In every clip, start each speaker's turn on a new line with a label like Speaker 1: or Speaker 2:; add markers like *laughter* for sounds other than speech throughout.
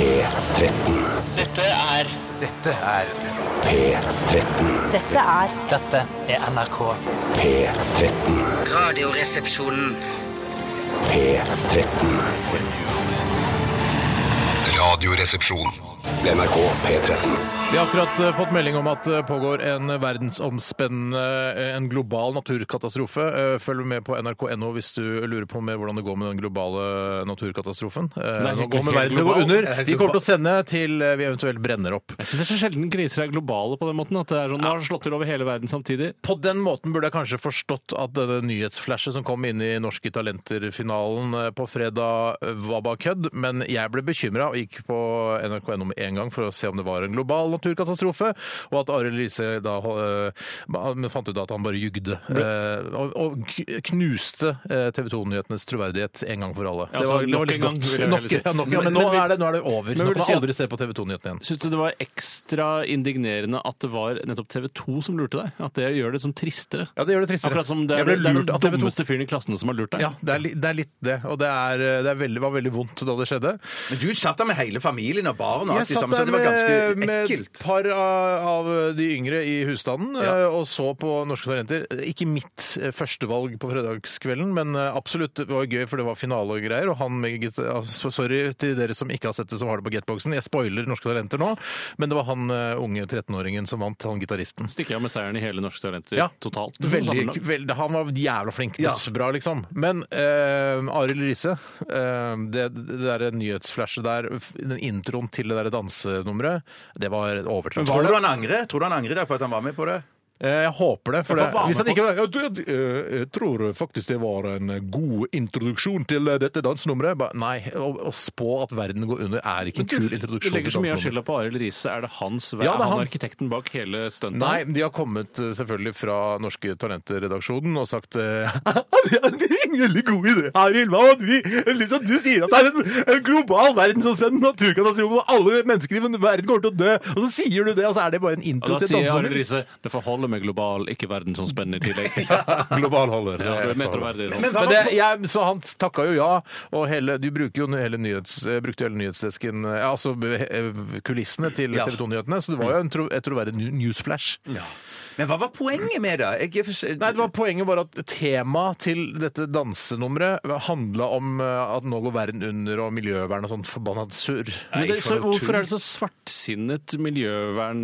Speaker 1: P13.
Speaker 2: Dette er
Speaker 3: Dette er
Speaker 1: P13.
Speaker 4: Dette er
Speaker 5: Dette er NRK.
Speaker 1: P13.
Speaker 2: Radioresepsjonen.
Speaker 1: P13.
Speaker 6: Radioresepsjon.
Speaker 1: NRK P13.
Speaker 7: Vi har akkurat eh, fått melding om at det pågår en verdensomspennende, eh, en global naturkatastrofe. Eh, Følg med på nrk.no hvis du lurer på med hvordan det går med den globale naturkatastrofen. Eh,
Speaker 8: Den er
Speaker 7: Nå
Speaker 8: helt-
Speaker 7: går med
Speaker 8: helt
Speaker 7: verden til å gå
Speaker 8: global.
Speaker 7: under.
Speaker 8: Den er helt
Speaker 7: Vi kommer til
Speaker 8: global.
Speaker 7: å sende til eh, vi eventuelt brenner opp.
Speaker 8: Jeg syns det er så sjelden kriser er globale på den måten. At det er sånn, nå har det slått til over hele verden samtidig.
Speaker 7: På den måten burde jeg kanskje forstått at denne nyhetsflashet som kom inn i Norske Talenter-finalen eh, på fredag, eh, var bare kødd, men jeg ble bekymra og gikk på nrk.no med en gang for å se om det var en global naturkatastrofe, og at Arild Riise da eh, men fant ut at han bare jugde. eh, Og og k- knuste eh, TV 2-nyhetenes troverdighet en gang for alle.
Speaker 8: Ja,
Speaker 7: det
Speaker 8: altså,
Speaker 7: var, det var
Speaker 8: nok
Speaker 7: litt
Speaker 8: en gang,
Speaker 7: godt.
Speaker 8: vil jeg
Speaker 7: Nok,
Speaker 8: heller si.
Speaker 7: ja, nok, ja, men
Speaker 8: Men-
Speaker 7: nå
Speaker 8: men-
Speaker 7: er det, nå er det over.
Speaker 8: Men
Speaker 7: Nå
Speaker 8: vil
Speaker 7: kan
Speaker 8: du si
Speaker 7: man
Speaker 8: at-
Speaker 7: aldri se på TV 2-nyhetene igjen.
Speaker 8: Syns du det var ekstra indignerende at det var nettopp TV 2 som lurte deg? At det gjør det sånn tristere?
Speaker 7: Ja, det gjør det tristere.
Speaker 8: Akkurat som det er,
Speaker 7: Jeg ble
Speaker 8: det er
Speaker 7: lurt av
Speaker 8: den
Speaker 7: TV 2.
Speaker 8: dummeste fyren i klassen som har lurt deg.
Speaker 7: Ja, det er, li- det er litt det. Og det, er, eh, det er veldig, var veldig vondt da det skjedde.
Speaker 9: Men du satt der med hele familien og barn og
Speaker 7: Jeg
Speaker 9: alt det
Speaker 7: satt
Speaker 9: samme, så
Speaker 7: der
Speaker 9: det var
Speaker 7: med,
Speaker 9: ganske
Speaker 7: med et
Speaker 9: ekkelt.
Speaker 7: par av, av de yngre i husstanden eh, og så på Norske Talenter. Ikke mitt eh, førstevalg på fredagskvelden, men eh, absolutt det var gøy, for det var finale og greier. Og han med gitt- ja, så- Sorry til dere som ikke har sett det, som har det på getboxen. Jeg spoiler Norske Talenter nå, men det var han eh, unge 13-åringen som vant, han gitaristen.
Speaker 8: Stikker av med seieren i hele Norske Talenter
Speaker 7: Ja.
Speaker 8: totalt. Du får
Speaker 7: Veldig,
Speaker 8: sammenlagt.
Speaker 7: veldig, han var jævla flink.
Speaker 9: Ja.
Speaker 7: Dødsbra, liksom. Men uh, Arild Riise, eh, det, det der nyhetsflashet der, den introen til det der dansenummeret, det var overtrøtt.
Speaker 9: Tror du han angrer? Tror du han angrer på at han var med på det?
Speaker 7: Eh, jeg håper det. For
Speaker 8: Ja,
Speaker 7: det
Speaker 8: for hva
Speaker 7: hvis
Speaker 8: med
Speaker 7: han ikke var, ja, du, jeg, eh, jeg tror faktisk det var en god introduksjon til eh, dette dansenummeret. Ba, nei, å, å spå at verden går under er ikke en kul
Speaker 8: Du
Speaker 7: introduksjon
Speaker 8: legger så
Speaker 7: til
Speaker 8: mye av
Speaker 7: dansenummer.
Speaker 8: skylda på Arild Riise. Er det hans vei?
Speaker 7: Ja, det er
Speaker 8: er han
Speaker 7: han.
Speaker 8: arkitekten bak hele stuntet?
Speaker 7: Nei, de har kommet eh, selvfølgelig fra Norske Talenter-redaksjonen og sagt *laughs* eh, Det er en veldig god idé, Arild. Hva om vi liksom, Du sier at det er en, en global verdensomspennende naturkatastrofe, og alle mennesker i verden kommer til å dø, og så sier du det, og så er det bare en
Speaker 8: Og
Speaker 7: intro
Speaker 8: da
Speaker 7: til
Speaker 8: sier Arild
Speaker 7: dansenummer.
Speaker 8: Riise det får holde med global, ikke verdensomspennende i tillegg.
Speaker 7: *laughs* Global holder.
Speaker 8: Ja, det er metroverdig.
Speaker 9: Men hva
Speaker 7: Men
Speaker 9: var
Speaker 7: det, jeg, så han takka jo ja, og hele, de bruker jo hele nyhets, eh, brukte jo hele nyhetsdesken eh, ja, Altså eh, kulissene til
Speaker 9: Ja.
Speaker 7: TV 2-nyhetene, så det var jo en tro, et troverdig nu- newsflash.
Speaker 9: Men hva var poenget med det? Jeg, er for-
Speaker 7: Nei, det var Poenget var at temaet til dette dansenummeret handla om eh, at nå går verden under og miljøvern og sånt forbanna surr.
Speaker 8: Men det,
Speaker 9: for
Speaker 8: så
Speaker 9: noe
Speaker 8: hvorfor
Speaker 9: tull.
Speaker 8: er det så svartsinnet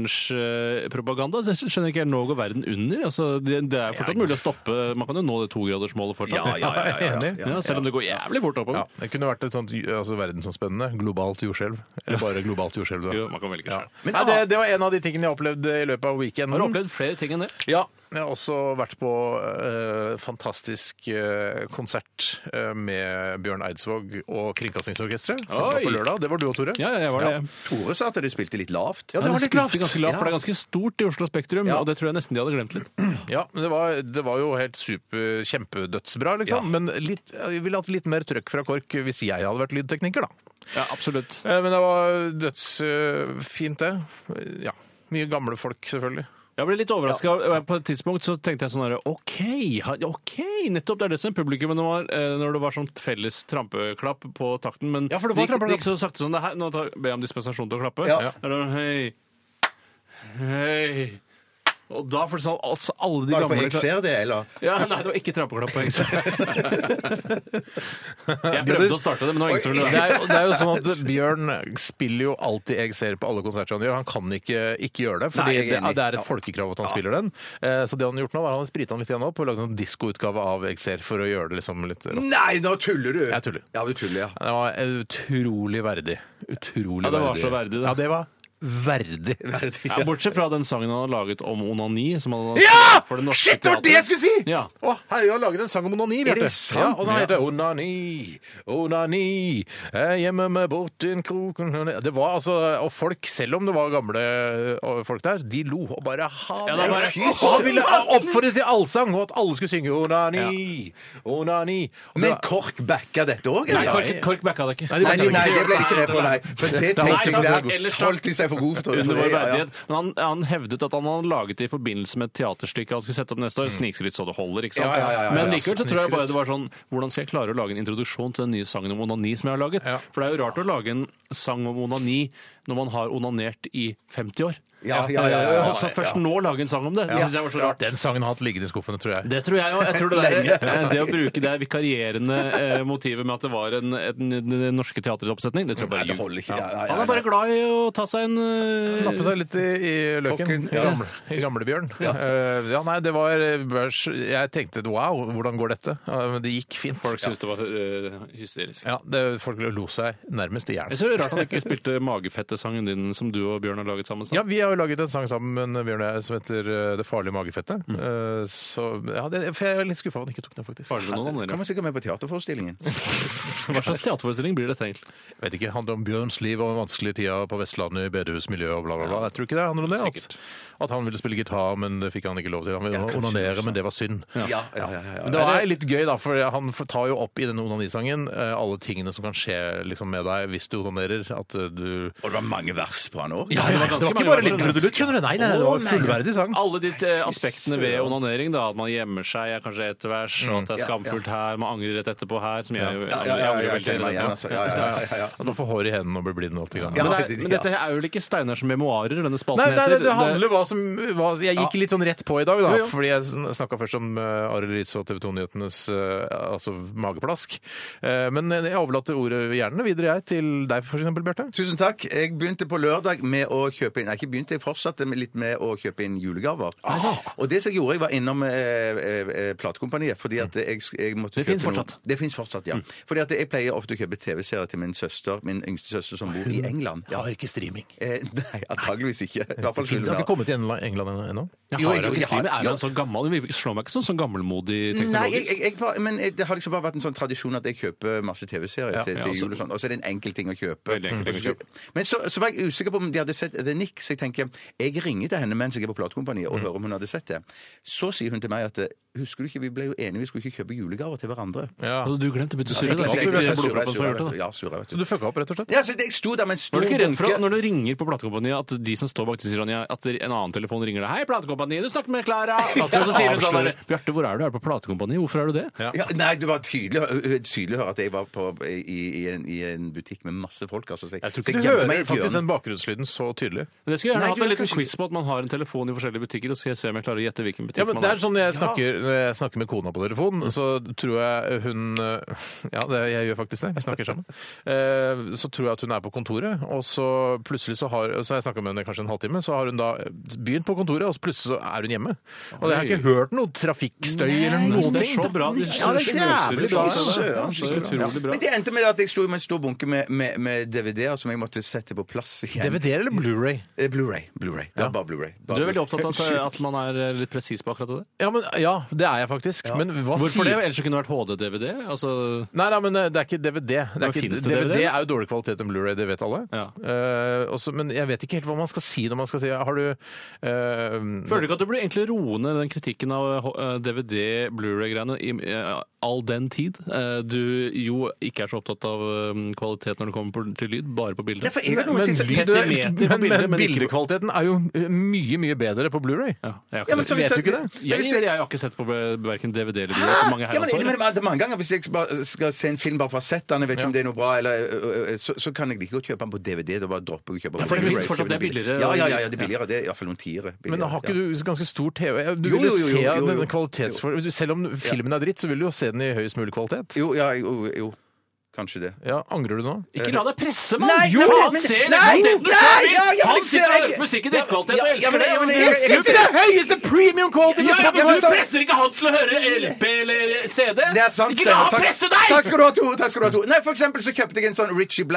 Speaker 8: miljøvernspropaganda? Jeg skjønner ikke, nå går verden under? Altså, det, det er fortsatt mulig å stoppe, man kan jo nå det togradersmålet fortsatt.
Speaker 9: Ja, ja, ja, ja, ja,
Speaker 7: Enig. altså-
Speaker 9: ja.
Speaker 8: Ja, selv om det går jævlig fort oppover.
Speaker 7: Ja, Det kunne vært et sånt altså, verdensomspennende globalt jordskjelv. Eller bare globalt jordskjelv. da.
Speaker 8: Jo, man kan velge selv.
Speaker 9: Men-
Speaker 7: Nei, det, det var en av de tingene jeg opplevde i løpet av weekenden.
Speaker 8: Har du opplevd flere ting enn det?
Speaker 7: Ja. Jeg har også vært på eh, fantastisk eh, konsert eh, med Bjørn Eidsvåg og Kringkastingsorkesteret. som var
Speaker 8: Oi.
Speaker 7: På lørdag. Det var du og Tore.
Speaker 8: Ja, ja, jeg var det.
Speaker 9: Tore sa at de spilte litt lavt.
Speaker 7: Ja, det var
Speaker 8: de
Speaker 7: litt
Speaker 8: spilte
Speaker 7: lavt.
Speaker 8: Ganske lavt, For det er ganske stort i Oslo Spektrum,
Speaker 9: Ja.
Speaker 8: og det tror jeg nesten de hadde glemt litt.
Speaker 7: Ja, men det var, det var jo helt super, kjempedødsbra, liksom. Men litt, jeg ville hatt litt mer trøkk fra KORK hvis jeg hadde vært lydtekniker, da.
Speaker 8: Ja, absolutt.
Speaker 7: Eh, Men det var dødsfint, det. Eh, Ja. Mye gamle folk, selvfølgelig.
Speaker 8: Jeg ble litt overraska. På et tidspunkt så tenkte jeg sånn her OK, ha- ok, nettopp. Det er det som er publikummet nå, eh, når det var sånn felles trampeklapp på takten. Men
Speaker 7: Ja, for det var
Speaker 8: gikk-
Speaker 7: trampeklapp.
Speaker 8: gikk så sakte sånn det her, Nå tar, ber jeg om dispensasjon til å klappe.
Speaker 9: Ja.
Speaker 8: Da er det hei, hei. Og da for sånn, altså, alle de
Speaker 9: Var det på
Speaker 8: gamle
Speaker 9: Jeg ser det, eller?
Speaker 8: Ja, nei, det var ikke trampeklapp
Speaker 7: *laughs*
Speaker 8: på Hengstad. jeg prøvde å starte det, men det var ingen som ville
Speaker 7: Det er, jo- det er jo sånn at Bjørn spiller jo alltid Jeg ser på alle konserter han gjør. Han kan ikke ikke gjøre det,
Speaker 9: Nei,
Speaker 7: fordi
Speaker 9: jeg er
Speaker 7: det,
Speaker 9: enig.
Speaker 7: det er
Speaker 9: Ja.
Speaker 7: et folkekrav at han spiller den. Eh, Så det han har gjort nå, var at han har sprita den litt igjen opp og lagd en diskoutgave av Jeg ser for å gjøre det liksom litt rått.
Speaker 9: Nei, nå tuller du!
Speaker 7: Jeg tuller.
Speaker 9: Ja,
Speaker 7: *laughs*
Speaker 9: du tuller, ja.
Speaker 7: Det var eh, utrolig verdig. Utrolig
Speaker 8: Ja, det var så verdig, det.
Speaker 7: Ja, det var verdig.
Speaker 8: ja, Bortsett fra den sangen han har laget om onani. Som han har
Speaker 7: Ja!
Speaker 8: for det norske
Speaker 7: Shit, det var det jeg
Speaker 8: teatret.
Speaker 7: skulle si!
Speaker 8: Ja.
Speaker 7: Å, herregud, jeg har laget en sang om onani,
Speaker 9: Er det
Speaker 7: Bjarte. Ja,
Speaker 9: sant?
Speaker 7: og den heter Onani, onani, jeg gjemmer meg bort i en krok onani». Det var altså Og folk, selv om det var gamle ø, folk der, de lo og bare ha det.
Speaker 8: Ja, det er bare-
Speaker 7: Fy søren! Han ville oppfordre til allsang, og at alle skulle synge onani, onani. Og det
Speaker 9: Men
Speaker 7: var-
Speaker 9: KORK backa dette òg,
Speaker 8: Nei,
Speaker 9: eller?
Speaker 8: Kork, kork backa det ikke.
Speaker 7: Nei,
Speaker 9: Nei,
Speaker 7: de-
Speaker 9: nei, det ble ikke det på, nei. For det
Speaker 8: Nei,
Speaker 9: tenkte jeg
Speaker 8: ellers
Speaker 9: der
Speaker 8: da-
Speaker 9: holdt de seg for god for
Speaker 8: Under
Speaker 9: for
Speaker 8: vår
Speaker 9: det, ja, ja.
Speaker 8: verdighet. Men han, han hevdet at han hadde laget det i forbindelse med et teaterstykke han skulle sette opp neste år. Snikskritt så det holder, ikke sant?
Speaker 9: Ja, ja, ja, ja, ja.
Speaker 8: Men likevel så tror jeg bare
Speaker 7: Snikskryt.
Speaker 8: det var sånn Hvordan skal jeg klare å lage en introduksjon til den nye sangen om onani som jeg har laget?
Speaker 7: Ja.
Speaker 8: For det er jo rart å lage en sang om onani når man har onanert i 50 år.
Speaker 9: Ja, ja, ja, ja, ja.
Speaker 8: Og så først nå lage en sang om det. Det syns jeg var så rart.
Speaker 7: Den sangen har hatt liggende i skuffene, tror jeg.
Speaker 8: Det tror jeg òg. Jeg tror det, der, eh, det å bruke det vikarierende eh, motivet med at det var en, en, en, en norske teateroppsetning, det tror jeg
Speaker 9: Nei,
Speaker 8: bare
Speaker 9: det holder ikke. Ja, ja, ja,
Speaker 8: Han er bare glad i å ta seg en eh,
Speaker 7: Nappe seg litt i, i løken.
Speaker 9: Kokken,
Speaker 7: I,
Speaker 9: ja.
Speaker 7: gamle, I gamlebjørn. Ja. ja, nei, det var børs. Jeg tenkte wow, hvordan går dette? Ja, Men det gikk fint.
Speaker 8: Folk syntes det var eh, hysterisk.
Speaker 7: Ja, det, folk lo seg nærmest i hjel.
Speaker 8: Jeg synes det er rart han ikke spilte magefettesangen din som du og Bjørn har laget sammen.
Speaker 7: Ja, vi har jo laget en sang sammen Bjørn og jeg, som heter eh, 'Det farlige magefettet'. Eh, Så ja, det, for jeg er litt skuffa over at han ikke tok den, faktisk.
Speaker 8: Farlig noen
Speaker 9: Kan
Speaker 8: andre.
Speaker 9: man sikkert med på teaterforestillingen.
Speaker 8: Hva slags teaterforestilling blir dette egentlig?
Speaker 7: Jeg vet ikke, det handler om Bjørns liv og den vanskelige tida på Vestlandet, i bedehusmiljøet og bla, bla, bla. Jeg tror ikke det handler om det. At,
Speaker 8: Sikkert.
Speaker 7: at han ville spille gitar, men det fikk han ikke lov til. Han ville
Speaker 9: Ja, kanskje
Speaker 7: onanere,
Speaker 9: også.
Speaker 7: men det var synd.
Speaker 9: Ja, ja, ja, ja, ja.
Speaker 7: Men det er litt gøy, da, for han tar jo opp i denne onanisangen eh, alle tingene som kan skje liksom, med deg hvis du onanerer. At eh, du
Speaker 9: Og det var mange vers på han òg.
Speaker 7: ja,
Speaker 8: det var
Speaker 7: det var
Speaker 8: ganske
Speaker 7: ikke
Speaker 8: mange
Speaker 7: bare
Speaker 8: år
Speaker 7: litt
Speaker 8: siden.
Speaker 7: trudelutt, skjønner du. Nei, nei, det var fullverdig sang.
Speaker 8: Alle de eh, aspektene ved onanering, da, at man gjemmer seg er kanskje ett vers,
Speaker 7: Mm.
Speaker 8: og at det er skamfullt her, man angrer rett etterpå her, som jeg jo
Speaker 9: Ja, ja,
Speaker 8: jeg
Speaker 9: ja,
Speaker 8: angrer
Speaker 9: ja, jeg
Speaker 8: veldig
Speaker 9: kjenner meg igjen, altså. Ja, ja, ja, ja, ja.
Speaker 7: At man får hår i hendene og blir blind og alt det greiene.
Speaker 9: Ja.
Speaker 8: Men, det er, men dette her er jo ikke Steinars memoarer, denne spalten
Speaker 7: Nei, nei, det,
Speaker 8: heter.
Speaker 7: det handler hva som hva, Jeg gikk litt sånn rett på i dag, da.
Speaker 8: Jo, jo.
Speaker 7: Fordi jeg sn- snakka først om uh, Arild Riis og TV 2-nyhetenes eh, altså mageplask. Eh, men jeg overlater ordet gjerne videre, jeg, til deg f.eks., Bjarte.
Speaker 9: Tusen takk. Jeg begynte på lørdag med å kjøpe inn Nei, ikke begynte, jeg fortsatte med litt med å kjøpe inn julegaver.
Speaker 8: Ah.
Speaker 9: Altså, Og det som jeg gjorde, jeg var innom eh, eh, eh, platekompaniet, fordi at jeg, jeg måtte
Speaker 8: Det
Speaker 9: kjøpe
Speaker 8: finnes
Speaker 9: noe-
Speaker 8: fortsatt. Mm.
Speaker 9: Det fins fortsatt, ja. Fordi at jeg pleier ofte å kjøpe TV-serier til min søster, min yngste søster som bor i England. Ja.
Speaker 7: ikke streaming.
Speaker 9: Eh, nei, antageligvis ikke. I hvert fall
Speaker 7: Fins
Speaker 9: julegaver.
Speaker 7: ikke kommet til Engla- England ennå?
Speaker 8: Jeg
Speaker 9: Jo,
Speaker 8: har
Speaker 9: jo,
Speaker 8: jo
Speaker 9: jeg
Speaker 8: ikke streamer.
Speaker 9: har-
Speaker 8: Er han så gammel? Hun virker- slår meg ikke som sånn gammelmodig
Speaker 9: Nei, jeg,
Speaker 8: teknologisk.
Speaker 9: jeg, jeg, bare- men det har liksom bare vært en sånn tradisjon at jeg kjøper masse TV-serier til,
Speaker 8: ja,
Speaker 9: til
Speaker 8: altså-
Speaker 9: jul og sånn. Og så er det en enkel ting å kjøpe.
Speaker 8: Veldig enkel ting å kjøpe.
Speaker 9: Men så, så var jeg usikker på om de hadde sett The Nick, så jeg tenker jeg ringer til henne mens jeg er på platekompaniet
Speaker 8: Mm.
Speaker 9: og hører om hun hadde sett det. Så sier hun til meg at eh, husker du ikke, vi ble jo enige, vi skulle ikke kjøpe julegaver til hverandre.
Speaker 7: Ja.
Speaker 8: Hadde du glemt å begynne å
Speaker 9: Så
Speaker 8: surre? da?
Speaker 9: jeg-
Speaker 8: Alt
Speaker 9: jeg-
Speaker 8: du
Speaker 9: jeg-
Speaker 8: vet
Speaker 9: jeg-
Speaker 8: er blodproppen som har gjort det,
Speaker 9: surre,
Speaker 8: da.
Speaker 9: Ja, surre, vet
Speaker 7: Så
Speaker 9: du.
Speaker 7: du fucka opp, rett og slett?
Speaker 9: Ja, så jeg sto der med en stor
Speaker 8: Var du ikke redd for
Speaker 9: bunke-
Speaker 8: at når du ringer på platekompaniet, at de som står bak disse Ronja, at en annen telefon ringer deg 'Hei, platekompaniet, du snakker med
Speaker 7: *laughs*
Speaker 8: Klara!' Og så sier hun sånn der, 'Bjarte, hvor er du? Er du på platekompaniet? Hvorfor er du det?'
Speaker 9: Ja, nei, det var tydelig, tydelig å høre at jeg var på, i, i, en, i en butikk med masse folk. Altså, så jeg,
Speaker 8: Jeg tror
Speaker 9: så
Speaker 7: Du
Speaker 8: ikke
Speaker 9: jeg gjemte meg
Speaker 7: hører
Speaker 9: i et
Speaker 7: faktisk
Speaker 9: hjørne.
Speaker 7: den bakgrunnslyden så tydelig.
Speaker 8: Men jeg skulle gjerne
Speaker 9: Nei,
Speaker 8: hatt en
Speaker 9: det er
Speaker 8: liten
Speaker 9: kanskje-
Speaker 8: quiz på at man har en telefon i forskjellige butikker, og så skal jeg se om jeg klarer å gjette hvilken butikk
Speaker 7: Ja, men
Speaker 8: man
Speaker 7: det er sånn jeg snakker, Når jeg snakker med kona på telefon, så tror jeg hun eh, Ja, det, jeg gjør faktisk det. Vi snakker
Speaker 8: *laughs*
Speaker 7: sammen. Eh, Så tror jeg at hun er på kontoret, og så plutselig så har Så har jeg snakka med henne i kanskje en halvtime, så har hun da begynt på kontoret, og så plutselig så er hun hjemme. Og jeg har ikke hørt noe trafikkstøy eller
Speaker 8: Nei,
Speaker 7: noen
Speaker 8: det er
Speaker 7: ting.
Speaker 8: så bra. De
Speaker 7: Ja, det er jævlig
Speaker 8: sløser
Speaker 7: bra.
Speaker 8: ut av det.
Speaker 9: Ja,
Speaker 8: Så utrolig bra.
Speaker 9: Men det endte med at jeg sto med en stor bunke med, med, med DVD-er altså, som jeg måtte sette på plass igjen.
Speaker 7: DVD-er eller Blu-ray?
Speaker 9: Eh, Blu-ray. Blu-ray. Det var bare Blu-ray. Bare
Speaker 8: Du er veldig
Speaker 9: Blu-ray.
Speaker 8: opptatt av at, at man er litt presis på akkurat det?
Speaker 7: Ja, men, ja, det er jeg faktisk. Men hva
Speaker 8: Hvorfor det?
Speaker 7: sier
Speaker 8: Ellers kunne det vært HD-DVD? Altså,
Speaker 7: Nei, nei, men eh, det er ikke DVD. Det
Speaker 8: Men
Speaker 7: er, ikke,
Speaker 8: finnes
Speaker 7: DVD,
Speaker 8: det DVD?
Speaker 7: er jo dårlig kvalitet enn Blu-ray, det vet alle.
Speaker 8: Ja.
Speaker 7: Eh, også, men jeg vet ikke helt hva man skal si når man skal si Har du eh,
Speaker 8: Mm. føler du ikke at du blir egentlig roende den kritikken av eh, DVD, Blu-ray-greiene i eh, all den tid? Eh, Du jo ikke er så opptatt av eh, kvalitet når det kommer på- til lyd, bare på
Speaker 9: Ja,
Speaker 8: bildet.
Speaker 9: for jeg har noen
Speaker 7: men,
Speaker 9: ting som-
Speaker 7: lyd-
Speaker 8: petimeter på
Speaker 7: men,
Speaker 8: bildet,
Speaker 7: men
Speaker 8: men ikke-
Speaker 7: bildekvaliteten er jo eh, mye, mye bedre på Blu-ray.
Speaker 8: Ja, jeg har
Speaker 9: Ja,
Speaker 8: ikke
Speaker 9: men
Speaker 8: sett-
Speaker 9: så hvis
Speaker 8: vet du
Speaker 9: jeg-
Speaker 8: ikke det?
Speaker 9: Ja,
Speaker 8: Jeg,
Speaker 9: hvis
Speaker 8: jeg,
Speaker 9: jeg-
Speaker 8: har ikke sett på eh, verken DVD eller video på mange
Speaker 9: Hæ? Ja, men,
Speaker 8: herrens år.
Speaker 9: men, men, mange ganger hvis jeg bare skal se en film bare for å ha sett den, jeg vet ikke om det er noe bra, eller, ø, ø, ø, så, så kan jeg like godt kjøpe den på DVD. Da bare dropper jeg å kjøpe den
Speaker 8: Ja, for det
Speaker 9: på
Speaker 8: finnes
Speaker 9: Blu-ray.
Speaker 8: fortsatt, det er billigere.
Speaker 9: Ja, ja, ja, ja, det er billigere. Det er iallfall noen tiere. billigere,
Speaker 7: Men har
Speaker 9: ja.
Speaker 7: ikke du ganske stor TV? Du
Speaker 9: Jo,
Speaker 7: vil jo,
Speaker 9: jo, jo,
Speaker 7: se
Speaker 9: jo, jo.
Speaker 7: den kvalitetsfor... Selv om filmen er dritt, så vil du jo se den i høyest mulig kvalitet.
Speaker 9: Jo, ja, jo, jo. Kanskje det.
Speaker 7: Ja, Angrer du nå?
Speaker 8: Ikke la deg presse, mann!
Speaker 9: Nei,
Speaker 8: jo,
Speaker 9: nei, men-
Speaker 8: han
Speaker 9: men-
Speaker 8: ser
Speaker 9: nei,
Speaker 8: kvaliteten du
Speaker 9: nei,
Speaker 8: selv vil!
Speaker 9: ja, ja, men
Speaker 8: Han
Speaker 9: jeg ser
Speaker 8: sitter og
Speaker 9: det
Speaker 8: hører
Speaker 9: ikke.
Speaker 8: på musikk i drittkvalitet
Speaker 9: Ja,
Speaker 8: og
Speaker 9: ja,
Speaker 8: elsker
Speaker 9: men
Speaker 8: det!
Speaker 9: det- ja, men
Speaker 8: og
Speaker 9: det-
Speaker 8: det-
Speaker 9: jeg- jeg-
Speaker 8: det-
Speaker 7: er høyeste premium quality!
Speaker 8: Ja,
Speaker 9: Ja,
Speaker 8: men
Speaker 9: men
Speaker 8: Du
Speaker 9: så-
Speaker 8: presser ikke han til å høre LP eller CD!
Speaker 9: Det er sant,
Speaker 8: ikke la
Speaker 9: Steinar.
Speaker 8: han
Speaker 9: Takk-
Speaker 8: presse deg!
Speaker 9: Takk skal du ha, Tore. Takk skal du ha, Tore. Nei, for eksempel så kjøpte jeg en sånn Richie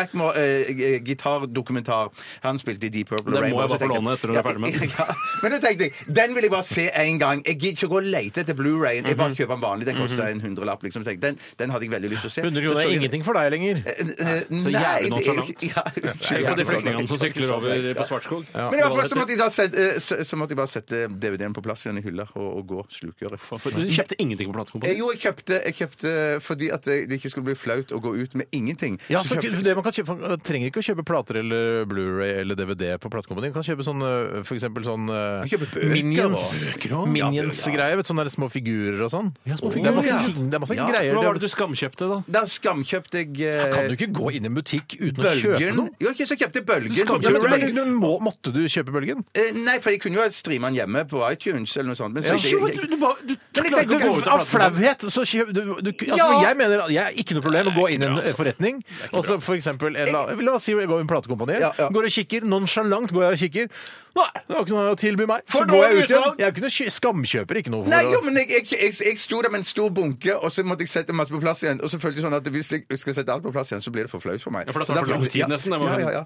Speaker 9: Blackmore-gitardokumentar. Han spilte i Deep Purple
Speaker 8: Den må
Speaker 9: Rainbow,
Speaker 8: jeg bare
Speaker 9: så
Speaker 8: få
Speaker 9: tenkte
Speaker 8: låne etter du er
Speaker 9: *laughs*
Speaker 8: ferdig med den.
Speaker 9: Ja, men da tenkte jeg, den vil jeg bare se en gang. Jeg gidder ikke å gå
Speaker 8: Mhm.
Speaker 9: og lete etter Blu-rayen. Jeg bare kjøper den vanlig. Den koster en hundrelapp. Liksom. Jeg tenkte, Den, den hadde jeg veldig lyst til å se.
Speaker 7: 100
Speaker 9: Så
Speaker 7: kroner
Speaker 9: så
Speaker 7: er
Speaker 9: jeg- Eh,
Speaker 7: ingenting flyktning for deg lenger.
Speaker 9: Så
Speaker 8: jævlig nonchalant. Det
Speaker 9: Ja,
Speaker 8: er jo
Speaker 9: unnskyld.
Speaker 8: ikke de flyktningene som sykler over på Svartskog.
Speaker 9: Men i hvert fall så måtte, jeg da sette, eh, så, så måtte jeg bare sette DVD-en på plass igjen i hylla og, og gå slukøret.
Speaker 8: For du kjøpte ingenting på
Speaker 9: Eh,
Speaker 8: platekompaniet?
Speaker 9: Jo, jeg kjøpte, jeg kjøpte fordi at det det ikke skulle bli flaut å gå ut med ingenting.
Speaker 7: Ja, så
Speaker 9: kjøpte-
Speaker 7: det man kan kjøpe, man trenger ikke å kjøpe plater eller Blu-ray eller DVD på platekompani. Man kan kjøpe sånn eh, for eksempel sånn eh,
Speaker 9: kjøpe bøker,
Speaker 7: Minions.
Speaker 9: da. Bøker også.
Speaker 7: Minions-greier. vet du, Sånne der små figurer og sånn.
Speaker 8: Ja, små
Speaker 7: Det er
Speaker 8: figurer,
Speaker 7: masse, det er masse
Speaker 9: Ja.
Speaker 7: greier.
Speaker 8: Hva var det du skamkjøpte, da?
Speaker 9: Da skamkjøpte jeg eh,
Speaker 7: Kan du ikke gå inn i en butikk uten å kjøpe
Speaker 9: Bølgen
Speaker 7: noe?
Speaker 9: Jo, ikke så jeg kjøpte Bølgen. på
Speaker 7: Ja, men,
Speaker 9: Blu-ray.
Speaker 7: men, men må, måtte du kjøpe bølgen?
Speaker 9: Eh, Nei, for jeg kunne jo ha streama den hjemme på iTunes eller noe sånt. Men så,
Speaker 8: Jo, men
Speaker 9: jeg,
Speaker 8: du- du bare- du- du
Speaker 9: Men jeg
Speaker 8: klarte
Speaker 9: tenker
Speaker 8: å gå
Speaker 9: ikke-
Speaker 8: ut
Speaker 7: Av
Speaker 8: av platekompaniet.
Speaker 7: flauhet! så kjøp- du- du- altså,
Speaker 9: Ja.
Speaker 7: Jeg mener at jeg er ikke noe problem å gå inn i en
Speaker 9: altså.
Speaker 7: forretning. Og så for eksempel, en la, la oss si jeg går i en platekompani.
Speaker 9: Ja, ja.
Speaker 7: Går og kikker, nonchalant går jeg og kikker. Nei, det var ikke noe å tilby meg. Så
Speaker 8: For
Speaker 7: går jeg
Speaker 8: dårlig
Speaker 7: ut igjen.
Speaker 8: utvalg.
Speaker 7: Jeg er ikke noe kj- skamkjøper, ikke noe. for
Speaker 9: Nei,
Speaker 7: å-
Speaker 9: jo, men jeg, jeg, jeg, jeg sto der med en stor bunke, og så måtte jeg sette masse på plass igjen. Og så følte jeg sånn at hvis jeg skal sette alt på plass igjen, så blir det for flaut for meg.
Speaker 8: Ja, for da tar
Speaker 9: Og
Speaker 8: det for
Speaker 9: derfor-
Speaker 8: lang tid nesten, det sånn. må
Speaker 9: Ja,
Speaker 8: jeg
Speaker 9: ja, ja.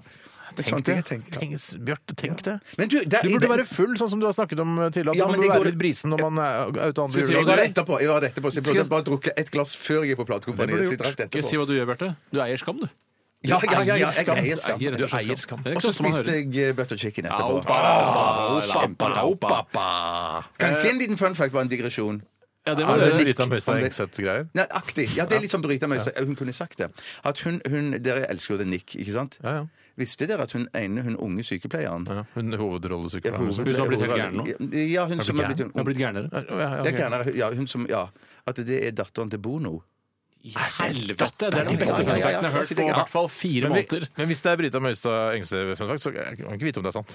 Speaker 9: Det er
Speaker 7: Tenk
Speaker 9: sånne ting jeg
Speaker 7: det.
Speaker 9: tenker.
Speaker 7: Tenk, Bjarte, tenk det.
Speaker 9: Men du, det,
Speaker 7: Du burde være full, sånn som du har snakket om tidligere.
Speaker 9: Ja,
Speaker 7: at
Speaker 9: men
Speaker 7: du burde
Speaker 9: det går-
Speaker 7: være litt brisen når man er ute andre
Speaker 8: Skal jeg si
Speaker 9: jeg
Speaker 7: juledag.
Speaker 9: var det etterpå, jeg var det etterpå, så jeg burde
Speaker 8: Skal-
Speaker 9: bare drukke et glass før jeg gikk på platekompaniet. så jeg drakk det
Speaker 8: Skal jeg si
Speaker 9: etterpå.
Speaker 8: hva du gjør, Bjarte? Du eier skam, du.
Speaker 9: Ja, ja, ja, ja, jeg
Speaker 7: Skam.
Speaker 9: eier skam.
Speaker 8: Eier rett og slett
Speaker 7: Du eier skam.
Speaker 8: Det er
Speaker 9: Og
Speaker 8: ikke
Speaker 9: så
Speaker 8: så ofte man hører.
Speaker 9: spiste jeg eh, butter chicken etterpå. Kanskje en liten fun fact, bare en digresjon.
Speaker 8: Ja, det
Speaker 7: Er
Speaker 8: var
Speaker 7: det
Speaker 8: det.
Speaker 7: Brita Møystein Hegseth-greier?
Speaker 9: Nei, aktig. Ja, det er litt sånn Brita Møyster. Hun kunne sagt det. At hun, hun Dere elsker jo The Nick, ikke sant?
Speaker 7: Ja, ja.
Speaker 9: Visste dere at hun ene, hun unge sykepleieren
Speaker 7: Ja, hun
Speaker 9: Hun som
Speaker 7: hovedrollesykepleieren.
Speaker 8: Hun som har blitt helt gæren nå?
Speaker 9: Ja, hun som har blitt
Speaker 8: Hun har
Speaker 9: ung.
Speaker 8: blitt gærnere.
Speaker 9: Det er gærnere. Ja, hun som Ja. At det er datteren til Bono.
Speaker 8: I helvete! Det er den beste
Speaker 9: Ja, ja, ja,
Speaker 8: funfacten
Speaker 9: ja.
Speaker 8: jeg har hørt på i hvert fall fire
Speaker 7: Men, vi,
Speaker 8: måneder.
Speaker 7: men hvis det er Brita Møystad Engstad-funfact, så kan man ikke vite om det er sant.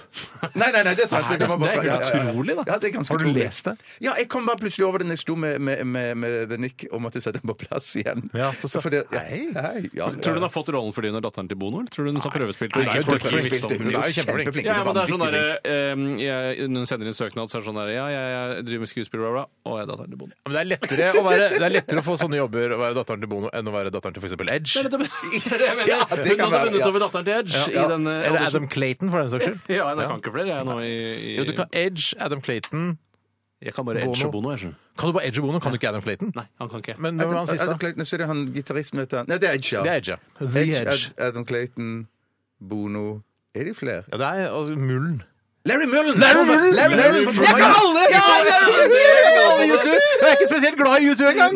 Speaker 9: Nei, nei, nei, det er sant.
Speaker 8: Nei,
Speaker 9: kan man
Speaker 8: det er
Speaker 9: bare- ja, ja, ja.
Speaker 8: utrolig, da.
Speaker 9: Ja, det er ganske
Speaker 7: Har du
Speaker 9: utrolig.
Speaker 7: lest det?
Speaker 9: Ja, jeg kom bare plutselig over det når jeg sto med, med, med, med The Nick og måtte sette den på plass igjen.
Speaker 7: Ja, så- så-
Speaker 9: For det- ja,
Speaker 7: Hei.
Speaker 9: hei, ja, ja.
Speaker 8: Tror du hun har fått rollen fordi hun er datteren til Bono? Eller tror du hun har prøvespilt?
Speaker 7: Nei,
Speaker 8: Nei,
Speaker 7: jeg
Speaker 8: folk
Speaker 7: tror
Speaker 8: ikke
Speaker 7: ikke
Speaker 8: visste om
Speaker 7: hun
Speaker 8: det.
Speaker 7: er jo kjempeflink.
Speaker 9: Kjempeflink.
Speaker 8: Ja, men det er sånn
Speaker 9: Vanvittig
Speaker 8: der,
Speaker 9: flink.
Speaker 8: eh, jeg, Når hun sender inn søknad, så er det sånn der Ja, jeg, jeg driver med skuespill, bla, bla. Og jeg er datteren til Bono.
Speaker 7: Men det er lettere å, være, det er lettere å få sånne jobber å være datteren til Bono enn å være datteren til f.eks. Edge.
Speaker 8: Det er det jeg mener.
Speaker 9: Ja, det
Speaker 8: Hun hadde
Speaker 9: kan være,
Speaker 8: vunnet
Speaker 9: ja.
Speaker 8: over datteren til Edge i den eh,
Speaker 7: Eller
Speaker 8: audition.
Speaker 7: Adam Clayton, for den saks skyld.
Speaker 8: *laughs* Ja, nei, jeg kan ikke flere, jeg nå i, i
Speaker 7: Jo, du kan Edge, Adam Clayton
Speaker 8: Jeg kan bare Edge
Speaker 7: Bono.
Speaker 8: og Bono, jeg skjønner.
Speaker 7: Kan du bare Edge og Bono? Kan du ikke Adam Clayton?
Speaker 8: Nei, han kan ikke.
Speaker 7: Men hvem var han
Speaker 9: Adam
Speaker 7: siste? da?
Speaker 9: Clayton, så er det han gitaristen, vet du. Nei, det er Edge, ja.
Speaker 7: Det er Edge, ja. The Edge.
Speaker 9: Ad- Adam Clayton, Bono Er de flere?
Speaker 7: Ja, det er og Mullen.
Speaker 9: Larry Mullen!
Speaker 7: Mullen!
Speaker 9: Larry
Speaker 7: Larry
Speaker 9: Mullen!
Speaker 7: Mullen! Jeg kan alle! Jeg kan alle! Jeg kan alle YouTube! Jeg er ikke spesielt glad i YouTube engang!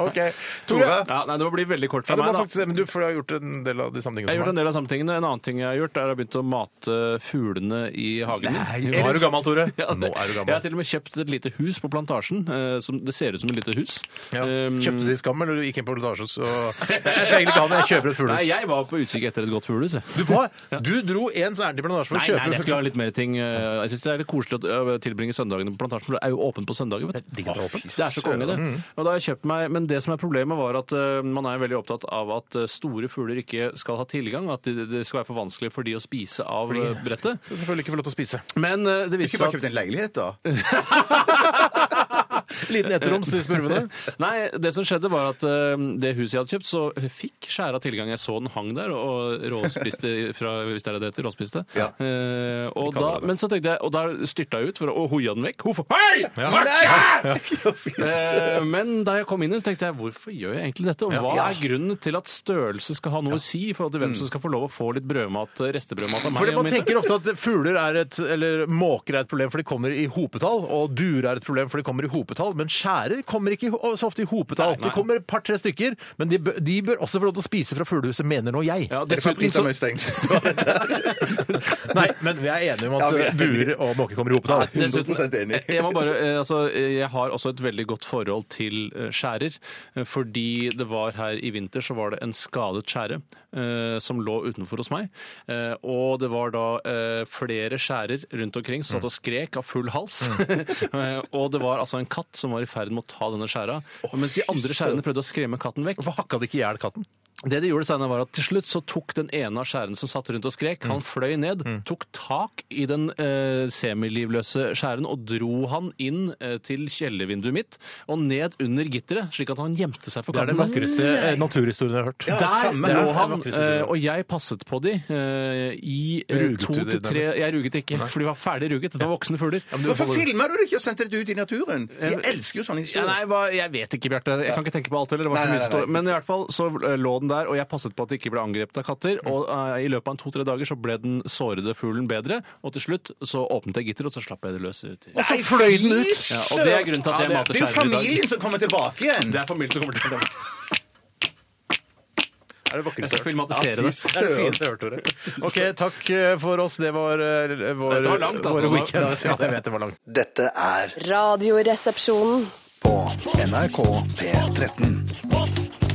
Speaker 7: OK. Tore?
Speaker 8: Ja, nei, det må bli veldig kort
Speaker 7: Ja,
Speaker 8: for
Speaker 7: det var
Speaker 8: meg, da.
Speaker 7: faktisk, men du, for du har gjort en del av de samme tingene
Speaker 8: Jeg har gjort
Speaker 7: som
Speaker 8: en
Speaker 7: meg.
Speaker 8: del av samme tingene. En annen ting jeg har gjort, er å begynne å mate fuglene i hagen. min.
Speaker 7: Nå er du gammel, Tore.
Speaker 8: Ja, det-
Speaker 7: Nå er du
Speaker 8: Jeg har
Speaker 7: gammel.
Speaker 8: til og med kjøpt et lite hus på plantasjen. eh, som, det ser ut som et lite hus.
Speaker 7: Ja.
Speaker 8: Um,
Speaker 7: Kjøpte du det i Skam, eller du gikk inn på Lutasjos og
Speaker 8: *laughs*
Speaker 7: Jeg skal egentlig ikke ha det, jeg kjøper et
Speaker 8: Nei,
Speaker 7: fuglehus.
Speaker 8: jeg var på utkikk etter et godt fuglehus. jeg.
Speaker 7: Du, hva? du dro ens ærend til Plantasje for
Speaker 8: Nei,
Speaker 7: å
Speaker 8: nei, jeg skulle
Speaker 7: kjøpe
Speaker 8: ha litt mer ting. eh, Jeg syns det er litt koselig å tilbringe søndagene på plantasjen, for det er jo åpent på søndager, vet du.
Speaker 7: det er åpent. Mm.
Speaker 8: Det er så konge, det. Og da har jeg kjøpt meg, men det som er problemet, var at eh, man er veldig opptatt av at eh, store fugler ikke skal ha tilgang. At det det skal være for vanskelig for de å spise av eh, brettet.
Speaker 7: Selvfølgelig ikke få lov til å spise.
Speaker 8: Men eh, det
Speaker 9: Ikke
Speaker 8: viste seg
Speaker 9: bare
Speaker 8: at
Speaker 9: kjøpt en leilighet, da?
Speaker 8: *laughs*
Speaker 7: Liten etteroms til spurvene.
Speaker 8: Nei, det som skjedde var at eh, det huset jeg hadde kjøpt, så fikk skjæra tilgang. Jeg så den hang der og råspiste fra, hvis det er det det heter, råspiste.
Speaker 9: Ja.
Speaker 8: Eh, og
Speaker 7: kaller
Speaker 8: da,
Speaker 7: det det.
Speaker 8: men så tenkte jeg, og da styrta jeg ut for å og hoia den vekk. Hvorfor? Hei! Martin!
Speaker 9: *laughs*
Speaker 8: Eh, men da jeg kom inn, i den, så tenkte jeg hvorfor gjør jeg egentlig dette? Og hva er grunnen til at størrelse skal ha noe å si i forhold til hvem som skal få lov å få litt brødmat, eh, restebrødmat av meg?
Speaker 7: *laughs* Fordi
Speaker 8: og
Speaker 7: Man
Speaker 8: min-
Speaker 7: tenker ofte at fugler er et, eller måker er et problem for de kommer i hopetall, og duer er et problem for de kommer i hopetall, men skjærer kommer ikke i- så ofte i hopetall.
Speaker 8: Nei, nei.
Speaker 7: Det kommer et par-tre stykker, men de, bø- de bør også få lov til å spise fra fuglehuset, mener nå jeg.
Speaker 8: ja,
Speaker 9: Er det fra
Speaker 8: dessuten
Speaker 9: Brita
Speaker 8: så
Speaker 9: Møystein?
Speaker 7: Nei, men vi er enige om
Speaker 9: Ja,
Speaker 7: at
Speaker 9: vi er
Speaker 7: eh, duer og måker kommer i hopetall.
Speaker 8: Ja, dessuten-
Speaker 9: 100% enig.
Speaker 8: *laughs* Jeg, må bare, eh, altså, eh, jeg har også et veldig godt forhold til eh, skjærer. eh, Fordi det var her i vinter så var det en skadet skjære eh, som lå utenfor hos meg. Eh, og det var da eh, flere skjærer rundt omkring som satt og skrek av full hals. *laughs* Eh, og det var altså en katt som var i ferd med å ta denne skjæra. mens de andre skjærene prøvde å skremme katten vekk.
Speaker 7: Hvorfor hakka de ikke i hjel katten?
Speaker 8: Det de gjorde, Steinar, var at til slutt så tok den ene av skjærene som satt rundt og skrek,
Speaker 7: Mm.
Speaker 8: han fløy ned, tok tak i den eh, semilivløse skjæren og dro han inn eh, til kjellervinduet mitt og ned under gitteret, slik at han gjemte seg for
Speaker 7: Det er den
Speaker 8: katten.
Speaker 7: vakreste eh, naturhistorien jeg har hørt.
Speaker 8: Der
Speaker 9: samme her.
Speaker 8: lå han,
Speaker 7: Det er vakreste historien.
Speaker 8: eh, og jeg passet på de eh, i eh,
Speaker 7: Ruget
Speaker 8: to
Speaker 7: du de
Speaker 8: til tre
Speaker 7: nærmest?
Speaker 8: Jeg ruget ikke, for de var ferdig ruget. Dette var voksne fugler.
Speaker 9: Hvorfor filma du det ikke og sendte det ut i naturen? Jeg elsker jo sånne
Speaker 8: Ja,
Speaker 9: historier.
Speaker 8: nei, hva, jeg vet ikke, Bjarte. Jeg kan ikke tenke på alt heller. Det var
Speaker 9: Nei,
Speaker 8: så mye
Speaker 9: nei, nei,
Speaker 8: stå- Men i hvert fall så eh, lå den der, og jeg passet på at det ikke ble angrepet av katter.
Speaker 7: Mm.
Speaker 8: Og eh, i løpet av en to-tre dager så ble den sårede fuglen bedre, og til slutt så åpnet jeg gitteret, og så slapp jeg det løs ut. i-
Speaker 9: Og så fløy den ut!
Speaker 8: Ja, og det er grunnen til at jeg mater
Speaker 9: Det er
Speaker 8: skjærer
Speaker 9: jo
Speaker 8: i dag.
Speaker 9: familien som kommer tilbake igjen!
Speaker 8: Det er familien som kommer til å
Speaker 7: Er det
Speaker 8: Jeg skal filmatisere det.
Speaker 7: Det er det fineste jeg har hørt, Tore. OK, takk eh, for oss. Det var eh, vår,
Speaker 8: Dette var langt, altså.
Speaker 7: våre weekends. Ja, jeg vet det var langt.
Speaker 3: Dette er
Speaker 4: Radioresepsjonen.
Speaker 3: på NRK P13.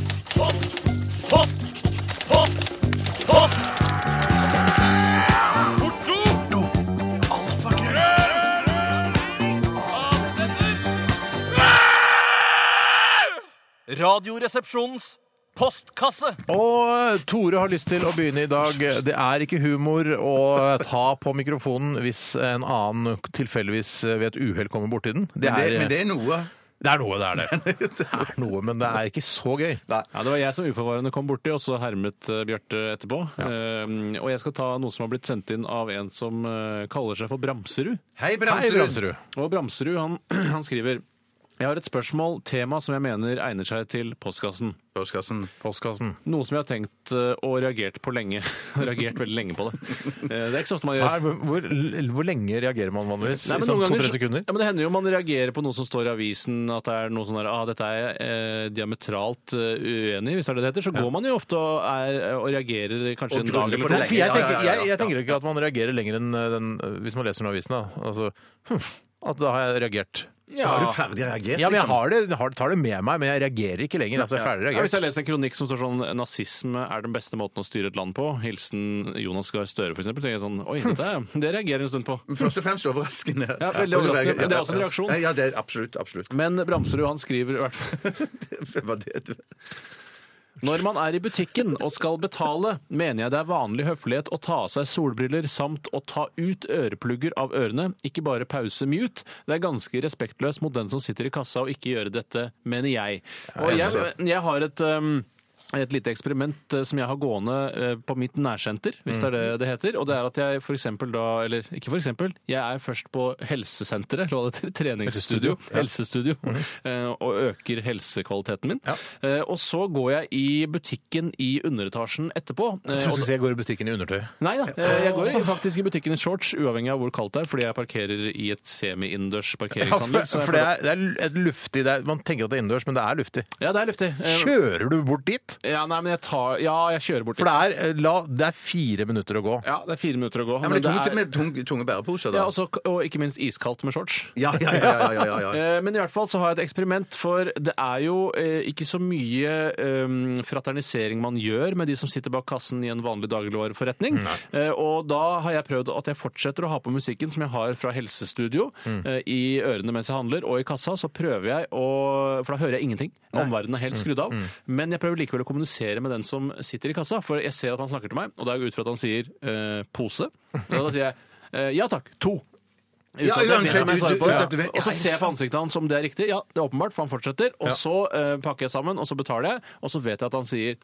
Speaker 5: Radioresepsjonens postkasse.
Speaker 7: Og eh, Tore har lyst til å begynne i dag. Det er ikke humor å eh, ta på mikrofonen hvis en annen tilfeldigvis eh, ved et uhell kommer borti den. Det
Speaker 9: Men
Speaker 7: er,
Speaker 9: det, men det er noe.
Speaker 7: det er noe, det er
Speaker 8: *laughs*
Speaker 7: det. Det er noe, men det er ikke så gøy.
Speaker 8: Ja, Det var jeg som uforvarende kom borti, og så hermet eh, Bjarte etterpå. Ehm, og jeg skal ta noe som har blitt sendt inn av en som eh, kaller seg for Bramserud.
Speaker 9: Hei,
Speaker 7: Hei,
Speaker 9: Bramserud.
Speaker 7: Bramserud.
Speaker 8: Og Bramserud han, *clears throat* han skriver Jeg har et spørsmål, tema som jeg mener egner seg til postkassen.
Speaker 9: Postkassen.
Speaker 7: Postkassen.
Speaker 8: Noe som jeg har tenkt eh, og reagert på lenge. *laughs* reagert veldig lenge på det. Eh, Det er ikke så ofte man gjør.
Speaker 7: Her, hvor, hvor lenge reagerer man vanligvis?
Speaker 8: Nei, men
Speaker 7: sånn
Speaker 8: noen ganger
Speaker 7: to-tre
Speaker 8: så-
Speaker 7: sekunder?
Speaker 8: Ja, men det hender jo man reagerer på noe som står i avisen, at det er noe sånn der ah, dette er jeg eh, diametralt eh, uenig i, hvis det er det det heter. Så går man jo ofte og, er, eh, og reagerer kanskje
Speaker 9: Og
Speaker 8: en
Speaker 9: grunner
Speaker 8: dag
Speaker 9: på
Speaker 8: eller
Speaker 9: det
Speaker 8: to.
Speaker 7: Nei, for jeg,
Speaker 9: Ja, ja, ja,
Speaker 7: tenker,
Speaker 9: ja.
Speaker 7: jeg, jeg tenker ikke at man reagerer lenger enn eh, den hvis man leser den i avisen. Da. Altså, hm, at da har jeg reagert.
Speaker 9: Da har du ferdig reagert, liksom.
Speaker 7: Ja, men jeg har det, har, tar det med meg, men jeg reagerer ikke lenger. Altså, jeg er ferdig
Speaker 8: liksom. Ja, hvis
Speaker 7: reagert.
Speaker 8: jeg leser en kronikk som står sånn nazisme er den beste måten å styre et land på, hilsen Jonas Gahr Støre f.eks., tenker jeg sånn oi, dette er- det reagerer jeg en stund på.
Speaker 9: Men Først og fremst overraskende.
Speaker 8: Ja, veldig overraskende, men det er også en reaksjon.
Speaker 9: Ja, det er absolutt. absolutt. *laughs*
Speaker 8: Men Bramserud han skriver i hvert fall
Speaker 9: Det var det du-
Speaker 8: Når man er i butikken og skal betale, mener jeg det er vanlig høflighet å ta av seg solbriller samt å ta ut øreplugger av ørene, ikke bare pause mute. Det er ganske respektløst mot den som sitter i kassa og ikke gjøre dette, mener jeg. Og jeg, jeg har et um, et lite eksperiment eh, som jeg har gående eh, på mitt nærsenter, hvis det er
Speaker 7: Mm.
Speaker 8: det det heter. Og det er at jeg for eksempel da, eller ikke for eksempel, jeg er først på helsesenteret, eller hva det heter, *laughs* treningsstudio, helsestudio,
Speaker 7: Mm.
Speaker 8: *laughs* eh, og øker helsekvaliteten min. Eh, Og så går jeg i butikken i underetasjen etterpå. eh,
Speaker 7: Jeg
Speaker 8: og
Speaker 7: skulle si jeg går i butikken i undertøy.
Speaker 8: Nei da, eh, jeg går i- faktisk i butikken i shorts, uavhengig av hvor kaldt det er, fordi jeg parkerer i et
Speaker 7: Ja,
Speaker 8: semi-innendørs
Speaker 7: for,
Speaker 8: parkeringsanlegg. så jeg
Speaker 7: for det, er, det er et luftig det er, Man tenker at det er innendørs, men det er luftig.
Speaker 8: føler- Ja, det er luftig. Eh,
Speaker 7: Kjører du bort dit?
Speaker 8: Ja, nei, men jeg tar Ja, jeg kjører bort
Speaker 7: For det er, eh, la, det er fire minutter å gå.
Speaker 8: Ja, det er fire minutter å gå.
Speaker 9: Ja, men det er tungt med tung, tunge bæreposer, da.
Speaker 8: ja, også, og ikke minst iskaldt med shorts.
Speaker 9: Ja, ja, ja, ja, ja,
Speaker 8: *laughs*
Speaker 9: ja.
Speaker 8: Eh, Men i hvert fall så har jeg et eksperiment, for det er jo eh, ikke så mye eh, fraternisering man gjør med de som sitter bak kassen i en vanlig dagligvareforretning. Eh, Og da har jeg prøvd at jeg fortsetter å ha på musikken som jeg har fra helsestudio
Speaker 9: Mm.
Speaker 8: eh, i ørene mens jeg handler, og i kassa så prøver jeg å For da hører jeg ingenting. Omverdenen er helt
Speaker 9: Mm.
Speaker 8: skrudd av. Men jeg prøver likevel å kommunisere med den som sitter i kassa, for jeg ser at han snakker til meg, og da går jeg ut fra at han sier eh, 'pose'. Og da sier jeg eh, 'ja takk, to'. Uten
Speaker 9: Ja,
Speaker 8: at jeg
Speaker 9: uansett,
Speaker 8: vet om jeg
Speaker 9: du-
Speaker 8: svarer
Speaker 9: du-
Speaker 8: på det.
Speaker 9: uten at du vet-
Speaker 8: Og så ser jeg på ansiktet hans om det er riktig. Ja, det er åpenbart, for han fortsetter. Og så eh, pakker jeg sammen, og så betaler jeg, og så vet jeg at han sier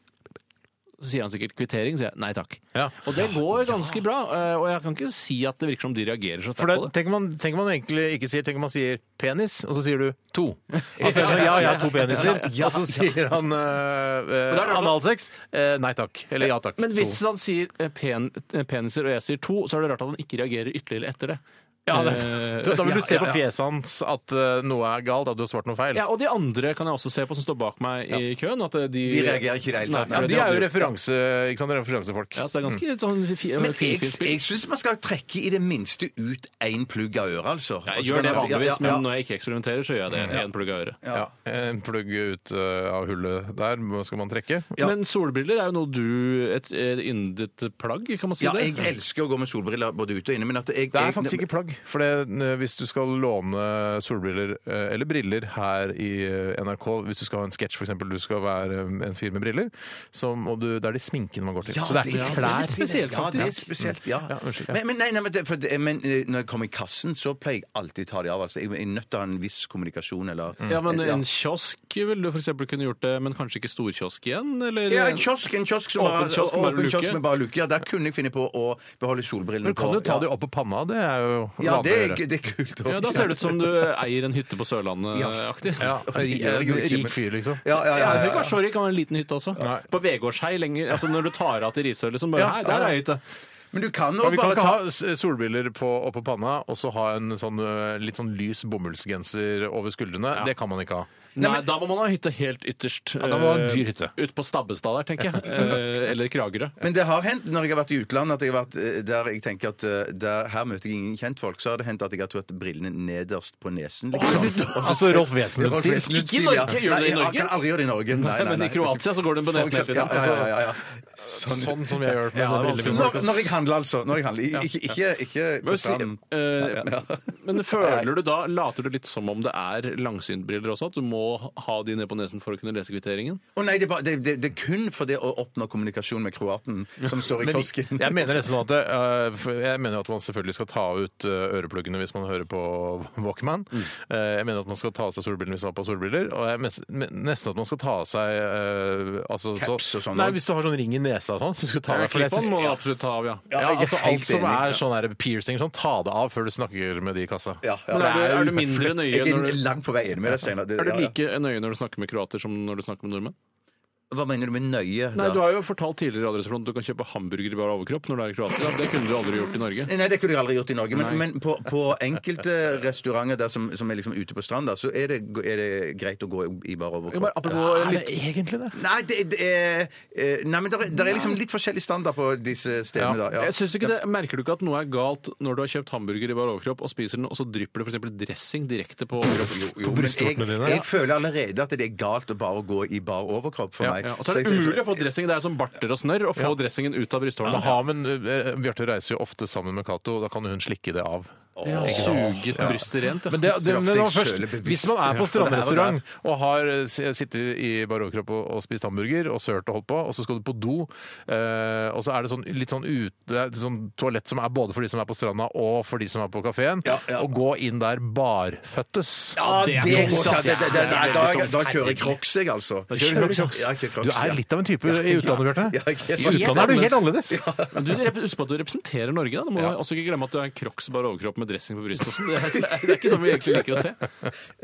Speaker 8: så sier han sikkert kvittering, sier jeg nei takk.
Speaker 7: Ja.
Speaker 8: Og det går ganske bra. eh, Og jeg kan ikke si at det virker som de reagerer så
Speaker 7: For
Speaker 8: sterkt
Speaker 7: det,
Speaker 8: på det.
Speaker 7: tenker, man, tenker man egentlig ikke sier Tenker man sier penis, og så sier du to.
Speaker 8: *laughs*
Speaker 7: At det er sånn, ja, jeg har to peniser. Og så sier han eh, eh, analsex. Eh, nei takk. Eller ja takk.
Speaker 8: Men hvis
Speaker 7: to.
Speaker 8: han sier eh, pen, eh, peniser og jeg sier to, så er det rart at han ikke reagerer ytterligere etter det.
Speaker 7: ja, det er,
Speaker 8: Eh,
Speaker 7: sant. Da vil
Speaker 8: ja,
Speaker 7: du se
Speaker 8: ja,
Speaker 7: på
Speaker 8: ja.
Speaker 7: fjeset hans at eh, noe er galt, at du har svart noe feil.
Speaker 8: Ja, Og de andre kan jeg også se på som står bak meg i køen. At eh, de,
Speaker 9: De reagerer ikke i det hele
Speaker 8: Nei,
Speaker 9: tatt.
Speaker 8: for
Speaker 7: Ja,
Speaker 8: det
Speaker 7: de er jo
Speaker 8: hadde-
Speaker 7: referanse, ikke sant? referansefolk.
Speaker 8: Ja, så det er ganske sånn fi-
Speaker 9: Men jeg,
Speaker 8: finfint spill.
Speaker 9: jeg syns man skal trekke i det minste ut én plugg av øret,
Speaker 8: Ja,
Speaker 9: altså. Og
Speaker 8: jeg
Speaker 9: så
Speaker 8: gjør
Speaker 9: kan
Speaker 8: det
Speaker 9: man- ja,
Speaker 8: vanligvis,
Speaker 9: ja, ja.
Speaker 8: men eh, når jeg ikke eksperimenterer, så gjør jeg det. En plugg av øret.
Speaker 7: Ja. En plugg ut eh, av hullet der skal man trekke.
Speaker 8: Men solbriller er jo noe du Et, et yndet plagg, kan man si
Speaker 9: ja,
Speaker 8: det?
Speaker 9: jeg elsker å gå med solbriller både ute og inne, men at jeg
Speaker 7: Det er faktisk ikke plagg. For det, eh, hvis du skal låne solbriller eh, eller briller her i eh, NRK, hvis du skal ha en sketsj f.eks., du skal være eh, en fyr med briller, så må du, det er de sminkene man går til. så det er ikke
Speaker 9: det er
Speaker 7: klær.
Speaker 9: litt spesielt,
Speaker 7: Ja,
Speaker 9: faktisk. Ja, det er litt spesielt, ja.
Speaker 7: Ja, unnskyld, ja.
Speaker 9: Men, men, nei, nei, men, det, for det, men eh, når jeg kommer i kassen, så pleier jeg alltid å ta de av. Altså. Jeg jeg er nødt til å ha en viss kommunikasjon, eller
Speaker 8: Mm. Ja, men
Speaker 9: Mm. ja.
Speaker 8: En kiosk ville du for eksempel kunne gjort det, men kanskje ikke storkiosk igjen? Eller?
Speaker 9: Ja, en kiosk, en kiosk som
Speaker 8: Åpen kiosk med bare
Speaker 9: åpen kiosk
Speaker 8: luke.
Speaker 9: med bare luke. Ja, der kunne jeg finne på å beholde solbrillene
Speaker 7: Men kan du ta
Speaker 9: ja.
Speaker 7: de opp på panna? Det er jo
Speaker 9: Ja, det
Speaker 7: vanlig å
Speaker 9: er,
Speaker 7: gjøre.
Speaker 9: det er kult.
Speaker 8: Ja, Da ser det ut som du eier en hytte på Sørlandet-aktig.
Speaker 7: Ja,
Speaker 9: det gjør
Speaker 7: en
Speaker 9: jo ikke, men-
Speaker 7: rik fyr, liksom.
Speaker 9: Ja, ja, ja,
Speaker 8: Ja,
Speaker 9: ja,
Speaker 8: det kan være så rik, kan være en liten hytte også.
Speaker 7: Nei.
Speaker 8: På Vegårshei lenger. Altså når du tar av til Risør, liksom. Bare,
Speaker 7: Ja,
Speaker 8: Nei, der
Speaker 7: ja.
Speaker 8: er ei hytte.
Speaker 9: Men du kan jo
Speaker 7: Men vi kan
Speaker 9: bare
Speaker 7: ikke
Speaker 9: ta
Speaker 7: ha s- eh, solbriller på, oppå panna og så ha en sånn, eh, litt sånn lys bomullsgenser over skuldrene. Det kan man ikke ha.
Speaker 8: Nei, da må man ha hytte helt ytterst. Ja,
Speaker 7: da må man ha en dyr hytte.
Speaker 8: Ut på Stabbestad der,
Speaker 7: *laughs*
Speaker 8: tenker jeg. Eh, Eller Kragerø.
Speaker 9: Men det har hendt når jeg har vært i utlandet, at jeg har vært eh, der jeg tenker at eh, der, her møter jeg ingen kjentfolk, så har det hendt at jeg har tatt brillene nederst på nesen. Liksom.
Speaker 7: Altså Rolf Wesenlund-stil.
Speaker 9: Wesenlund-stil,
Speaker 8: Ikke i Norge.
Speaker 9: ja.
Speaker 8: Gjør du det i
Speaker 9: Nei, jeg-
Speaker 8: Norge?
Speaker 9: Jeg kan aldri gjøre det i Norge. Nei, nei,
Speaker 8: Men
Speaker 9: nei.
Speaker 8: i Kroatia så går den på
Speaker 9: For
Speaker 8: nesen hele
Speaker 9: eksempel,
Speaker 8: tiden.
Speaker 9: ja, ja, ja, ja, ja.
Speaker 7: Sånn, som jeg gjør med
Speaker 8: Ja, det er vanskelig.
Speaker 7: brillene.
Speaker 9: Når, når jeg handler, altså. Når jeg handler. I- Ikke, ikke, ikke på
Speaker 8: Men, si-
Speaker 9: stranden.
Speaker 8: eh, *laughs* men føler du da Later du litt som om det er langsyntbriller også? At du må ha de ned på nesen for å kunne lese kvitteringen?
Speaker 9: Å nei, det er, bare, det, det, det er kun for det å oppnå kommunikasjon med kroaten som står i
Speaker 7: Men
Speaker 9: kiosken.
Speaker 7: *laughs* jeg mener nesten sånn at det, eh, for jeg mener at man selvfølgelig skal ta ut eh, ørepluggene hvis man hører på Walkman.
Speaker 9: Mm.
Speaker 7: Eh, jeg mener at man skal ta av seg solbrillene hvis man har på solbriller. Og jeg mes- men- nesten at man skal ta av seg eh, altså,
Speaker 9: Caps og sånn
Speaker 7: Nei,
Speaker 9: også.
Speaker 7: hvis du har sånn ring i nesa og sånn, så skal du ta av deg for jeg synes-
Speaker 8: du absolutt ta av, ja.
Speaker 9: Ja,
Speaker 7: Ja,
Speaker 9: jeg er
Speaker 7: altså
Speaker 9: helt
Speaker 7: alt som
Speaker 9: enig.
Speaker 7: er
Speaker 9: Ja.
Speaker 7: sånn her piercing, sånn, ta det av før du snakker med de i kassa.
Speaker 9: Ja, ja.
Speaker 8: Men er, du, er du mindre nøye
Speaker 9: Jeg
Speaker 8: når
Speaker 9: er
Speaker 8: du
Speaker 9: langt på vei enig med deg, Steinar. Det-
Speaker 8: er du
Speaker 9: ja, ja.
Speaker 8: like nøye når du snakker med kroater som når du snakker med nordmenn?
Speaker 9: Hva mener du med nøye?
Speaker 8: Nei,
Speaker 9: da?
Speaker 8: Du har jo fortalt tidligere i Radioresepsjonen at du kan kjøpe hamburger i bar overkropp når du er i Kroatia. Det kunne du aldri gjort i Norge.
Speaker 9: Nei, det kunne jeg aldri gjort i Norge. Men,
Speaker 8: Nei.
Speaker 9: men på, på enkelte restauranter der som, som er liksom ute på stranda, så er det, er det greit å gå i bar
Speaker 8: Jo,
Speaker 9: overkropp.
Speaker 8: bare apropos
Speaker 7: Er det
Speaker 8: litt
Speaker 7: egentlig det?
Speaker 9: Nei, det, det er eh, Nei, men det er, der er liksom litt forskjellig standard på disse stedene, da.
Speaker 8: Jeg synes ikke det, Merker du ikke at noe er galt når du har kjøpt hamburger i bar overkropp og spiser den, og så drypper det f.eks. dressing direkte på overkroppen?
Speaker 9: Jo, men jeg, jeg føler allerede at det er galt å bare gå i bar overkropp for
Speaker 7: Ja,
Speaker 9: meg.
Speaker 8: Ja, og så er det
Speaker 9: Så jeg-
Speaker 8: umulig å få dressing. Det er som barter og snørr å få dressingen ut av brysthårene.
Speaker 7: Men ha, men eh, Bjarte reiser jo ofte sammen med Cato, og da kan jo hun slikke det av.
Speaker 8: Ja, Suget brystet rent. ja.
Speaker 7: Men det,
Speaker 9: *laughs*
Speaker 7: det,
Speaker 9: ofte
Speaker 7: men det var
Speaker 9: jeg
Speaker 7: først,
Speaker 9: søler bevisst.
Speaker 7: hvis man er på
Speaker 9: Ja, det er jo
Speaker 7: strandrestaurant og har eh, s- sittet i barokropp og, og spist hamburger og sølt og holdt på, og så skal du på do, eh, og så er det sånn, litt sånn ut, det er et sånn toalett som er både for de som er på stranda og for de som er på kafeen,
Speaker 9: Ja, ja.
Speaker 7: og gå inn der barføttes.
Speaker 9: Ja, det går ikke.
Speaker 7: også-
Speaker 9: Det- det- det- det- Da
Speaker 7: veldig sånn
Speaker 9: da kjører jeg
Speaker 7: forferdelig.
Speaker 9: Crocs, jeg, altså. Da
Speaker 7: kjører du Crocs?
Speaker 9: Ja, jeg kjører
Speaker 7: Du
Speaker 9: Crocs,
Speaker 7: er
Speaker 9: ja.
Speaker 7: litt av en type i utlandet, Bjarte.
Speaker 9: Ja, jeg er
Speaker 7: I utlandet er du helt annerledes.
Speaker 8: Men du, rep- Husk på at du representerer Norge. da. Du må også ikke glemme at du er en crocs bare overkropp med dressing på brystet. og sånn. Det, er- det er ikke sånn vi egentlig liker å se.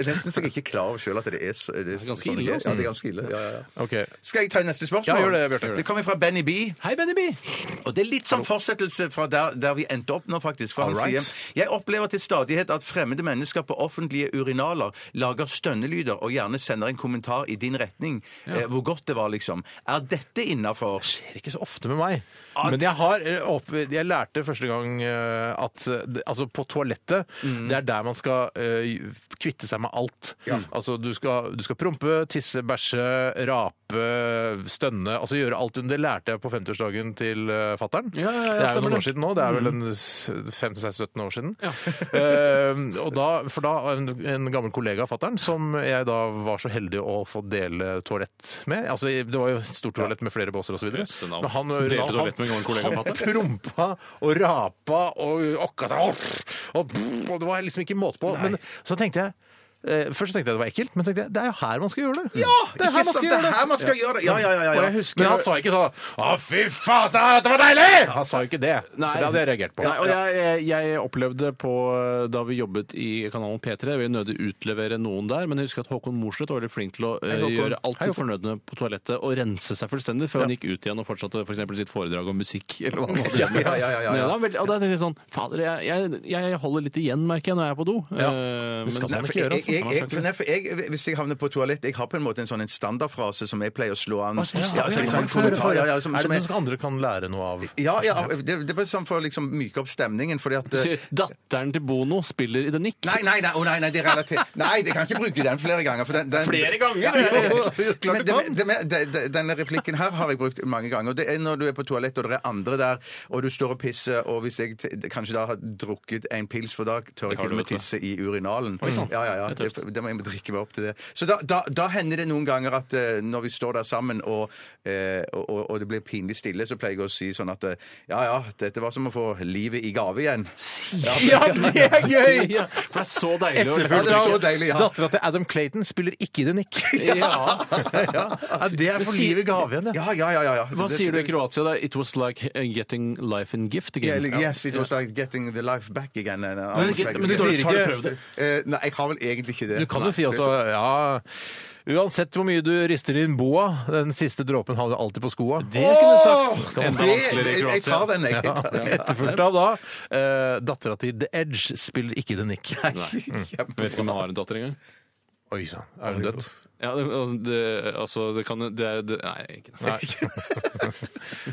Speaker 9: Nesten så jeg ikke er klar over sjøl at det er, så, det er
Speaker 8: ganske
Speaker 9: sånn
Speaker 8: ille,
Speaker 9: det er.
Speaker 8: altså.
Speaker 9: Ja, det er ganske ille. Ja, ja, ja.
Speaker 7: Ok.
Speaker 9: Skal jeg ta neste spørsmål?
Speaker 7: Ja, gjør det, Bjarte, gjør det.
Speaker 9: Det kommer fra Benny B.
Speaker 8: Hei, Benny B!
Speaker 9: Og det er litt sånn fortsettelse fra der, der vi endte opp nå, faktisk. For han
Speaker 7: All right.
Speaker 9: sier Jeg opplever til stadighet at fremmede mennesker på offentlige urinaler lager stønnelyder og gjerne sender en kommentar i din retning. Eh, hvor godt det var, liksom. Er dette innafor?
Speaker 7: skjer ikke så ofte med meg.
Speaker 8: Ah,
Speaker 7: Men jeg har eh, opp, jeg lærte første gang eh, at eh, det- altså på toalettet
Speaker 8: Mm.
Speaker 7: det er der man skal eh, kvitte seg med alt. Altså du skal, du skal prompe, tisse, bæsje, rape, stønne. Altså gjøre alt. Det lærte jeg på 50-årsdagen til uh, fattern.
Speaker 8: Ja, ja, ja,
Speaker 7: det er jo noen
Speaker 8: stemmer det. Mm.
Speaker 7: år siden nå. Det er vel en s- 15-16-17 år siden. *laughs* Eh, og da, for da en, en gammel kollega av fattern som jeg da var så heldig å få dele toalett med. Altså det var jo et stort toalett med flere båser osv.
Speaker 8: Jøsse navn.
Speaker 7: Men han,
Speaker 8: Delte
Speaker 7: han-
Speaker 8: toalett med en gammel kollega,
Speaker 7: han
Speaker 8: fatter.
Speaker 7: prompa og rapa og okka seg og- og, og Det var liksom ikke måte på. Men så tenkte jeg eh, Først så tenkte jeg det var ekkelt, men så tenkte jeg, det er jo her man skal gjøre det. Ja, det er her man skal gjøre det.
Speaker 9: man skal gjøre det! Ja, ja, ja. ja,
Speaker 7: Og
Speaker 9: ja.
Speaker 7: jeg husker, men han sa ikke sånn 'Å, fy faen, det var deilig!' Han sa jo ikke det.
Speaker 8: Nei.
Speaker 7: For det hadde jeg reagert på.
Speaker 8: Nei, og jeg, jeg- jeg opplevde på da vi jobbet i kanalen P3 Jeg vil nødig utlevere noen der, men jeg husker at Håkon Mosleth var veldig flink til å eh,
Speaker 9: Håkon.
Speaker 8: gjøre alt sitt fornødne på toalettet og rense seg fullstendig før han gikk ut igjen og fortsatte for eksempel sitt foredrag om musikk eller hva han hadde.
Speaker 9: ja, ja, ja, ja, ja.
Speaker 8: Nei, da, vel- og da tenkte jeg sånn Fader, jeg, jeg, jeg holder litt igjen, merker jeg, når jeg er på do. Eh, men-
Speaker 7: skal man
Speaker 9: Nei, for
Speaker 7: ikke gjøre, altså.
Speaker 9: jeg, jeg, jeg,
Speaker 8: hva
Speaker 9: jeg,
Speaker 8: sa du?
Speaker 9: for, nei, for jeg, hvis jeg havner på toalett Jeg har på en måte en sånn en standardfrase som jeg pleier å slå an.
Speaker 7: Hva sa du?
Speaker 9: Ja, altså, en sånn kommentar, ja, ja,
Speaker 7: liksom,
Speaker 9: som,
Speaker 7: er
Speaker 9: som
Speaker 7: det
Speaker 9: jeg,
Speaker 7: noe andre kan lære noe av?
Speaker 9: ja, ja, det, det er bare sånn for å liksom myke opp stemningen. Fordi at,
Speaker 8: Du sier, Datteren til Bono spiller i The Nick.
Speaker 9: Nei, nei, nei, å, nei, nei, det er relatert. Nei, jeg kan ikke bruke den flere ganger. For den, den,
Speaker 8: Flere ganger?
Speaker 9: Ja, ja, ja.
Speaker 7: Jo, klart
Speaker 9: Men
Speaker 7: du
Speaker 9: det-
Speaker 7: kan.
Speaker 9: det med- det- det- Denne replikken her har jeg brukt mange ganger. og Det er når du er på toalett, og det er andre der, og du står og pisser, og hvis jeg t- kanskje da har drukket en pils, for da tør jeg
Speaker 8: har du,
Speaker 9: til og med
Speaker 8: vet du.
Speaker 9: tisse i urinalen.
Speaker 8: sant.
Speaker 9: Ja, ja, ja.
Speaker 8: Det er tøft.
Speaker 9: Det, det må jeg drikke meg opp til det. Så da, da, da hender det noen ganger at eh, når vi står der sammen, og, eh, og, og- og det blir pinlig stille, så pleier jeg å si sånn at eh, ja, ja, dette var som å få livet i gave igjen.
Speaker 7: Ja,
Speaker 9: *laughs*
Speaker 7: det er gøy!
Speaker 8: *laughs* Ja, for det er så deilig å
Speaker 9: Ja, det er så deilig, ja.
Speaker 7: Dattera til Adam Clayton spiller ikke i The Nick. *laughs*
Speaker 8: Ja.
Speaker 7: Ja, det er for livet gave igjen, det.
Speaker 9: Ja, ja, ja. ja, ja.
Speaker 8: Hva
Speaker 9: Det-
Speaker 8: sier du i Kroatia? da? It was like uh, getting life and gift
Speaker 9: Yeah,
Speaker 8: again.
Speaker 9: like, yes, it was like getting the life back again. and, uh, I was
Speaker 8: get-
Speaker 9: like-
Speaker 8: men
Speaker 7: du sier
Speaker 9: Har du
Speaker 7: ikke-
Speaker 9: prøvd det? Eh, nei, jeg har vel egentlig ikke det.
Speaker 7: Du kan
Speaker 9: Nei.
Speaker 7: jo si altså ja Uansett hvor mye du rister inn boa, den siste dråpen havner alltid på skoa. Det
Speaker 9: kunne du
Speaker 7: sagt.
Speaker 9: Det-
Speaker 8: Enda vanskeligere i
Speaker 9: jeg- Jeg tar
Speaker 8: Kroatia.
Speaker 9: den, jeg. jeg tar den.
Speaker 7: Etterfulgt av da eh, dattera til The Edge spiller ikke The Nick.
Speaker 8: Jeg vet ikke om jeg har en datter engang.
Speaker 7: Oi sann, er hun død?
Speaker 8: Ja, det, det, altså, det kan det, det, Nei, ikke *laughs* det.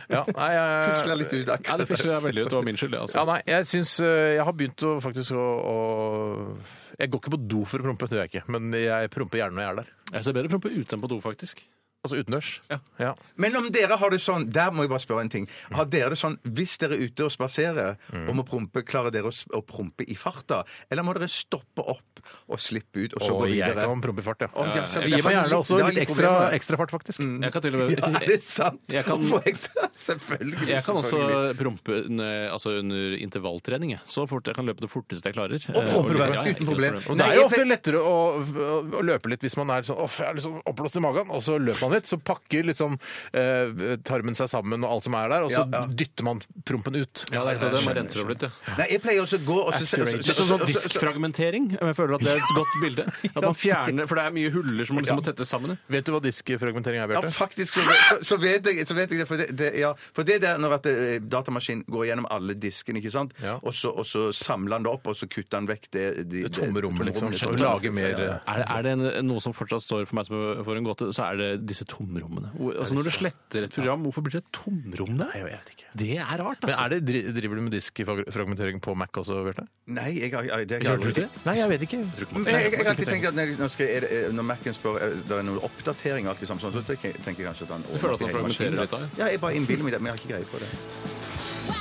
Speaker 7: Ja, nei, jeg-
Speaker 9: *laughs* Fisler litt ut
Speaker 8: Nei,
Speaker 9: akkurat
Speaker 8: det fisler jeg veldig ut. Det var min skyld, det.
Speaker 7: Ja,
Speaker 8: Altså.
Speaker 7: nei, jeg syns eh, Jeg har begynt å faktisk å, å Jeg går ikke på do for å prompe, det gjør jeg ikke. Men jeg promper gjerne når jeg er der.
Speaker 8: Jeg ser bedre prompe ute enn på do, faktisk.
Speaker 7: Altså utendørs.
Speaker 8: Ja.
Speaker 7: Ja.
Speaker 9: Men om dere har det sånn Der må jeg bare spørre en ting. Har dere det sånn hvis dere er ute og spaserer
Speaker 8: Mm.
Speaker 9: og må prompe, klarer dere å s- å prompe i farta? Eller må dere stoppe opp og slippe ut og så
Speaker 7: Og
Speaker 9: gå
Speaker 7: jeg
Speaker 9: videre?
Speaker 7: kan prompe i fart, ja.
Speaker 9: Å, ja, så
Speaker 7: Jeg gir
Speaker 9: derfor
Speaker 7: meg gjerne
Speaker 9: litt-
Speaker 7: også
Speaker 9: det er
Speaker 7: litt ekstra
Speaker 9: problemer.
Speaker 7: ekstrafart, faktisk.
Speaker 9: Mm.
Speaker 8: Jeg kan til og
Speaker 9: *laughs* Ja,
Speaker 8: med
Speaker 9: er det sant?
Speaker 8: Jeg kan-
Speaker 9: Å få ekstra, *laughs* selvfølgelig.
Speaker 8: Jeg kan også
Speaker 9: selvfølgelig.
Speaker 8: prompe under, altså under intervalltrening. jeg. Så fort jeg kan løpe det forteste jeg klarer. Eh, Og
Speaker 9: promper du bare, uten problem.
Speaker 7: Og det
Speaker 9: Nei,
Speaker 7: er jo
Speaker 9: jeg-
Speaker 7: ofte lettere å, å, å løpe litt hvis man er sånn Åh, jeg er liksom oppblåst i magen, og så løper man litt. Så pakker liksom eh, tarmen seg sammen og alt som er der, og så
Speaker 9: Ja, ja.
Speaker 7: dytter man prompen ut.
Speaker 8: Ja, det er klart det. Man renser opp litt, ja.
Speaker 9: Nei, jeg pleier også å gå og så- så- så-
Speaker 8: Litt sånn
Speaker 9: så- så-
Speaker 8: sånn
Speaker 9: så- så-
Speaker 8: diskfragmentering. Jeg føler at det er et godt
Speaker 9: *laughs*
Speaker 8: bilde. At man fjerner, For det er mye huller som man liksom må tettes sammen. i.
Speaker 7: Vet du hva diskfragmentering er,
Speaker 9: Ja,
Speaker 7: Bjarte?
Speaker 9: faktisk så, så, vet jeg, så vet jeg det. For det, det, ja, for det der når at eh, datamaskinen går gjennom alle diskene, ikke sant?
Speaker 7: Ja.
Speaker 9: Og, så, og så samler han det opp, og så kutter han vekk det, de-
Speaker 7: Det tomme rommet, liksom.
Speaker 9: det
Speaker 7: Og
Speaker 9: tomme
Speaker 7: lage
Speaker 9: rommet.
Speaker 7: mer
Speaker 9: Ja, ja.
Speaker 7: eh,
Speaker 8: Er, er det en, noe som fortsatt står for meg som for en gåte, så er det disse tomrommene. Hvor- Altså Når du sletter et program, hvorfor blir det et tomrom der? Jeg vet ikke. Det er rart,
Speaker 7: Men
Speaker 8: altså.
Speaker 7: er det, dri- driver du med diskfragmentering på Mac også, Bjarte?
Speaker 9: Nei, jeg har jeg- det har
Speaker 8: Gjør
Speaker 9: jeg
Speaker 8: du
Speaker 9: aldri
Speaker 8: det?
Speaker 7: Nei, jeg vet ikke.
Speaker 9: Jeg, jeg, jeg har alltid tenkt at når, når, skal, er det, eh, når Mac-en spør eh, det er noen oppdatering, og alt liksom, sånn, så tenker jeg tenker jeg kanskje at han
Speaker 8: føler at han
Speaker 9: overmarkerer hele
Speaker 8: fragmenterer
Speaker 9: maskinen, da.
Speaker 8: litt av det?
Speaker 9: Ja, jeg bare innbiller meg det, men jeg har ikke greie på det.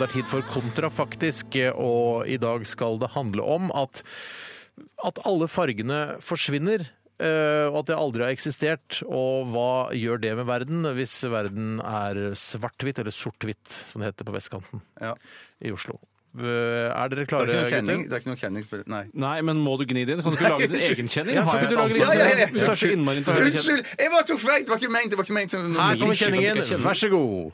Speaker 7: Det er tid for kontrafaktisk, og i dag skal det handle om at, at alle fargene forsvinner. eh, Og at det aldri har eksistert. Og hva gjør det med verden hvis verden er svart-hvitt, eller sort-hvitt, som det heter på vestkanten
Speaker 9: Ja.
Speaker 7: i Oslo? Eh, Er dere
Speaker 9: Det er
Speaker 7: klare,
Speaker 9: ikke noe
Speaker 7: gutter?
Speaker 9: kjenning, det er ikke noe kjenning på det. Nei.
Speaker 8: Nei, men må du gni det inn? Kan du ikke lage din egen
Speaker 7: *laughs*
Speaker 8: kjenning?
Speaker 7: Ja, kan
Speaker 8: Har jeg
Speaker 7: ikke du
Speaker 8: et
Speaker 7: lage din
Speaker 8: ansvar
Speaker 7: egen?
Speaker 8: for det? Hvis du er så innmari interessert i kjenning.
Speaker 9: Unnskyld! Jeg bare tok feil! Det var ikke ment! Det var ikke ment som
Speaker 7: Her kommer
Speaker 9: Unnskyld.
Speaker 7: kjenningen, vær så god!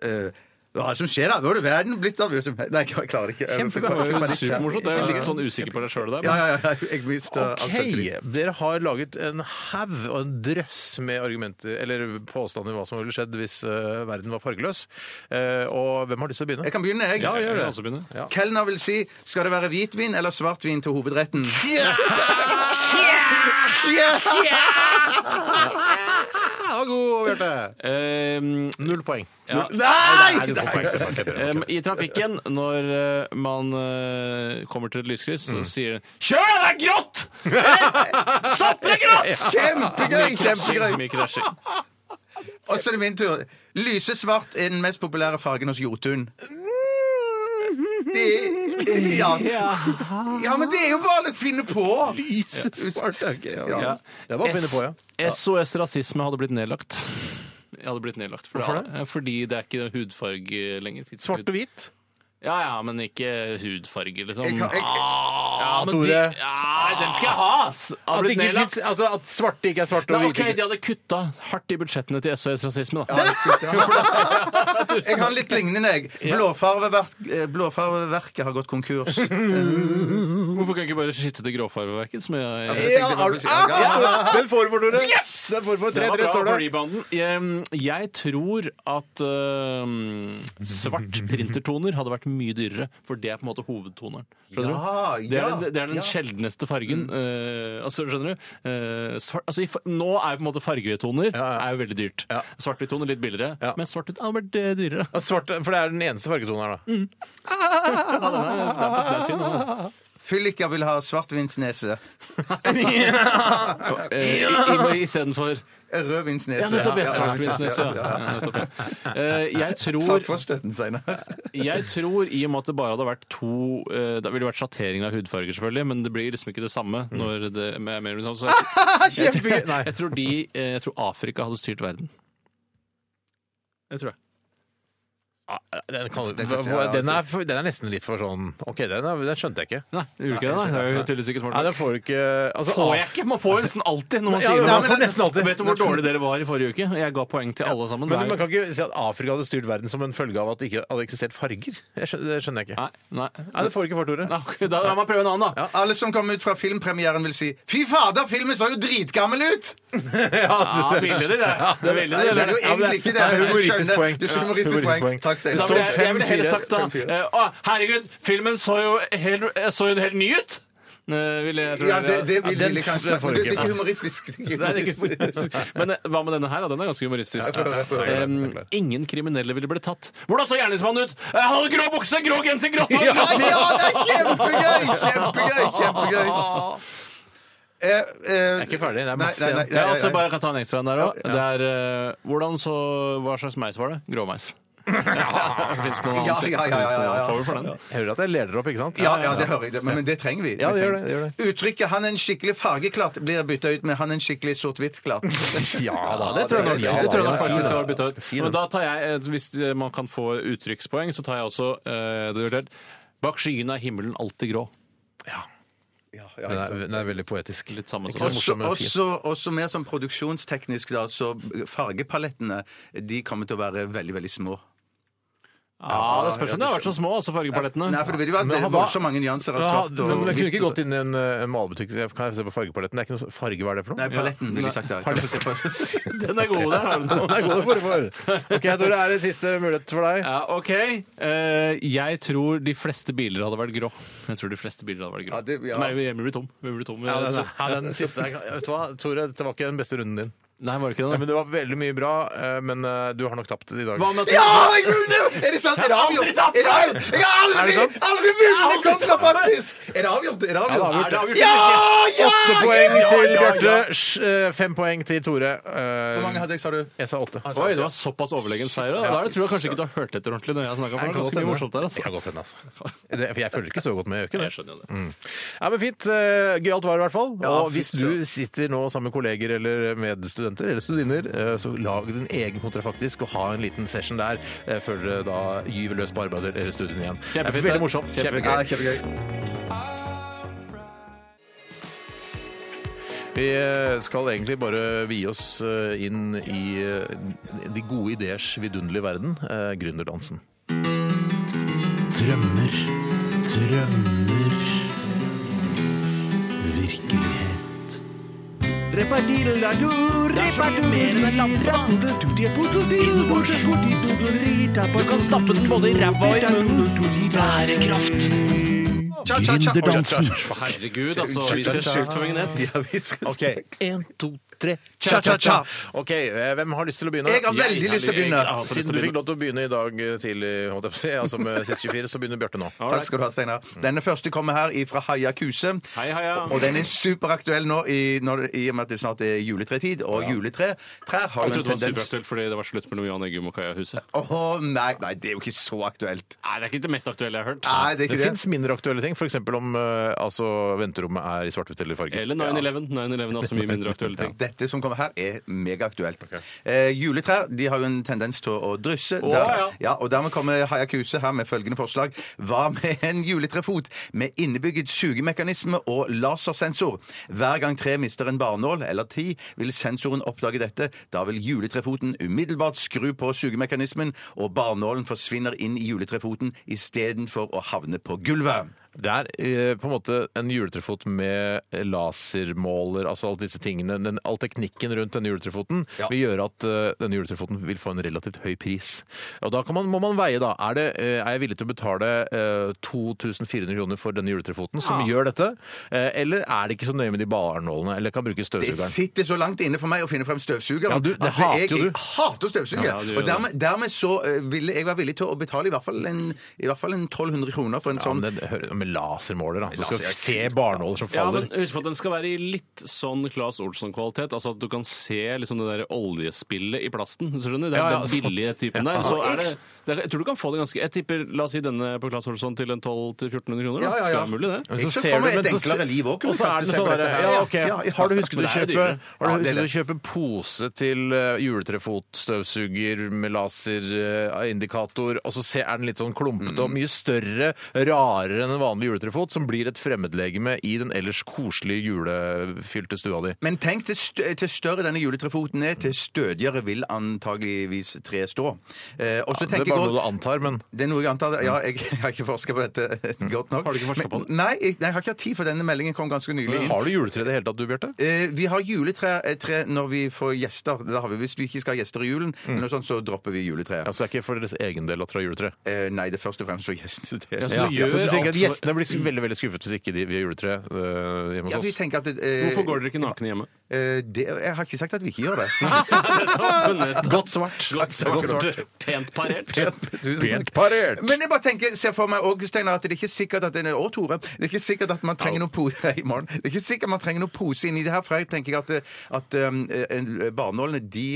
Speaker 9: Eh, Hva er det som skjer, da? Nå er det verden blitt av. Nei, jeg klarer ikke. Jeg
Speaker 7: Kjempebra.
Speaker 8: Det var
Speaker 9: klarer ikke
Speaker 8: jo
Speaker 9: panikk.
Speaker 8: Supermorsomt. Jeg er litt sånn usikker på deg sjøl der. Men
Speaker 9: Ja, ja, ja. altså, Jeg mista all selvtillit.
Speaker 7: Ok, Dere har laget en haug og en drøss med argumenter, eller påstander om hva som ville skjedd hvis eh, verden var fargeløs. Eh, og hvem har lyst til å begynne?
Speaker 9: Jeg kan begynne, jeg.
Speaker 7: Ja, gjør
Speaker 8: jeg
Speaker 7: det.
Speaker 8: kan også begynne.
Speaker 9: Kelner vil si skal det være hvitvin eller svartvin til hovedretten?
Speaker 7: Ja, god, Bjarte.
Speaker 8: Ehm,
Speaker 7: Null poeng.
Speaker 8: ja.
Speaker 7: Nei, du får poeng, så fuck it, dere.
Speaker 8: Ehm, I trafikken, når eh, man eh, kommer til et lyskryss,
Speaker 7: Mm.
Speaker 8: så sier den
Speaker 9: Kjør, det er grått! Stopp, det er grått! Kjempegøy! kjempegøy.
Speaker 8: Mye krasjing.
Speaker 9: Og så er det min tur. Lyse svart er den mest populære fargen hos Jotun. Det- Ja. ja, men det er jo bare å finne på!
Speaker 7: Svart, ok, ja.
Speaker 9: Ja.
Speaker 7: altså. Det var å finne på, ja.
Speaker 8: SOS Rasisme hadde blitt nedlagt. Jeg hadde blitt nedlagt. For
Speaker 7: Hvorfor
Speaker 8: det? Fordi det er ikke hudfarge lenger. Fins
Speaker 7: Svart
Speaker 8: ikke
Speaker 7: og hvit.
Speaker 8: hud- Ja, ja, men ikke hudfarge, liksom.
Speaker 9: Jeg kan, jeg,
Speaker 8: ja, men
Speaker 7: Tore.
Speaker 8: det, ja, den skal jeg ha! ass! Hadde
Speaker 7: At,
Speaker 8: blitt
Speaker 7: ikke
Speaker 8: nedlagt.
Speaker 7: finnes, altså, at svarte ikke er svarte
Speaker 8: Nei,
Speaker 7: og
Speaker 8: ok,
Speaker 7: hvite.
Speaker 8: De hadde kutta hardt i budsjettene til SOS Rasisme. da.
Speaker 9: Jeg har litt lignende, jeg. Blåfarveverk, eh, blåfarveverket har gått konkurs.
Speaker 8: Hvorfor kan jeg ikke bare skitte til gråfarveverket, som jeg
Speaker 9: det tenkte jeg bare på å si.
Speaker 7: Ah!
Speaker 9: Ja, ja,
Speaker 7: Den får for dere! Yes! Den får for
Speaker 8: Det
Speaker 7: 3-3,
Speaker 8: var bra
Speaker 7: står
Speaker 8: på
Speaker 7: det.
Speaker 8: rebounden. Jeg, jeg tror at eh, svart printertoner hadde vært mye dyrere, for det er på en måte hovedtoneren. Skjønner du?
Speaker 9: Ja,
Speaker 8: Det er,
Speaker 9: ja,
Speaker 8: den- det er den
Speaker 9: ja.
Speaker 8: sjeldneste fargen. eh, altså, skjønner du? Eh, svart, altså, i, fa- nå er på en måte fargetoner
Speaker 7: Ja, ja.
Speaker 8: er jo veldig dyrt.
Speaker 7: Ja.
Speaker 8: Svart-hvitt-toner litt billigere,
Speaker 7: Ja.
Speaker 8: men svart-hvitt hadde vært eh, dyrere.
Speaker 7: Ja, Svart, for det er den eneste fargetoneren, da.
Speaker 8: Ja, den er, den er, den er tynn, den, altså.
Speaker 9: Fylliker vil ha svartvinsnese.
Speaker 8: Eh, i- i- Istedenfor
Speaker 9: Rødvinsnese.
Speaker 8: Ja, nettopp. Ja,
Speaker 9: Ja, ja, ja,
Speaker 8: svartvinsnese,
Speaker 9: ja, ja,
Speaker 8: ja.
Speaker 9: ja.
Speaker 8: Ja, nettopp, ja. Eh, Jeg
Speaker 9: Takk
Speaker 8: tror
Speaker 9: for støtten, Steinar.
Speaker 8: Jeg tror, i og med at det bare hadde vært to eh, Det ville vært sjattering av hudfarger, selvfølgelig, men det blir liksom ikke det samme når det er mer eller mindre sånn. Så jeg, jeg,
Speaker 7: Nei.
Speaker 8: jeg, tror de, eh, jeg tror Afrika hadde styrt verden. Det tror jeg.
Speaker 7: Ja, Den, kan,
Speaker 9: Den kan- ja,
Speaker 7: den, er, for- den er nesten litt for sånn OK, den, er, den skjønte jeg ikke.
Speaker 8: Nei, gjorde ikke det, nei. Det er jo tydeligvis ikke smart.
Speaker 7: Nei, den får du ikke altså,
Speaker 8: Får jeg ikke! Man får jo nesten alltid når man
Speaker 7: Ja,
Speaker 8: sier
Speaker 7: men
Speaker 8: det.
Speaker 7: man får nesten alltid.
Speaker 8: Vet du hvor dårlig dere var i forrige uke? Jeg ga poeng til alle sammen.
Speaker 7: Men man
Speaker 8: Hver-
Speaker 7: kan ikke si at Afrika hadde styrt verden som en følge av at det ikke hadde eksistert farger. Jeg skjønner, det skjønner jeg ikke.
Speaker 8: Nei, nei.
Speaker 7: Nei, det får du ikke fart, Tore.
Speaker 8: Nei, ok, Da la meg prøve en annen, da.
Speaker 9: Alle som kom ut fra filmpremieren, vil si 'Fy fader, filmen så jo dritgammel ut!'
Speaker 7: Ja,
Speaker 8: Ja, ville de det? Det ville de
Speaker 9: Nei, det er jo
Speaker 8: det?
Speaker 9: egentlig ikke det.
Speaker 7: det er humoristisk
Speaker 9: Skjønner.
Speaker 7: poeng.
Speaker 9: Du
Speaker 7: Ja,
Speaker 9: skjønner humoristisk
Speaker 7: humoristisk
Speaker 9: poeng.
Speaker 7: poeng.
Speaker 9: Takk,
Speaker 8: Da
Speaker 9: Steinar.
Speaker 8: ville jeg, jeg ville heller
Speaker 7: fem-fire.
Speaker 8: sagt da eh, Å, herregud, filmen så jo helt, eh, så jo helt ny ut! Eh, ville jeg tror
Speaker 9: Ja, det, det
Speaker 8: Ja,
Speaker 9: vil,
Speaker 7: den-
Speaker 9: vil jeg
Speaker 7: den
Speaker 9: kanskje sagt,
Speaker 7: får
Speaker 9: men
Speaker 7: du
Speaker 9: det, det er
Speaker 7: ikke. *laughs*
Speaker 9: ikke humoristisk. Det
Speaker 8: Nei,
Speaker 9: er
Speaker 8: det er
Speaker 9: ikke humoristisk.
Speaker 8: ikke- *laughs* Men eh, hva med denne her? da? Den er ganske humoristisk.
Speaker 9: Ja, jeg får høre, jeg får høre.
Speaker 8: Eh,
Speaker 7: Jeg er klar.
Speaker 8: ingen kriminelle ville blitt tatt. Hvordan så gjerningsmannen ut? Eh, Han hadde grå bukse, grå genser, grått hår!
Speaker 9: Ja,
Speaker 8: grått-
Speaker 9: ja, det er kjempegøy! Kjempegøy! kjempegøy Jeg er
Speaker 7: ikke ferdig, det er masse
Speaker 9: Eh, nei, nei,
Speaker 7: igjen.
Speaker 9: nei,
Speaker 8: Ja, og så
Speaker 9: nei,
Speaker 8: altså, bare kan ta en ekstra en der òg.
Speaker 9: Ja.
Speaker 8: Det er eh, Hvordan så Hva slags meis var det? Gråmeis.
Speaker 9: *laughs*
Speaker 8: Fins det noen annen?
Speaker 9: Ja, ja, ja, ja, ja, ja.
Speaker 8: Får vi for den?
Speaker 7: Jeg hører at jeg leder opp, ikke sant?
Speaker 9: Ja, ja, det hører jeg. Men, men det trenger vi.
Speaker 7: Ja, det gjør det, det gjør
Speaker 9: Uttrykket 'han er en skikkelig fargeklatt' blir bytta ut med 'han er en skikkelig
Speaker 7: *laughs*
Speaker 9: sort-hvitt-klatt'.
Speaker 7: Ja da,
Speaker 8: Ja, det tror jeg nok,
Speaker 7: Ja,
Speaker 8: det tror jeg
Speaker 7: ja,
Speaker 8: nok
Speaker 7: ja,
Speaker 8: faktisk
Speaker 7: ja.
Speaker 8: var bytta ut. Men da tar jeg, eh, Hvis eh, man kan få uttrykkspoeng, så tar jeg også eh, det er klart, Bak skyene er himmelen alltid grå.
Speaker 9: Ja, ja,
Speaker 7: Den
Speaker 9: ikke
Speaker 7: er,
Speaker 9: sant.
Speaker 7: den er veldig poetisk.
Speaker 8: Litt samme som
Speaker 7: Ikke så
Speaker 8: oss.
Speaker 9: Også,
Speaker 7: morsom, men fin.
Speaker 9: også, også mer sånn produksjonsteknisk, da, så fargepalettene de kommer til å være veldig, veldig små.
Speaker 8: Ja, Det spørs om de har vært så små, altså fargepalettene.
Speaker 9: Nei, for det vil jo
Speaker 7: Men
Speaker 9: være
Speaker 7: han var-
Speaker 9: voldsomt mange nyanser av
Speaker 7: Ja,
Speaker 9: svart og
Speaker 7: men jeg kunne
Speaker 9: hvitt.
Speaker 7: ikke
Speaker 9: og
Speaker 7: gått inn i en, eh, en malebutikk og sagt, kan jeg se på fargepaletten. Det er ikke noe farge, hva er det for
Speaker 9: Nei,
Speaker 7: noe?
Speaker 9: paletten, ville jeg sagt. da. Kan jeg få se
Speaker 7: *laughs*
Speaker 9: på-
Speaker 8: Den er god, der har du
Speaker 7: Det er
Speaker 8: den.
Speaker 7: gode for. Ok, Tore, er det siste mulighet for deg?
Speaker 8: Ja, OK. Eh, jeg tror de fleste biler hadde vært grå. Jeg tror de fleste biler hadde vært grå.
Speaker 9: Ja, det- ja.
Speaker 8: Nei, vi hjemme blir tom. Vi blir tom.
Speaker 7: Ja, den, ja, den siste. jeg kan- Vet du hva, Tore, dette var ikke den beste runden din.
Speaker 8: Nei, var det ikke
Speaker 7: Ja,
Speaker 8: det?
Speaker 7: men Det var veldig mye bra, eh, men eh, du har nok tapt i dag.
Speaker 8: Hva med at
Speaker 9: Ja! jeg vunnet! Er det sant? Er det avgjort? Er det avgjort? Jeg har aldri,
Speaker 7: Er det sant?
Speaker 9: aldri vunnet kontrabanddisk! Er det avgjort? Er det
Speaker 7: Ja, det
Speaker 9: avgjort?
Speaker 7: er
Speaker 8: Er det avgjort?
Speaker 7: avgjort.
Speaker 9: ja!
Speaker 7: Åtte poeng til
Speaker 8: ja, ja.
Speaker 7: Bjarte, sj- eh, fem poeng til Tore. Eh,
Speaker 9: Hvor mange hadde jeg, sa du?
Speaker 7: Jeg sa åtte.
Speaker 8: Oi, det var såpass overlegen seier. Da, da er det, tror jeg kanskje ikke du har hørt etter ordentlig. når jeg har snakket, for Det er ganske mye morsomt der,
Speaker 7: Det
Speaker 8: altså.
Speaker 7: kan godt hende, altså. Det, for jeg følger ikke så godt med. Jeg, gjør ikke det.
Speaker 8: Jeg skjønner jo det.
Speaker 7: Ja, men Fint. eh, Gøyalt var det i hvert fall.
Speaker 9: Ja,
Speaker 7: og hvis
Speaker 9: fy
Speaker 7: du sitter nå sammen med kolleger eller medstudenter eller studiner, eh, så lag din egen kontrafaktisk og ha en liten session der eh, før dere da gyver løs på arbeidet eller studiene igjen. Det
Speaker 8: Kjempefint,
Speaker 7: er
Speaker 8: det.
Speaker 7: veldig morsomt.
Speaker 8: Kjempegøy.
Speaker 7: Kjempegøy.
Speaker 9: Ja, kjempegøy.
Speaker 7: Vi eh, skal egentlig bare vie oss eh, inn i eh, de gode ideers vidunderlige verden, eh, gründerdansen. Drømmer, drømmer, virkelighet. Du kan stappe den både i ræva og i munnen. Bærekraft.
Speaker 9: Cha, cha, cha.
Speaker 8: Herregud, altså. Vi ser sjukt for Vignes.
Speaker 9: Ja, vi skal
Speaker 7: Ok, en, to, tre, cha, cha, cha. Ok, eh, hvem har lyst til å begynne?
Speaker 9: Jeg har veldig lyst til å begynne.
Speaker 8: Jeg har også lyst til å
Speaker 7: Siden du
Speaker 8: begynne.
Speaker 7: fikk lov til å begynne i dag eh, tidlig, holdt jeg på å si, altså med *laughs* siste 24, så begynner Bjarte nå.
Speaker 9: Takk skal du ha, Steinar. Denne første kommer her fra Haia Kuse.
Speaker 8: Mm. Hei, Haia.
Speaker 9: Og den er superaktuell nå i, når, i og med at det snart er juletretid, og juletre trær har
Speaker 8: Jeg
Speaker 9: jo en
Speaker 8: trodde det var
Speaker 9: tendens
Speaker 8: superaktuelt fordi det var slutt mellom Jan Eggum og Kaja Huset.
Speaker 9: Åh, nei, nei, det er jo ikke så aktuelt.
Speaker 8: Nei, det er ikke det mest aktuelle jeg har hørt.
Speaker 9: Nei, det
Speaker 7: Det
Speaker 9: er ikke det.
Speaker 7: fins mindre aktuelle ting, f.eks. om eh, altså, venterommet er i svart-hvitt eller farge.
Speaker 8: Eller 9-11. 9-11 er også mye mindre aktuelle ting.
Speaker 9: Dette som kommer her, er megaaktuelt. Eh, juletrær de har jo en tendens til å drysse. Der-
Speaker 8: ja.
Speaker 9: og Dermed kommer Hayakuse her med følgende forslag. Hva med en juletrefot med innebygget sugemekanisme og lasersensor? Hver gang tre mister en barnål eller ti, vil sensoren oppdage dette. Da vil juletrefoten umiddelbart skru på sugemekanismen, og barnålen forsvinner inn i juletrefoten istedenfor å havne på gulvet.
Speaker 7: Det er eh, på en måte en juletrefot med lasermåler, altså alle disse tingene. Den, all teknikken rundt denne juletrefoten
Speaker 9: Ja.
Speaker 7: vil gjøre at eh, denne juletrefoten vil få en relativt høy pris. Og da kan man, må man veie, da. Er, det, eh, er jeg villig til å betale eh, 2400 kroner for denne juletrefoten som gjør dette? Eh, eller er det ikke så nøye med de barnålene? Eller kan bruke
Speaker 9: Det
Speaker 7: støvsugeren?
Speaker 9: sitter så langt inne for meg å finne frem støvsugeren.
Speaker 7: Ja, du- det
Speaker 9: at
Speaker 7: hater
Speaker 9: jeg,
Speaker 7: jo du.
Speaker 9: jeg hater støvsuger.
Speaker 8: Ja, du gjør
Speaker 9: og dermed, dermed så eh, ville jeg være villig til å betale i hvert fall en, i hvert fall en 1200 kroner for en
Speaker 7: Ja,
Speaker 9: sånn
Speaker 7: men det, hører- med lasermåler, da. Du skal
Speaker 9: Laser er
Speaker 7: se
Speaker 9: kult,
Speaker 7: barnåler som
Speaker 8: Ja,
Speaker 7: faller.
Speaker 8: men Husk på at den skal være i litt sånn Claes Olsson-kvalitet. Altså at du kan se liksom det der oljespillet i plasten. skjønner du? Det er
Speaker 7: Ja, ja,
Speaker 8: den
Speaker 7: så-
Speaker 8: billige typen der. Så er det, det er, jeg tror du kan få det ganske Jeg tipper, la oss si denne på Claes Olsson til en 1200-1400 kroner. da.
Speaker 9: Ja, ja, ja.
Speaker 8: Skal være mulig, det.
Speaker 7: Men
Speaker 9: Jeg
Speaker 7: så
Speaker 9: ser
Speaker 7: ser
Speaker 9: for
Speaker 7: du,
Speaker 9: meg
Speaker 7: men
Speaker 9: et
Speaker 7: så se-
Speaker 9: enklere liv også, kunne
Speaker 7: Og så er
Speaker 9: kaste
Speaker 7: det
Speaker 9: seg
Speaker 7: sånn
Speaker 9: på dette
Speaker 7: derre,
Speaker 9: her.
Speaker 7: ja, ok,
Speaker 9: Ja, ja.
Speaker 7: Har du husket å
Speaker 8: Men det er jo
Speaker 7: kjøpe,
Speaker 8: dyrere.
Speaker 7: har
Speaker 9: Ja,
Speaker 7: du
Speaker 9: det er
Speaker 7: husket å kjøpe pose til eh, juletrefot, støvsuger med laserindikator, eh, og så se, er den litt sånn klumpete og mye større, rarere enn en vanlig juletrefot, som blir et fremmedlegeme i den ellers koselige julefylte stua di?
Speaker 9: Men tenk til, stø til større denne juletrefoten er, til stødigere vil antageligvis treet stå. Eh, og så
Speaker 7: Det er
Speaker 9: tenker jeg
Speaker 7: bare
Speaker 9: godt
Speaker 7: noe Mm. du antar, men
Speaker 9: Det er noe jeg antar. Ja, jeg, *laughs* jeg har ikke forska på dette
Speaker 7: Mm.
Speaker 9: godt nok.
Speaker 8: Har du ikke forsket på
Speaker 9: Men-
Speaker 8: det?
Speaker 9: Nei, jeg, nei, jeg har ikke hatt tid, for denne meldingen kom ganske nylig inn.
Speaker 7: har du juletre i det hele tatt, du, Bjarte?
Speaker 9: Eh, vi har juletre eh, tre når vi får gjester. Da har vi, hvis vi ikke skal ha gjester i julen,
Speaker 7: Mm.
Speaker 9: men noe sånt, så dropper vi juletreet.
Speaker 7: Altså, det er ikke for deres egen del at dere har juletre?
Speaker 9: Eh, nei, det er først og fremst for gjestene.
Speaker 8: Ja, så du
Speaker 7: Ja, så
Speaker 8: gjør
Speaker 7: du tenker at
Speaker 8: alt for-
Speaker 7: Gjestene blir veldig veldig skuffet hvis ikke de, vi har juletre eh, hjemme hos
Speaker 9: Ja, vi
Speaker 7: oss?
Speaker 9: tenker at eh,
Speaker 8: Hvorfor går dere ikke nakne *laughs* hjemme?
Speaker 9: eh, det, Jeg har ikke sagt at vi ikke gjør
Speaker 8: *laughs*
Speaker 9: det.
Speaker 7: Godt svart.
Speaker 9: Godt svart.
Speaker 8: Pent parert.
Speaker 7: Pent parert!
Speaker 9: Men jeg bare tenker, ser for meg også, Steinar, at det er ikke sikkert at det er, og Tore, det er ikke sikkert at man trenger noen pose *laughs* i morgen. Det er ikke sikkert man trenger noen pose inni det her, for jeg tenker at, at um, eh, barnålene de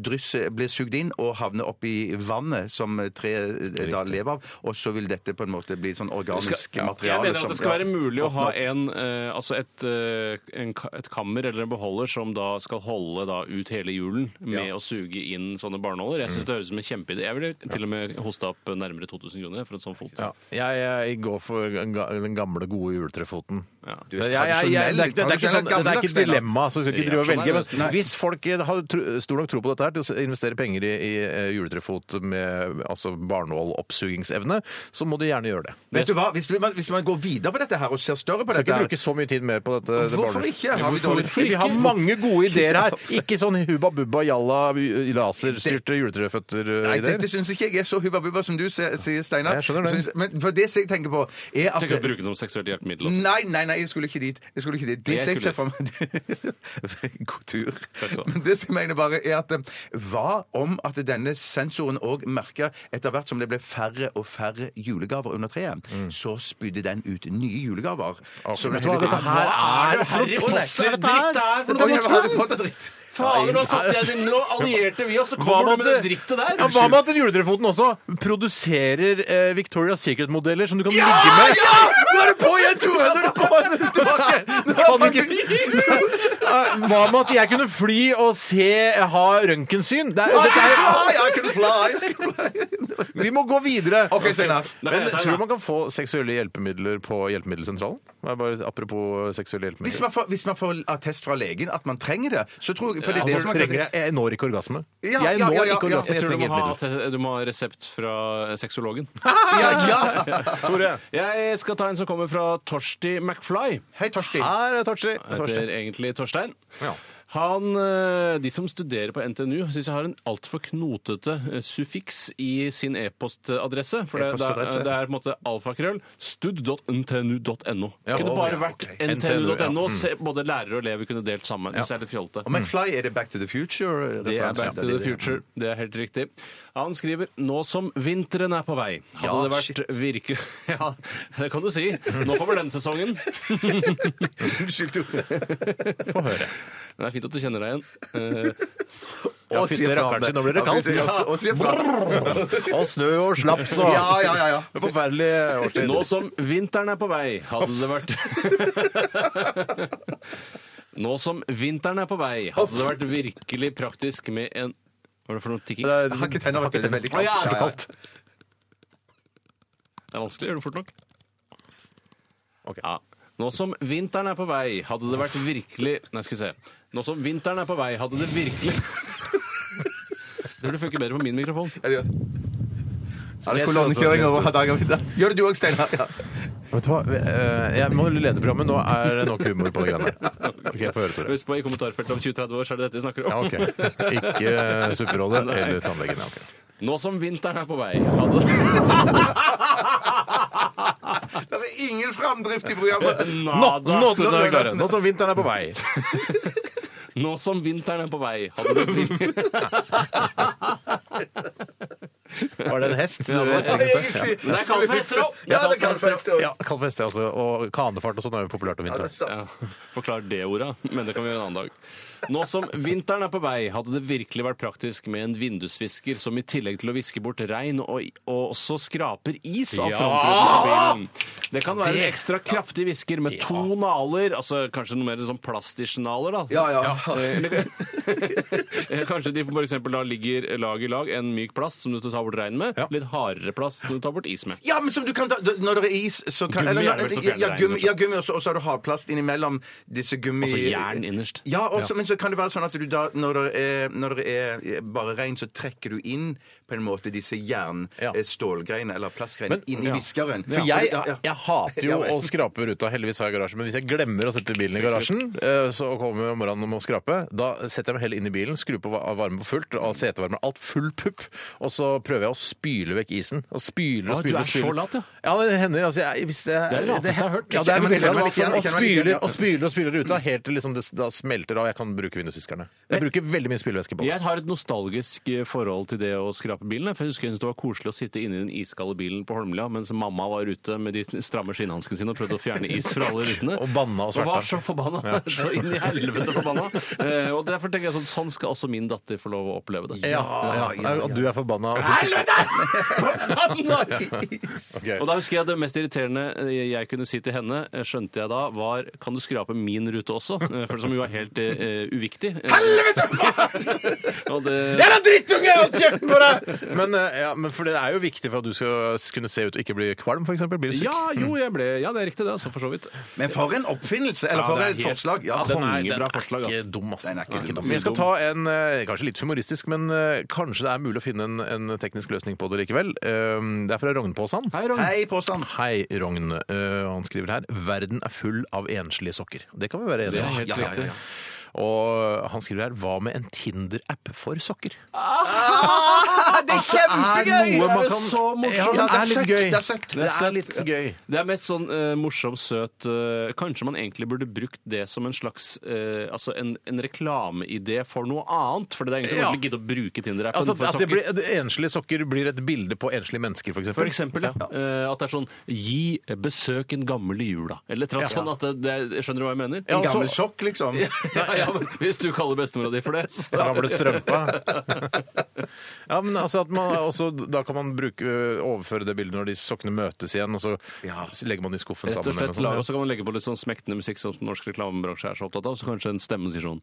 Speaker 9: drysser, blir sugd inn og havner oppi vannet som treet eh, da lever av, og så vil dette på en måte bli sånn organisk
Speaker 8: Jeg
Speaker 9: materiale.
Speaker 8: mener at det skal være mulig å ha en, eh, altså et, eh, en, ka- et kammer eller en beholder som da skal holde da ut hele julen med
Speaker 9: Ja.
Speaker 8: å suge inn sånne barnåler. Jeg syns det høres ut som en kjempeidé. Jeg ville til og med hosta opp nærmere 2000 kroner for en sånn fot.
Speaker 7: Ja, jeg, jeg går for den ga- den gamle, gode juletrefoten.
Speaker 8: Ja.
Speaker 9: Du er
Speaker 7: Jeg- jeg- jeg-
Speaker 9: tradisjonell,
Speaker 7: det, er ikke- det, er ikke sånn, det er ikke et
Speaker 9: gammeldags,
Speaker 7: dilemma, så vi skal ikke drive og velge.
Speaker 8: Reaksjonær,
Speaker 7: Men hvis folk har tro- stor nok tro på dette her til å investere penger i, i eh, juletrefot med altså barnåloppsugingsevne, så må de gjerne gjøre det.
Speaker 9: Vet du hva, hvis, vi, hvis man går videre på dette her og ser større på
Speaker 7: Vi skal
Speaker 9: dette
Speaker 7: ikke
Speaker 9: her-
Speaker 7: bruke så mye tid mer på dette. det
Speaker 9: Hvorfor
Speaker 7: barnet.
Speaker 9: ikke? Har vi dårlig tid?
Speaker 7: Vi har mange gode ideer
Speaker 9: *laughs*
Speaker 7: her. Ikke sånn hubba bubba jalla laserstyrte eh,
Speaker 9: Nei,
Speaker 7: juletreføtter-ideer.
Speaker 9: dette syns ikke jeg er så hubba-bubba som du se- sier, Steinar.
Speaker 7: Jeg skjønner det.
Speaker 9: Synes- men for det som jeg tenker på, er at
Speaker 8: Tenk å bruke det som seksuelt hjelpemiddel også.
Speaker 9: Nei, nei, nei, jeg skulle ikke dit. Jeg skulle ikke dit. Det
Speaker 8: Jeg
Speaker 9: som jeg ser for
Speaker 8: skulle
Speaker 9: meg *laughs* God tur.
Speaker 8: skal du ha.
Speaker 9: Men det som jeg mener bare er at eh, Hva om at denne sensoren òg merka etter hvert som det ble færre og færre julegaver under treet, så spydde den ut nye julegaver? Så
Speaker 7: Vet
Speaker 9: det
Speaker 7: du hva,
Speaker 9: hele-
Speaker 7: dette her
Speaker 8: Hva er
Speaker 7: er
Speaker 8: det Harry
Speaker 7: for noe
Speaker 8: Potter-dritt
Speaker 7: tull, dette her?
Speaker 8: det er for noe
Speaker 9: Oi, hva er det på det dritt?
Speaker 8: Fader, nå satt jeg nå allierte vi oss, så
Speaker 7: Hva
Speaker 8: kommer
Speaker 7: med
Speaker 8: du med det
Speaker 7: at-
Speaker 8: drittet der!
Speaker 7: Ja, hva med at den juletrefoten også produserer eh, Victoria's Secret-modeller som du kan ligge med? Ja! Nå er du på igjen, Tore! *laughs* Nå er du på igjen! tilbake! Nå kan du ikke... Eh, Hva med at jeg kunne fly og se ha røntgensyn? Det er- dette er-
Speaker 9: Fly, I can fly!
Speaker 7: Vi må gå videre.
Speaker 9: OK, Steinar.
Speaker 7: Men
Speaker 8: Nei, nei, nei.
Speaker 7: tror du man kan få seksuelle hjelpemidler på Hjelpemiddelsentralen? Det er Bare apropos seksuelle
Speaker 9: Hvis
Speaker 7: hjelpemidler.
Speaker 9: man, får, hvis man får attest fra legen at man trenger det, så tror jeg for det er det
Speaker 7: Altså,
Speaker 9: som er-
Speaker 7: trenger jeg, jeg når ikke orgasme.
Speaker 9: Ja,
Speaker 7: Jeg
Speaker 9: ja,
Speaker 7: når
Speaker 9: ja, ja,
Speaker 7: ikke
Speaker 9: ja.
Speaker 7: orgasme, jeg
Speaker 8: Jeg tror du
Speaker 7: trenger
Speaker 8: må, ha,
Speaker 7: hjelpemidler.
Speaker 8: attest- du må ha resept fra sexologen.
Speaker 9: Ja,
Speaker 8: *laughs*
Speaker 9: ja.
Speaker 7: Tore,
Speaker 8: Jeg skal ta en som kommer fra Torsti McFly.
Speaker 9: Hei, Torstein.
Speaker 7: her er Torsi.
Speaker 8: heter egentlig Torstein.
Speaker 7: Ja.
Speaker 8: Han, eh, De som studerer på NTNU, syns jeg har en altfor knotete eh, suffiks i sin e-postadresse. For det, det,
Speaker 9: E-postadresse,
Speaker 8: er, det er på en måte alfakrøll. stud.ntnu.no.
Speaker 7: Ja.
Speaker 8: kunne
Speaker 7: Å,
Speaker 8: bare
Speaker 9: ja,
Speaker 8: vært
Speaker 9: ok.
Speaker 8: ntnu.no.
Speaker 7: NTNU, ja. Mm.
Speaker 8: se- Både lærere og elever kunne delt sammen. Hvis det er litt fjolte.
Speaker 9: Og McFly, er det Back to the Future?
Speaker 8: Det er Back to the Future. Det er helt riktig. Han skriver nå som vinteren er på vei. Hadde
Speaker 9: Ja,
Speaker 8: det vært virke... *laughs* Ja, det kan du si. Nå kommer den sesongen.
Speaker 9: Unnskyld, Tore.
Speaker 7: Få høre.
Speaker 8: Det er fint at du kjenner deg igjen. Eh,
Speaker 7: Og
Speaker 9: sier
Speaker 7: sier
Speaker 9: fra om
Speaker 7: rakkeren sin, nå blir det
Speaker 9: Ja,
Speaker 7: kaldt.
Speaker 9: sier- og- Og sier fra.
Speaker 7: Og snø og slaps og
Speaker 9: Ja, ja, ja, ja.
Speaker 7: Forferdelig årstid.
Speaker 8: Nå som vinteren er på vei, hadde det vært *laughs* Nå som vinteren er på vei, hadde det vært virkelig praktisk med en Hva er det for noe tikking? Det
Speaker 9: Jeg har ikke tenner, vet du. Det er veldig
Speaker 8: Å, ja, det er så
Speaker 9: kaldt.
Speaker 8: er vanskelig. Gjør det fort nok. Ja. Nå som vinteren er på vei, hadde det vært virkelig Nei, skal vi se. Nå som vinteren er på vei, hadde det virkelig *laughs* Det burde funke bedre på min mikrofon.
Speaker 9: Ja, ja, ja. Er det kolonnekjøring over Hardangervidda? Gjør det du òg, Steinar. Ja.
Speaker 7: Vet du hva? Eh, Jeg må lede programmet. Nå er det nok humor på det greiene her. Ok, få høre, Tore.
Speaker 8: Husk på, i kommentarfeltet om 20-30 år så er det dette vi snakker om.
Speaker 7: Ja, ok. Ikke
Speaker 8: *laughs*
Speaker 7: eh, supperolle
Speaker 8: Nei.
Speaker 7: eller tannlegen. ja, ok.
Speaker 8: Nå som vinteren er på vei. Ha det. *laughs*
Speaker 9: Det er ingen framdrift i programmet!
Speaker 7: Nå,
Speaker 8: Nada.
Speaker 7: nå, Tore, nå er vi klare. Nå som vinteren er på vei.
Speaker 8: Nå som vinteren er på vei. Hadde *laughs* det fint.
Speaker 7: Var det en hest? Du,
Speaker 8: Ja, det var-
Speaker 7: tenkte på?
Speaker 9: egentlig.
Speaker 8: Men det er kaldt for hester òg!
Speaker 9: Ja, det kan fest.
Speaker 7: ja, kald fest, ja, altså. Og kanefart og sånn er jo populært om vinteren.
Speaker 8: Ja, *laughs* Forklar det ordet, men det kan vi gjøre en annen dag. Nå som vinteren er på vei, hadde det virkelig vært praktisk med en vindusvisker som i tillegg til å viske bort regn og, og også skraper is av
Speaker 7: Ja!
Speaker 8: frontruten på bilen. Det kan være en
Speaker 7: Det-
Speaker 8: ekstra kraftig visker med to naler, altså kanskje noe mer sånn plastisjnaler, da. *laughs*
Speaker 9: Ja, ja.
Speaker 8: Eh, Kanskje de for eksempel da ligger lag i lag, en myk plast som du tar bort regn med,
Speaker 7: Ja.
Speaker 8: litt hardere plast som du tar bort is med.
Speaker 9: Ja, men som du kan ta, d- Når det er is, så kan
Speaker 8: Gummi
Speaker 9: eller,
Speaker 8: er det vel som
Speaker 9: ja,
Speaker 8: fjerner
Speaker 9: ja,
Speaker 8: regnet,
Speaker 9: gummi, ja,
Speaker 8: kanskje?
Speaker 9: gummi og så- og så har du hardplast innimellom disse gummi...
Speaker 8: Altså jern innerst.
Speaker 9: Ja, også, men så kan det være sånn at du da, når det er, når det er eh, bare regn, så trekker du inn på en måte disse
Speaker 7: Ja.
Speaker 9: jernstålgreiene eller plastgreiene
Speaker 7: Men-
Speaker 9: inn i
Speaker 7: ja.
Speaker 9: viskeren.
Speaker 7: For
Speaker 9: Ja,
Speaker 7: jeg,
Speaker 9: ja, ja.
Speaker 7: jeg hater jo
Speaker 9: Ja, ja.
Speaker 7: å skrape ruta. Heldigvis har jeg garasje. Men hvis jeg glemmer å sette bilen i garasjen, eh, så og kommer om morgenen og må skrape, da setter jeg meg heller inn i bilen, skrur på va- varmen på fullt, og setevarmen alt full pupp, og så prøver jeg å spyle vekk isen. Og spyler og
Speaker 8: Å, du
Speaker 7: spyler.
Speaker 8: er
Speaker 7: og spyler.
Speaker 8: så lat, ja.
Speaker 7: Ja, det hender. Altså, jeg, hvis det,
Speaker 8: Det er det lateste jeg har hørt.
Speaker 7: Ja, det er
Speaker 9: Jeg
Speaker 7: veldig
Speaker 9: kjenner meg
Speaker 7: lat.
Speaker 9: litt igjen, jeg
Speaker 7: Og
Speaker 9: kjenner meg litt
Speaker 7: spyler
Speaker 9: igjen.
Speaker 7: og spyler og spyler ruta helt til liksom det da smelter av. Jeg kan bruke vindusviskerne. Jeg bruker veldig mye spylevæske på det.
Speaker 8: Jeg har et nostalgisk eh, forhold til det å skrape bilen. jeg, For jeg husker jeg syntes det var koselig å sitte inne i den iskalde bilen på Holmlia mens mamma var ute med de stramme skinnhanskene sine og prøvde å fjerne is fra alle rutene.
Speaker 7: Og banna og sverta.
Speaker 8: var så forbanna. *laughs* Så inn i helvete forbanna. Eh, Og derfor tenker jeg sånn, sånn skal også min datter få lov å oppleve det.
Speaker 7: Ja, ja, Og du er forbanna.
Speaker 8: Helvete! *laughs*
Speaker 7: *laughs*
Speaker 8: Forbanna!
Speaker 7: Ok.
Speaker 8: Og da husker jeg det mest irriterende eh, jeg kunne si til henne, eh, skjønte jeg da, var Kan du skrape min rute også? Eh, For som jo er helt eh, uviktig. Helvete! *laughs* og det,
Speaker 7: Jeg er en drittunge! Jeg har kjeften på deg! Men, eh, ja, men for det er jo viktig for at du skal s- kunne se ut og ikke bli kvalm, f.eks. Blir du syk?
Speaker 8: ja, jo, jeg ble Ja, det er riktig, det, altså, for så vidt.
Speaker 9: *laughs* Men for en oppfinnelse! Eller for
Speaker 8: det er
Speaker 9: et
Speaker 8: helt-
Speaker 9: forslag. Ja,
Speaker 8: Den er-
Speaker 7: den
Speaker 8: Kongebra
Speaker 7: er
Speaker 8: forslag,
Speaker 7: ikke
Speaker 8: ass.
Speaker 7: dum, ass.
Speaker 9: Den er ikke
Speaker 7: Nei,
Speaker 9: dum.
Speaker 7: Men jeg skal ta en eh, kanskje litt humoristisk, men eh, kanskje det er mulig å finne en, en teknisk løsning på det likevel. Eh, Det er fra Rognpåsan.
Speaker 8: Hei, Ron.
Speaker 9: Hei, påstand!
Speaker 7: Hei, Rogn. Eh, han skriver her 'Verden er full av enslige sokker'. Det kan vi være enige om.
Speaker 9: Ja, ja, ja, ja.
Speaker 7: Og han skriver her 'Hva med en Tinder-app for sokker'?
Speaker 9: Det er kjempegøy!
Speaker 7: Altså, noe man
Speaker 8: Det er
Speaker 7: kan-
Speaker 8: så morsomt.
Speaker 7: Ja, det er litt
Speaker 9: søtt,
Speaker 7: gøy.
Speaker 9: det er søtt.
Speaker 7: Det er litt gøy.
Speaker 8: Det er mest sånn eh, morsom, søt eh, Kanskje man egentlig burde brukt det som en slags eh, Altså en, en reklameidé for noe annet. For det er egentlig
Speaker 7: Ja.
Speaker 8: ja. gidde å bruke Tinder-appen.
Speaker 7: Altså,
Speaker 8: for
Speaker 7: at det
Speaker 8: sokker.
Speaker 7: blir, det enslige sokker blir et bilde på enslige mennesker, f.eks.?
Speaker 8: For eksempel, ja. Eh, At det er sånn Gi besøk en gammel i jula. Eller et eller annet
Speaker 7: Ja.
Speaker 8: sånn at det, det, Skjønner du hva jeg mener?
Speaker 7: Ja,
Speaker 9: En gammel
Speaker 7: altså-
Speaker 9: sokk, liksom.
Speaker 8: *laughs*
Speaker 7: *laughs*
Speaker 8: ja, ja, men Hvis du kaller bestemora di for det, så
Speaker 7: Gamle strømpa. *laughs* Ja, men altså at man også, Da kan man bruke, ø, overføre det bildet når de sokkene møtes igjen, og så
Speaker 9: Ja.
Speaker 7: s- legger man de i skuffen
Speaker 8: Rett og
Speaker 7: sammen.
Speaker 8: slett
Speaker 7: eller
Speaker 8: lage,
Speaker 7: noe
Speaker 8: og så kan man legge på litt sånn smektende musikk som norsk reklamebransje er så opptatt av, så kanskje en stemme sier sånn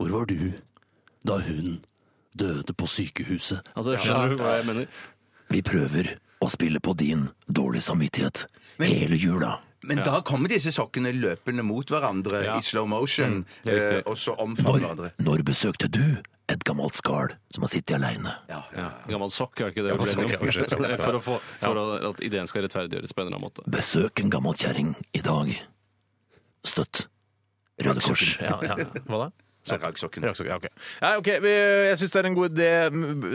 Speaker 8: Hvor var du da hun døde på sykehuset? Altså, skjønner du hva jeg mener?
Speaker 5: Vi prøver å spille på din dårlige samvittighet hele jula.
Speaker 9: Men da kommer disse sokkene løpende mot hverandre
Speaker 8: Ja.
Speaker 9: i slow motion,
Speaker 8: det er riktig.
Speaker 9: eh, og så omfavner hverandre.
Speaker 5: Når besøkte du et gammelt skall som har sittet aleine?
Speaker 9: Ja, ja.
Speaker 8: Ja, gammel sokk, er det ikke det? vi ble enige om? *laughs* for å få, for å, at ideen skal rettferdiggjøres på en eller annen måte.
Speaker 5: Besøk en gammel kjerring i dag. Støtt Røde Kors.
Speaker 7: sånt. Ja, ja. Hva da?
Speaker 9: Det er raggsokken.
Speaker 7: Raksokker, Ja, ok. Ja, ok, vi- Jeg syns det er en god idé.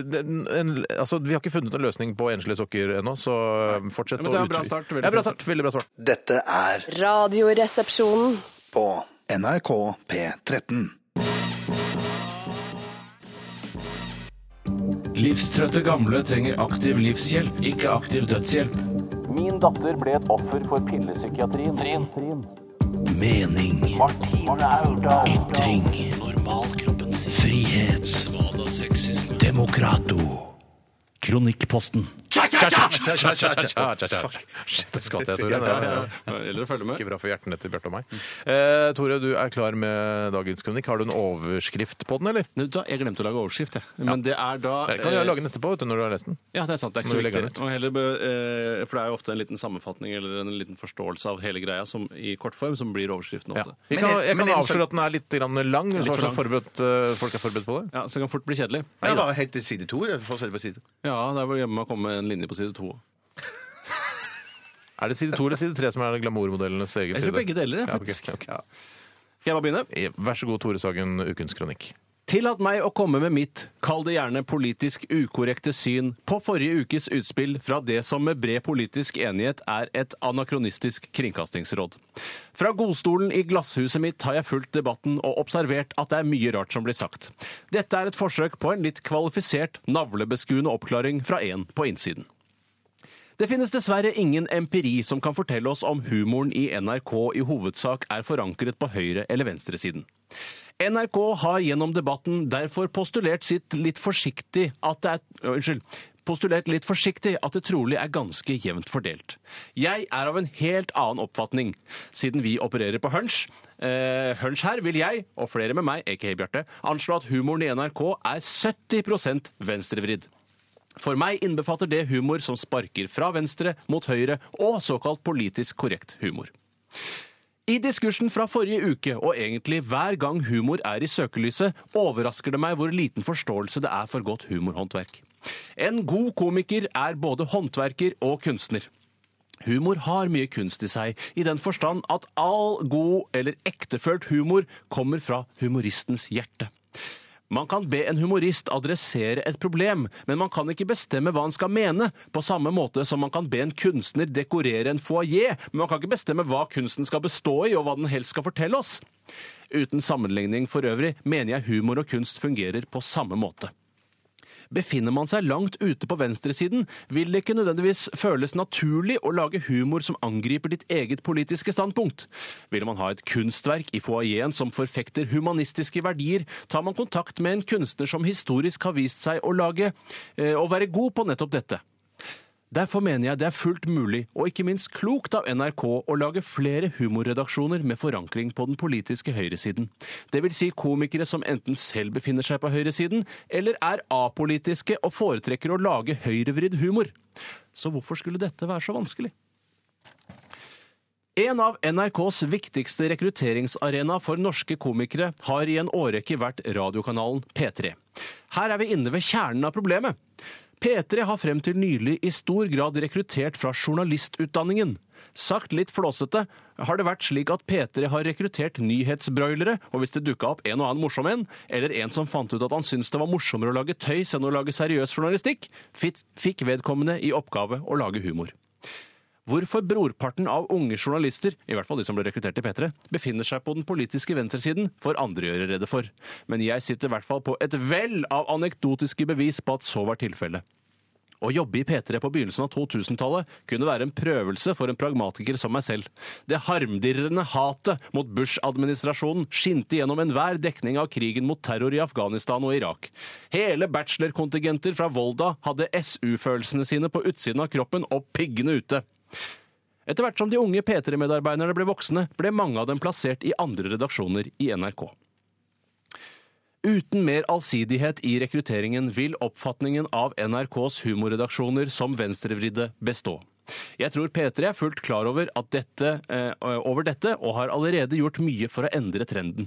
Speaker 7: Den- En, altså, vi har ikke funnet en løsning på enslige sokker ennå, så ø, fortsett
Speaker 8: Ja, men det er en
Speaker 7: å
Speaker 8: bra
Speaker 7: utvi-
Speaker 8: start, veldig
Speaker 7: Ja, bra
Speaker 8: bra
Speaker 7: start. Veldig bra start.
Speaker 3: Dette er
Speaker 4: Radioresepsjonen.
Speaker 3: på NRK P13.
Speaker 10: Livstrøtte gamle trenger aktiv livshjelp, ikke aktiv dødshjelp.
Speaker 11: Min datter ble et offer for pillepsykiatrien. Trin.
Speaker 5: Mening. Ytring. Normalkroppens frihet. Demokrato. Kronikkposten.
Speaker 7: Fuck. Shit, det skvatt jeg, Tore. Det
Speaker 8: Ja,
Speaker 7: var-
Speaker 8: ja, ja. Eller følge med.
Speaker 7: Ikke bra for hjertene til Bjarte og meg. Eh, Tore, du er klar med dagens kronikk. Har du en overskrift på den, eller?
Speaker 8: Nei, vet du hva, Jeg glemte å lage overskrift, jeg. Men det er da eh,
Speaker 7: Jeg kan jeg lage den etterpå vet du, når du har lest den.
Speaker 8: Ja, det er sant. Det er
Speaker 7: Må
Speaker 8: ikke så
Speaker 7: vi legge
Speaker 8: viktig.
Speaker 7: den ut?
Speaker 8: Og heller, bø- eh, for det er jo ofte en liten sammenfatning eller en liten forståelse av hele greia som, i kortform som blir overskriften ofte.
Speaker 7: Jeg
Speaker 9: Men
Speaker 7: kan,
Speaker 9: er-
Speaker 7: jeg
Speaker 9: men
Speaker 7: kan
Speaker 9: er den så-
Speaker 7: avsløre at den er litt grann lang. så
Speaker 8: for
Speaker 7: kanskje forberedt, eh, folk er forberedt på det.
Speaker 8: Ja, Så det kan fort bli kjedelig.
Speaker 9: Det er bare helt til side to. det. Fortsett på side to.
Speaker 8: Ja, det er vel hjemme å komme en linje på side to.
Speaker 7: Er det side to eller side tre som er glamourmodellenes egen
Speaker 8: Jeg
Speaker 7: side?
Speaker 8: tror begge deler, jeg,
Speaker 7: Ja,
Speaker 8: faktisk.
Speaker 7: ok, ok.
Speaker 8: Skal jeg bare begynne?
Speaker 7: Vær så god, Tore Sagen, ukens kronikk.
Speaker 8: Tillat meg å komme med mitt, kall det gjerne politisk ukorrekte syn, på forrige ukes utspill fra det som med bred politisk enighet er et anakronistisk kringkastingsråd. Fra godstolen i glasshuset mitt har jeg fulgt debatten og observert at det er mye rart som blir sagt. Dette er et forsøk på en litt kvalifisert, navlebeskuende oppklaring fra en på innsiden. Det finnes dessverre ingen empiri som kan fortelle oss om humoren i NRK i hovedsak er forankret på høyre- eller venstresiden. NRK har gjennom debatten derfor postulert sitt litt forsiktig at det er øh, Unnskyld. Postulert litt forsiktig at det trolig er ganske jevnt fordelt. Jeg er av en helt annen oppfatning, siden vi opererer på hunch. Eh, hunch her vil jeg, og flere med meg, aka Bjarte, anslå at humoren i NRK er 70 venstrevridd. For meg innbefatter det humor som sparker fra venstre mot høyre, og såkalt politisk korrekt humor. I diskursen fra forrige uke, og egentlig hver gang humor er i søkelyset, overrasker det meg hvor liten forståelse det er for godt humorhåndverk. En god komiker er både håndverker og kunstner. Humor har mye kunst i seg, i den forstand at all god eller ektefølt humor kommer fra humoristens hjerte. Man kan be en humorist adressere et problem, men man kan ikke bestemme hva han skal mene, på samme måte som man kan be en kunstner dekorere en foajé, men man kan ikke bestemme hva kunsten skal bestå i, og hva den helst skal fortelle oss. Uten sammenligning for øvrig mener jeg humor og kunst fungerer på samme måte. Befinner man seg langt ute på venstresiden, vil det ikke nødvendigvis føles naturlig å lage humor som angriper ditt eget politiske standpunkt. Vil man ha et kunstverk i foajeen som forfekter humanistiske verdier, tar man kontakt med en kunstner som historisk har vist seg å lage eh, å være god på nettopp dette. Derfor mener jeg det er fullt mulig, og ikke minst klokt av NRK, å lage flere humorredaksjoner med forankring på den politiske høyresiden. Det vil si komikere som enten selv befinner seg på høyresiden, eller er apolitiske og foretrekker å lage høyrevridd humor. Så hvorfor skulle dette være så vanskelig? En av NRKs viktigste rekrutteringsarena for norske komikere har i en årrekke vært radiokanalen P3. Her er vi inne ved kjernen av problemet. P3 har frem til nylig i stor grad rekruttert fra journalistutdanningen. Sagt litt flåsete har det vært slik at P3 har rekruttert nyhetsbroilere, og hvis det dukka opp en og annen morsom en, eller en som fant ut at han syntes det var morsommere å lage tøys enn å lage seriøs journalistikk, fit- fikk vedkommende i oppgave å lage humor hvorfor brorparten av unge journalister, i hvert fall de som ble rekruttert til P3, befinner seg på den politiske venstresiden, får andre gjøre rede for. Men jeg sitter i hvert fall på et vell av anekdotiske bevis på at så var tilfellet. Å jobbe i P3 på begynnelsen av 2000-tallet kunne være en prøvelse for en pragmatiker som meg selv. Det harmdirrende hatet mot Bush-administrasjonen skinte gjennom enhver dekning av krigen mot terror i Afghanistan og Irak. Hele bachelorkontingenter fra Volda hadde SU-følelsene sine på utsiden av kroppen og piggene ute. Etter hvert som de unge P3-medarbeiderne ble voksne, ble mange av dem plassert i andre redaksjoner i NRK. Uten mer allsidighet i rekrutteringen vil oppfatningen av NRKs humorredaksjoner som venstrevridde bestå. Jeg tror P3 er fullt klar over, at dette, eh, over dette og har allerede gjort mye for å endre trenden.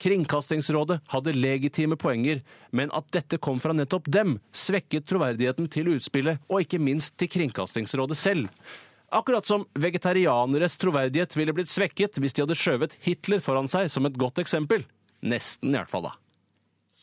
Speaker 8: Kringkastingsrådet hadde legitime poenger, men at dette kom fra nettopp dem, svekket troverdigheten til utspillet og ikke minst til Kringkastingsrådet selv. Akkurat som vegetarianeres troverdighet ville blitt svekket hvis de hadde skjøvet Hitler foran seg som et godt eksempel. Nesten, i hvert fall, da.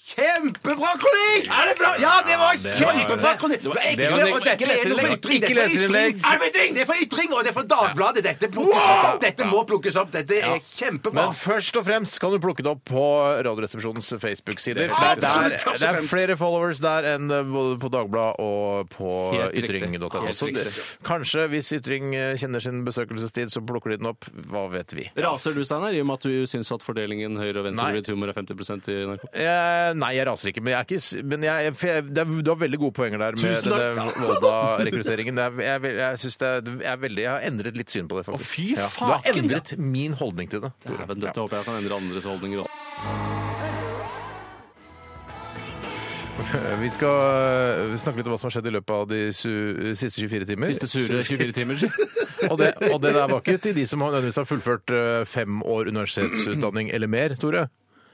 Speaker 9: Kjempebra kronikk! Er det bra? Ja, det var kjempebra kronikk! Det var ekte,
Speaker 7: det var-
Speaker 9: og dette er noe for ytring.
Speaker 7: Ikke
Speaker 9: Dette er for
Speaker 7: leserinnlegg.
Speaker 9: ytring. Er det for ytring! Det er for ytring, og det er for Dagbladet. Dette, plukkes opp. dette må plukkes opp. Dette er kjempebra.
Speaker 7: Men først og fremst kan du plukke det opp på Radioresepsjonens Facebook-sider.
Speaker 9: Det er
Speaker 7: For
Speaker 9: absolutt
Speaker 7: det er-
Speaker 9: først og
Speaker 7: Det er
Speaker 9: fremst.
Speaker 7: flere followers der enn eh, både på Dagbladet og på
Speaker 8: Helt riktig.
Speaker 7: ytring.no.
Speaker 8: Helt
Speaker 7: Så det- Kanskje, hvis Ytring eh, kjenner sin besøkelsestid, så plukker de den opp. Hva vet vi?
Speaker 8: Raser du, Steinar, i og med at du syns at fordelingen høyre-
Speaker 7: Nei.
Speaker 8: og venstrevridd humor er 50 i NRK?
Speaker 7: Eh, nei, jeg raser ikke, men, jeg er ikke, s- men jeg, for jeg, det er, du har veldig gode poenger der med
Speaker 8: Tusen takk.
Speaker 7: denne Volda-rekrutteringen. Det er- Jeg, jeg, jeg, synes det er, jeg, er veldig, jeg har endret litt syn på det, faktisk.
Speaker 8: fy
Speaker 7: Ja, Du har
Speaker 8: faken,
Speaker 7: endret min holdning til det. Tore.
Speaker 8: Dæven døtte, håper jeg kan endre andres holdninger også.
Speaker 7: Ja. Vi skal eh, snakke litt om hva som har skjedd i løpet av de su siste 24 timer.
Speaker 8: Siste sure 24 timer. si.
Speaker 7: Og det, og det der var ikke til de som har nødvendigvis har fullført eh, fem år universitetsutdanning eller mer, Tore.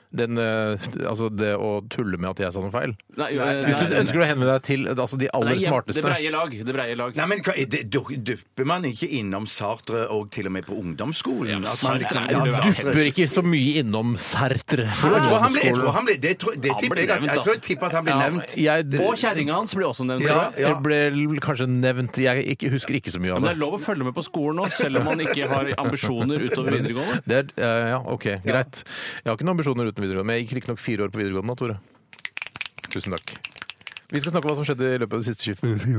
Speaker 7: den, eh, altså det å tulle med at jeg sa noe feil.
Speaker 8: Nei, eh,
Speaker 7: Hvis du ønsker å henvende deg til altså de aller
Speaker 8: Det
Speaker 7: smarteste
Speaker 8: breie lag. Det breie lag.
Speaker 9: Nei, men hva- det- du- Dupper man ikke innom Sartre og til og med på ungdomsskolen?
Speaker 8: men
Speaker 9: At
Speaker 8: Sartre
Speaker 9: man liksom-
Speaker 8: er jo
Speaker 9: Ja,
Speaker 8: helt-
Speaker 9: Sartre-
Speaker 7: Dupper ikke så mye innom Sertre.
Speaker 9: Jeg tror han ble- jeg tror han ble- Det tror- det
Speaker 8: Han
Speaker 9: tipper
Speaker 8: ble
Speaker 9: jeg at-
Speaker 8: nevnt,
Speaker 9: jeg tror jeg
Speaker 8: altså.
Speaker 9: tipper at han ble nevnt.
Speaker 7: Jeg,
Speaker 8: Og kjerringa hans blir også nevnt.
Speaker 9: Ja,
Speaker 7: Det ble vel kanskje nevnt Jeg ikke, husker ikke så mye
Speaker 8: Men
Speaker 7: av
Speaker 8: det er
Speaker 7: det.
Speaker 8: lov å følge med på skolen òg, selv om man ikke har ambisjoner utover videregående.
Speaker 7: Det er, eh, ja, OK, greit. Jeg har ikke noen ambisjoner uten videregående, men jeg gikk riktignok fire år på videregående, Tore. Tusen takk. Vi skal snakke om hva som skjedde i løpet av det siste
Speaker 9: *laughs*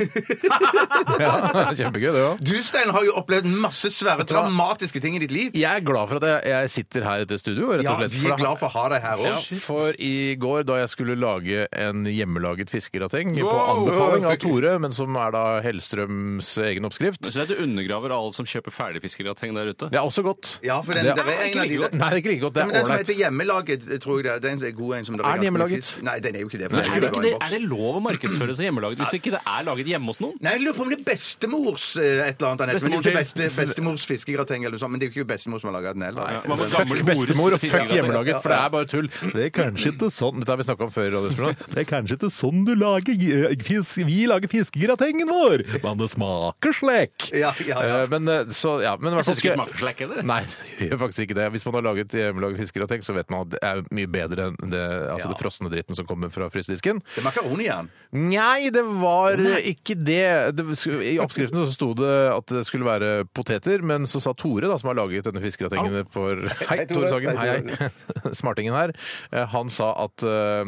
Speaker 7: skiftet. *laughs* ja, kjempegøy, det òg.
Speaker 9: Du, Stein, har jo opplevd masse svære, dramatiske ting i ditt liv.
Speaker 7: Jeg er glad for at jeg, jeg sitter her i dette studio. Rett
Speaker 9: Ja,
Speaker 7: og slett,
Speaker 9: vi er glad for å ha deg her
Speaker 7: Ja,
Speaker 9: òg.
Speaker 7: for i går, da jeg skulle lage en hjemmelaget fiskerateng på anbefaling
Speaker 9: *laughs*
Speaker 7: av Tore, men som er da Hellstrøms egen oppskrift
Speaker 8: Men så er det du undergraver alle som kjøper ferdigfiskerateng der ute.
Speaker 7: Det er også godt.
Speaker 9: Ja, for den,
Speaker 7: Det-
Speaker 9: det er en av de der.
Speaker 7: Nei, det er ikke like godt. Det
Speaker 9: Ja, men
Speaker 7: er
Speaker 9: den som
Speaker 7: ålreit.
Speaker 9: heter Hjemmelaget, tror jeg det er. Den er god en som det
Speaker 7: Er den
Speaker 9: ganske mye
Speaker 7: hjemmelaget?
Speaker 9: fisk- Nei, den er jo ikke det. for
Speaker 8: Men
Speaker 9: den
Speaker 8: er, det
Speaker 9: jo
Speaker 8: ikke
Speaker 9: bare
Speaker 8: det,
Speaker 9: en boks.
Speaker 8: er det lov å markedsføre seg hjemmelaget hvis ikke det er laget hjemme hos noen?
Speaker 9: Nei, jeg lurer på om det er bestemors eh, et eller annet. Anette, Men det er jo
Speaker 8: Bestemor
Speaker 9: ikke beste, bestemors fiskegrateng eller noe sånt. Men det er jo ikke bestemor som har laga den heller.
Speaker 8: Ja, man må
Speaker 7: Fuck
Speaker 8: gamle
Speaker 7: bestemor og
Speaker 8: hores
Speaker 7: fuck
Speaker 8: fiskerateng.
Speaker 7: hjemmelaget, for det er bare tull. Det er kanskje ikke sånn Dette har vi snakket om før. i Radiosporten. *laughs* Det er kanskje ikke sånn du lager eh, fisk, Vi lager fiskegratengen vår, men det smaker slekk.
Speaker 9: Ja, ja, ja.
Speaker 7: Eh, Men, eh, så, ja, men i hvert fall
Speaker 8: Syns ikke det
Speaker 7: skal-
Speaker 8: smaker slekk heller.
Speaker 7: Nei, det gjør faktisk ikke det. Hvis man har laget eh, hjemmelaget fiskerateng, så vet man at det er mye bedre enn det, altså
Speaker 9: Ja.
Speaker 7: det frosne dritten som kommer fra frysedisken.
Speaker 9: Det er makaroni i den.
Speaker 7: Nei, det var ikke det. det skulle- I oppskriften så sto det at det skulle være poteter, men så sa Tore, da, som har laget denne fiskegratengen for Hei,
Speaker 9: Hei,
Speaker 7: Tore
Speaker 9: Tore.
Speaker 7: Sagen.
Speaker 9: Hei,
Speaker 7: Hei, hei. *laughs* Smartingen her. Eh, Han sa at eh,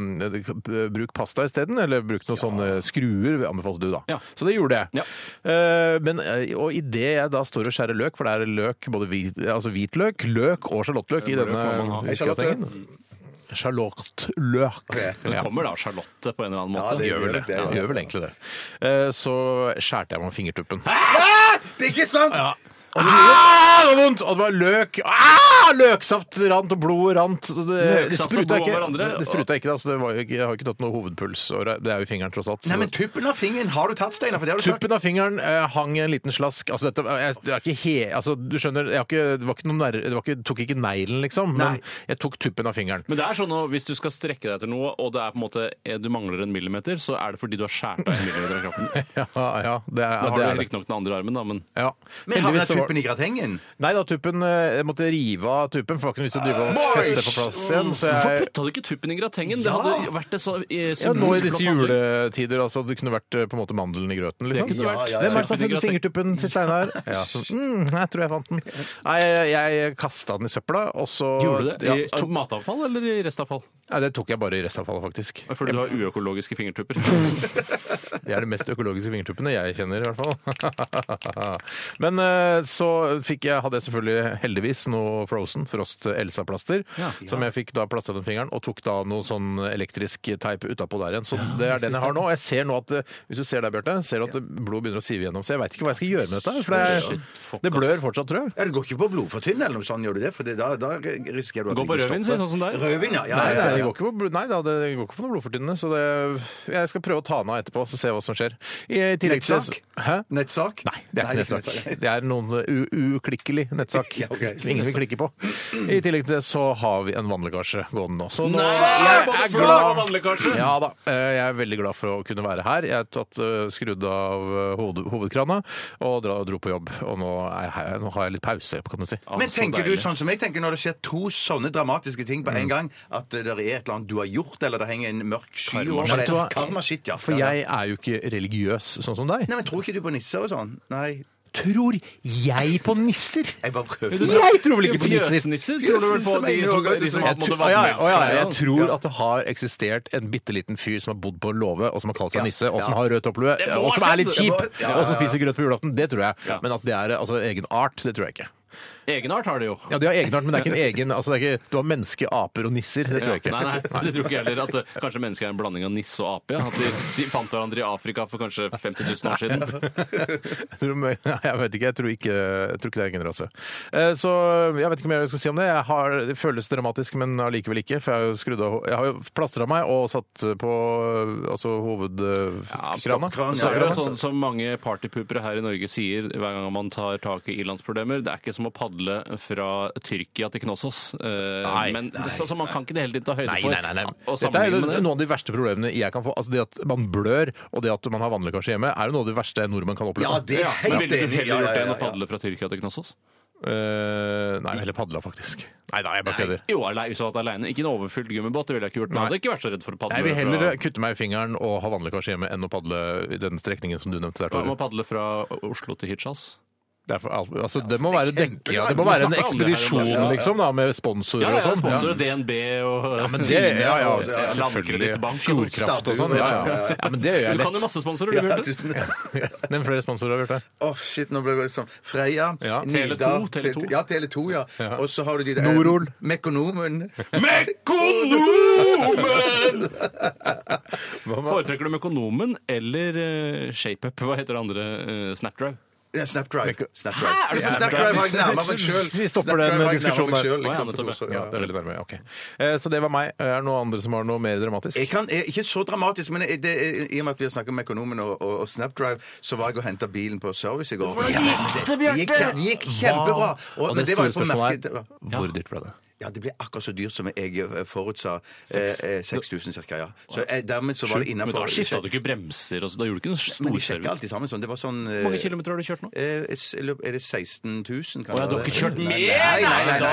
Speaker 7: bruk pasta isteden, eller bruk noen sånne skruer, anbefalte du da.
Speaker 8: Ja.
Speaker 7: Så det gjorde jeg.
Speaker 8: Ja.
Speaker 7: Eh, Men, eh, og idet jeg da står og skjærer løk, for det er løk, både hvit, altså hvitløk, løk og sjalottløk i
Speaker 8: Løk må man
Speaker 7: denne
Speaker 8: ha.
Speaker 7: fiskegratengen. Sjalottløk.
Speaker 8: Men Det kommer da Charlotte på en eller annen
Speaker 9: Ja,
Speaker 8: måte.
Speaker 9: det
Speaker 7: Gjør vel det.
Speaker 9: ja.
Speaker 7: gjør vel egentlig det. Eh, Så skjærte jeg meg om fingertuppen.
Speaker 9: Ah! Det er ikke sant!
Speaker 7: Og det, ah, det var vondt! Og det var løk. Ah, løksaft rant, og blodet rant. Så Det, det
Speaker 8: Løksaft og
Speaker 7: spruta
Speaker 8: blod
Speaker 7: ikke,
Speaker 8: om hverandre.
Speaker 7: det spruta ikke da, så det var jo ikke, jeg har ikke tatt noe hovedpuls. og Det er jo i fingeren, tross alt. så-
Speaker 9: Nei, men tuppen av fingeren har du tatt, Steinar. For det har du sagt.
Speaker 7: Tuppen av fingeren eh, hang en liten slask. Altså, dette, jeg, det er ikke he, altså, du skjønner, jeg har ikke, det var ikke noen nær, det var ikke, tok ikke neglen, liksom, men
Speaker 9: Nei.
Speaker 7: jeg tok tuppen av fingeren.
Speaker 8: Men det er sånn at hvis du skal strekke deg etter noe, og det er på en måte, eh, du mangler en millimeter, så er det fordi du har skåret av en millimeter av kroppen.
Speaker 7: *laughs* Ja, ja, det er,
Speaker 8: Da har
Speaker 7: det
Speaker 8: du
Speaker 7: er det.
Speaker 8: riktignok den andre armen, da, men
Speaker 7: Ja.
Speaker 9: Men har
Speaker 7: Heldigvis
Speaker 9: vi
Speaker 7: så
Speaker 9: den
Speaker 7: var-
Speaker 9: tuppen i gratengen?
Speaker 7: Nei da, tuppen eh, Jeg måtte rive av tuppen, for det var ikke noe vits i å drive og feste på plass igjen. Så
Speaker 8: Hvorfor
Speaker 7: jeg
Speaker 8: putta du ikke tuppen i gratengen? Det
Speaker 9: Ja.
Speaker 8: hadde vært et så eh,
Speaker 7: ja, nå i
Speaker 8: symbolsk
Speaker 7: disse
Speaker 8: flott handling.
Speaker 7: juletider, altså. Det kunne vært eh, på en måte mandelen i grøten, liksom.
Speaker 8: Det kunne vært
Speaker 7: Hvem er det som har
Speaker 8: tuppen i
Speaker 7: funnet
Speaker 8: gratengen.
Speaker 7: fingertuppen til Steinar? Ja, så, mm, jeg tror jeg fant den. Nei, jeg, jeg kasta den i søpla, og så
Speaker 8: Gjorde du det?
Speaker 7: Ja,
Speaker 8: I
Speaker 7: tok,
Speaker 8: matavfall eller i restavfall?
Speaker 7: nei, det tok jeg bare i restavfallet, faktisk.
Speaker 8: Fordi du har uøkologiske *laughs* fingertupper.
Speaker 7: Det er de mest økologiske fingertuppene jeg kjenner, i hvert fall. *laughs* Men eh, så fikk jeg, hadde jeg selvfølgelig heldigvis noe Frozen, Frost Elsa-plaster, som jeg fikk da plastra den fingeren, og tok da noe sånn elektrisk teip utapå der igjen. Så det er den jeg har nå. Og jeg ser nå at eh, Hvis du ser der, Bjarte, ser du at blod begynner å sive gjennom. Så jeg veit ikke hva jeg skal gjøre med dette. her, For det,
Speaker 8: Shit,
Speaker 7: er,
Speaker 8: fuck,
Speaker 7: det blør fortsatt, tror jeg.
Speaker 9: Ja, Du går ikke på blodfortynne eller noe sånt, gjør du det? For det, da, da risikerer du at
Speaker 8: Gå på
Speaker 9: det ikke
Speaker 8: rødvin, si,
Speaker 9: stopper.
Speaker 8: sånn som deg.
Speaker 9: Rødvin, ja. ja,
Speaker 7: Nei,
Speaker 9: ja,
Speaker 7: nei, det
Speaker 9: ja.
Speaker 7: går ikke på, blod- nei da, det går ikke på noe blodfortynnende. Så det, jeg skal prøve å ta den av etterpå og se hva som skjer. I tillegg til-
Speaker 9: Nettsak?
Speaker 7: Hæ?
Speaker 9: Nettsak?
Speaker 7: Nei, det er ikke nettsak. Det er noen u- uklikkelig nettsak
Speaker 9: Ja, ok.
Speaker 7: som ingen vil klikke på. I tillegg til det så har vi en vannlekkasje gående nå. Så nå
Speaker 8: både
Speaker 7: jeg er
Speaker 8: flagg og vannlekkasje!
Speaker 7: Ja da. eh, Jeg er veldig glad for å kunne være her. Jeg har tatt eh, skrudd av eh, hoved, hovedkrana og dra, dro på jobb. Og nå, er jeg, her- nå har jeg litt pause, kan du si.
Speaker 8: Ja,
Speaker 9: Men
Speaker 8: så
Speaker 9: tenker du
Speaker 8: deilig.
Speaker 9: sånn som jeg tenker når det skjer to sånne dramatiske ting
Speaker 7: Mm.
Speaker 9: på en gang, at det er et eller annet du har gjort, eller det henger en mørk sky over
Speaker 7: Vet
Speaker 9: deg?
Speaker 7: du hva?
Speaker 9: Karmashit, ja.
Speaker 7: For jeg er jo ikke religiøs, sånn som deg.
Speaker 9: Nei, men Tror ikke du på nisser og sånn? Nei.
Speaker 7: Tror jeg på nisser?
Speaker 9: Jeg bare prøver.
Speaker 7: Jeg tror vel ikke på nisser!
Speaker 8: Fjøsnisser tror du vel på?
Speaker 9: Fjøsnisser
Speaker 8: De
Speaker 9: mener
Speaker 8: som,
Speaker 9: jeg også.
Speaker 8: de som
Speaker 9: Jeg
Speaker 8: har på en måte
Speaker 7: Å, ja, ja, å, ja,
Speaker 8: vannmelksklær
Speaker 7: jeg
Speaker 8: og sånn.
Speaker 7: tror at det har eksistert en bitte liten fyr som har bodd på låve, og som har kalt seg nisse, og som har rød topplue,
Speaker 8: Det må
Speaker 7: og
Speaker 8: ha
Speaker 7: som er litt
Speaker 8: skjedd.
Speaker 7: kjip,
Speaker 9: Det må- ja, ja,
Speaker 7: og som
Speaker 9: ja.
Speaker 7: spiser grøt på julaften. Det tror jeg.
Speaker 8: Ja.
Speaker 7: Men at det er altså, egen art, det tror jeg ikke.
Speaker 8: Egenart har de jo.
Speaker 7: Ja, De har egenart, men det er ikke en egen altså, det er ikke, Du har menneske, aper og nisser. Det tror jeg ikke.
Speaker 8: Nei, nei,
Speaker 7: *laughs*
Speaker 8: det tror ikke jeg heller. At eh, kanskje mennesker er en blanding av nisse og ape. ja. At de, de fant hverandre i Afrika for kanskje 50 000
Speaker 7: *laughs*
Speaker 8: år siden.
Speaker 7: Jeg tror- *laughs* Nei, jeg vet ikke. Jeg tror ikke, jeg tror ikke det er egen rase. Eh, Så jeg vet ikke mer jeg skal si om det. Jeg har, det føles dramatisk, men allikevel ikke. For jeg har jo skrudd av Jeg har jo plastra meg og satt på altså, hovedkrana. sånn-
Speaker 9: stoppkran,
Speaker 8: Så er det jo
Speaker 9: ja.
Speaker 8: sånn som mange partypupere her i Norge sier hver gang man tar tak i ilandsproblemer. Det er ikke som å padle fra Tyrkia til Knossos. Eh,
Speaker 7: Nei,
Speaker 8: men det, så, så man kan ikke det hele tiden ta høyde
Speaker 7: Nei,
Speaker 8: for.
Speaker 7: nei, nei, nei.
Speaker 8: å
Speaker 7: Dette er jo
Speaker 8: sammenligne med det.
Speaker 7: noen av de verste problemene jeg kan få. Altså Det at man blør, og det at man har vannlekkasje hjemme, er jo noe av det verste nordmenn kan oppleve.
Speaker 9: Ja, det er
Speaker 8: Men
Speaker 9: helt
Speaker 8: Ville du
Speaker 9: enig.
Speaker 8: heller gjort det enn å
Speaker 9: ja.
Speaker 8: padle fra Tyrkia til Knossos?
Speaker 7: Eh, nei, heller padla, faktisk. Nei, nei, jeg bare kødder.
Speaker 8: Jo, alei- hvis du hadde vært aleine. Ikke en overfylt gummibåt, det ville jeg ikke gjort. Men jeg
Speaker 7: Nei.
Speaker 8: hadde ikke vært så redd for å padle.
Speaker 7: Jeg vil heller
Speaker 8: fra-
Speaker 7: kutte meg i fingeren og ha vannlekkasje hjemme enn å padle i den strekningen som du nevnte der,
Speaker 8: Hva med å
Speaker 7: Tore.
Speaker 8: padle fra Oslo til Hirtshals?
Speaker 7: Det, er for, al- altså, det må være dekke, ja, det må
Speaker 8: Vi
Speaker 7: være en
Speaker 8: snakker om det her om
Speaker 7: ekspedisjon,
Speaker 8: dagen.
Speaker 7: liksom, da, med sponsorer og sånn.
Speaker 8: Sponsorer DNB og
Speaker 7: Men det, ja, ja,
Speaker 9: og- ja,
Speaker 7: selvfølgelig.
Speaker 8: Landkredittbank og noe.
Speaker 7: Fjordkraft og sånn. Ja, ja. ja, men det gjør
Speaker 8: Du
Speaker 7: jeg
Speaker 8: kan jo
Speaker 7: lett. *laughs*
Speaker 8: masse sponsorer, du, Bjarte.
Speaker 9: Tusen takk.
Speaker 7: Nevn flere sponsorer, Bjarte.
Speaker 9: Åh, shit, nå ble det sånn. Freia,
Speaker 7: Ja,
Speaker 8: Tele2,
Speaker 9: Nidar,
Speaker 8: Tele2.
Speaker 9: Tele- Ja, Tele2, ja. Og så har du de der
Speaker 7: Norol.
Speaker 9: Mekonomen. *laughs*
Speaker 8: Mekonomen! Foretrekker du Mekonomen eller eh, ShapeUp? Hva heter det andre? eh, Snapdrive?
Speaker 9: Ja, Snapdrive. Snapdrive.
Speaker 8: Hæ, er det
Speaker 9: Ja,
Speaker 8: Snapdrive?
Speaker 9: Snapdrive var jeg nærmere meg selv.
Speaker 7: Vi stopper
Speaker 9: Snapdrive
Speaker 7: den
Speaker 9: var jeg
Speaker 7: diskusjonen
Speaker 9: nærmere meg
Speaker 7: der.
Speaker 9: selv,
Speaker 8: Å,
Speaker 9: liksom,
Speaker 8: ja,
Speaker 9: på
Speaker 8: nettopp,
Speaker 9: Torshov,
Speaker 7: Ja,
Speaker 9: ja.
Speaker 7: det er veldig nærme. ja, ok. Eh, Så det var meg. Er det noen andre som har noe mer dramatisk?
Speaker 9: Jeg kan, jeg, ikke så dramatisk, men jeg, det, er- i og med at vi har snakket om Økonomen og, og, og Snapdrive, så var jeg og henta bilen på service i går. Ja, det, gikk, det gikk kjempebra!
Speaker 7: Og,
Speaker 9: men
Speaker 7: det
Speaker 9: var
Speaker 7: store
Speaker 9: jo på
Speaker 7: spørsmålet
Speaker 9: merket-
Speaker 7: er hvor dyrt ble det?
Speaker 9: Ja, det ble akkurat så dyrt som jeg eh, forutsa. Eh, eh, 6000 ca. Ja. Så eh, dermed så var det
Speaker 8: Men
Speaker 9: innafor.
Speaker 8: da skifta du ikke bremser? Og så, da gjorde du ikke noen
Speaker 9: Men
Speaker 8: stor
Speaker 9: de sjekka
Speaker 8: service?
Speaker 9: alltid sammen sånn. Det var sånn eh,
Speaker 8: Hvor mange kilometer har du kjørt nå?
Speaker 9: eh, s- i løpet- Er det 16 000,
Speaker 8: Å, ja, du har ikke kjørt mer?
Speaker 9: Nei, nei, nei. nei,
Speaker 8: Da er
Speaker 9: nei, nei,
Speaker 8: det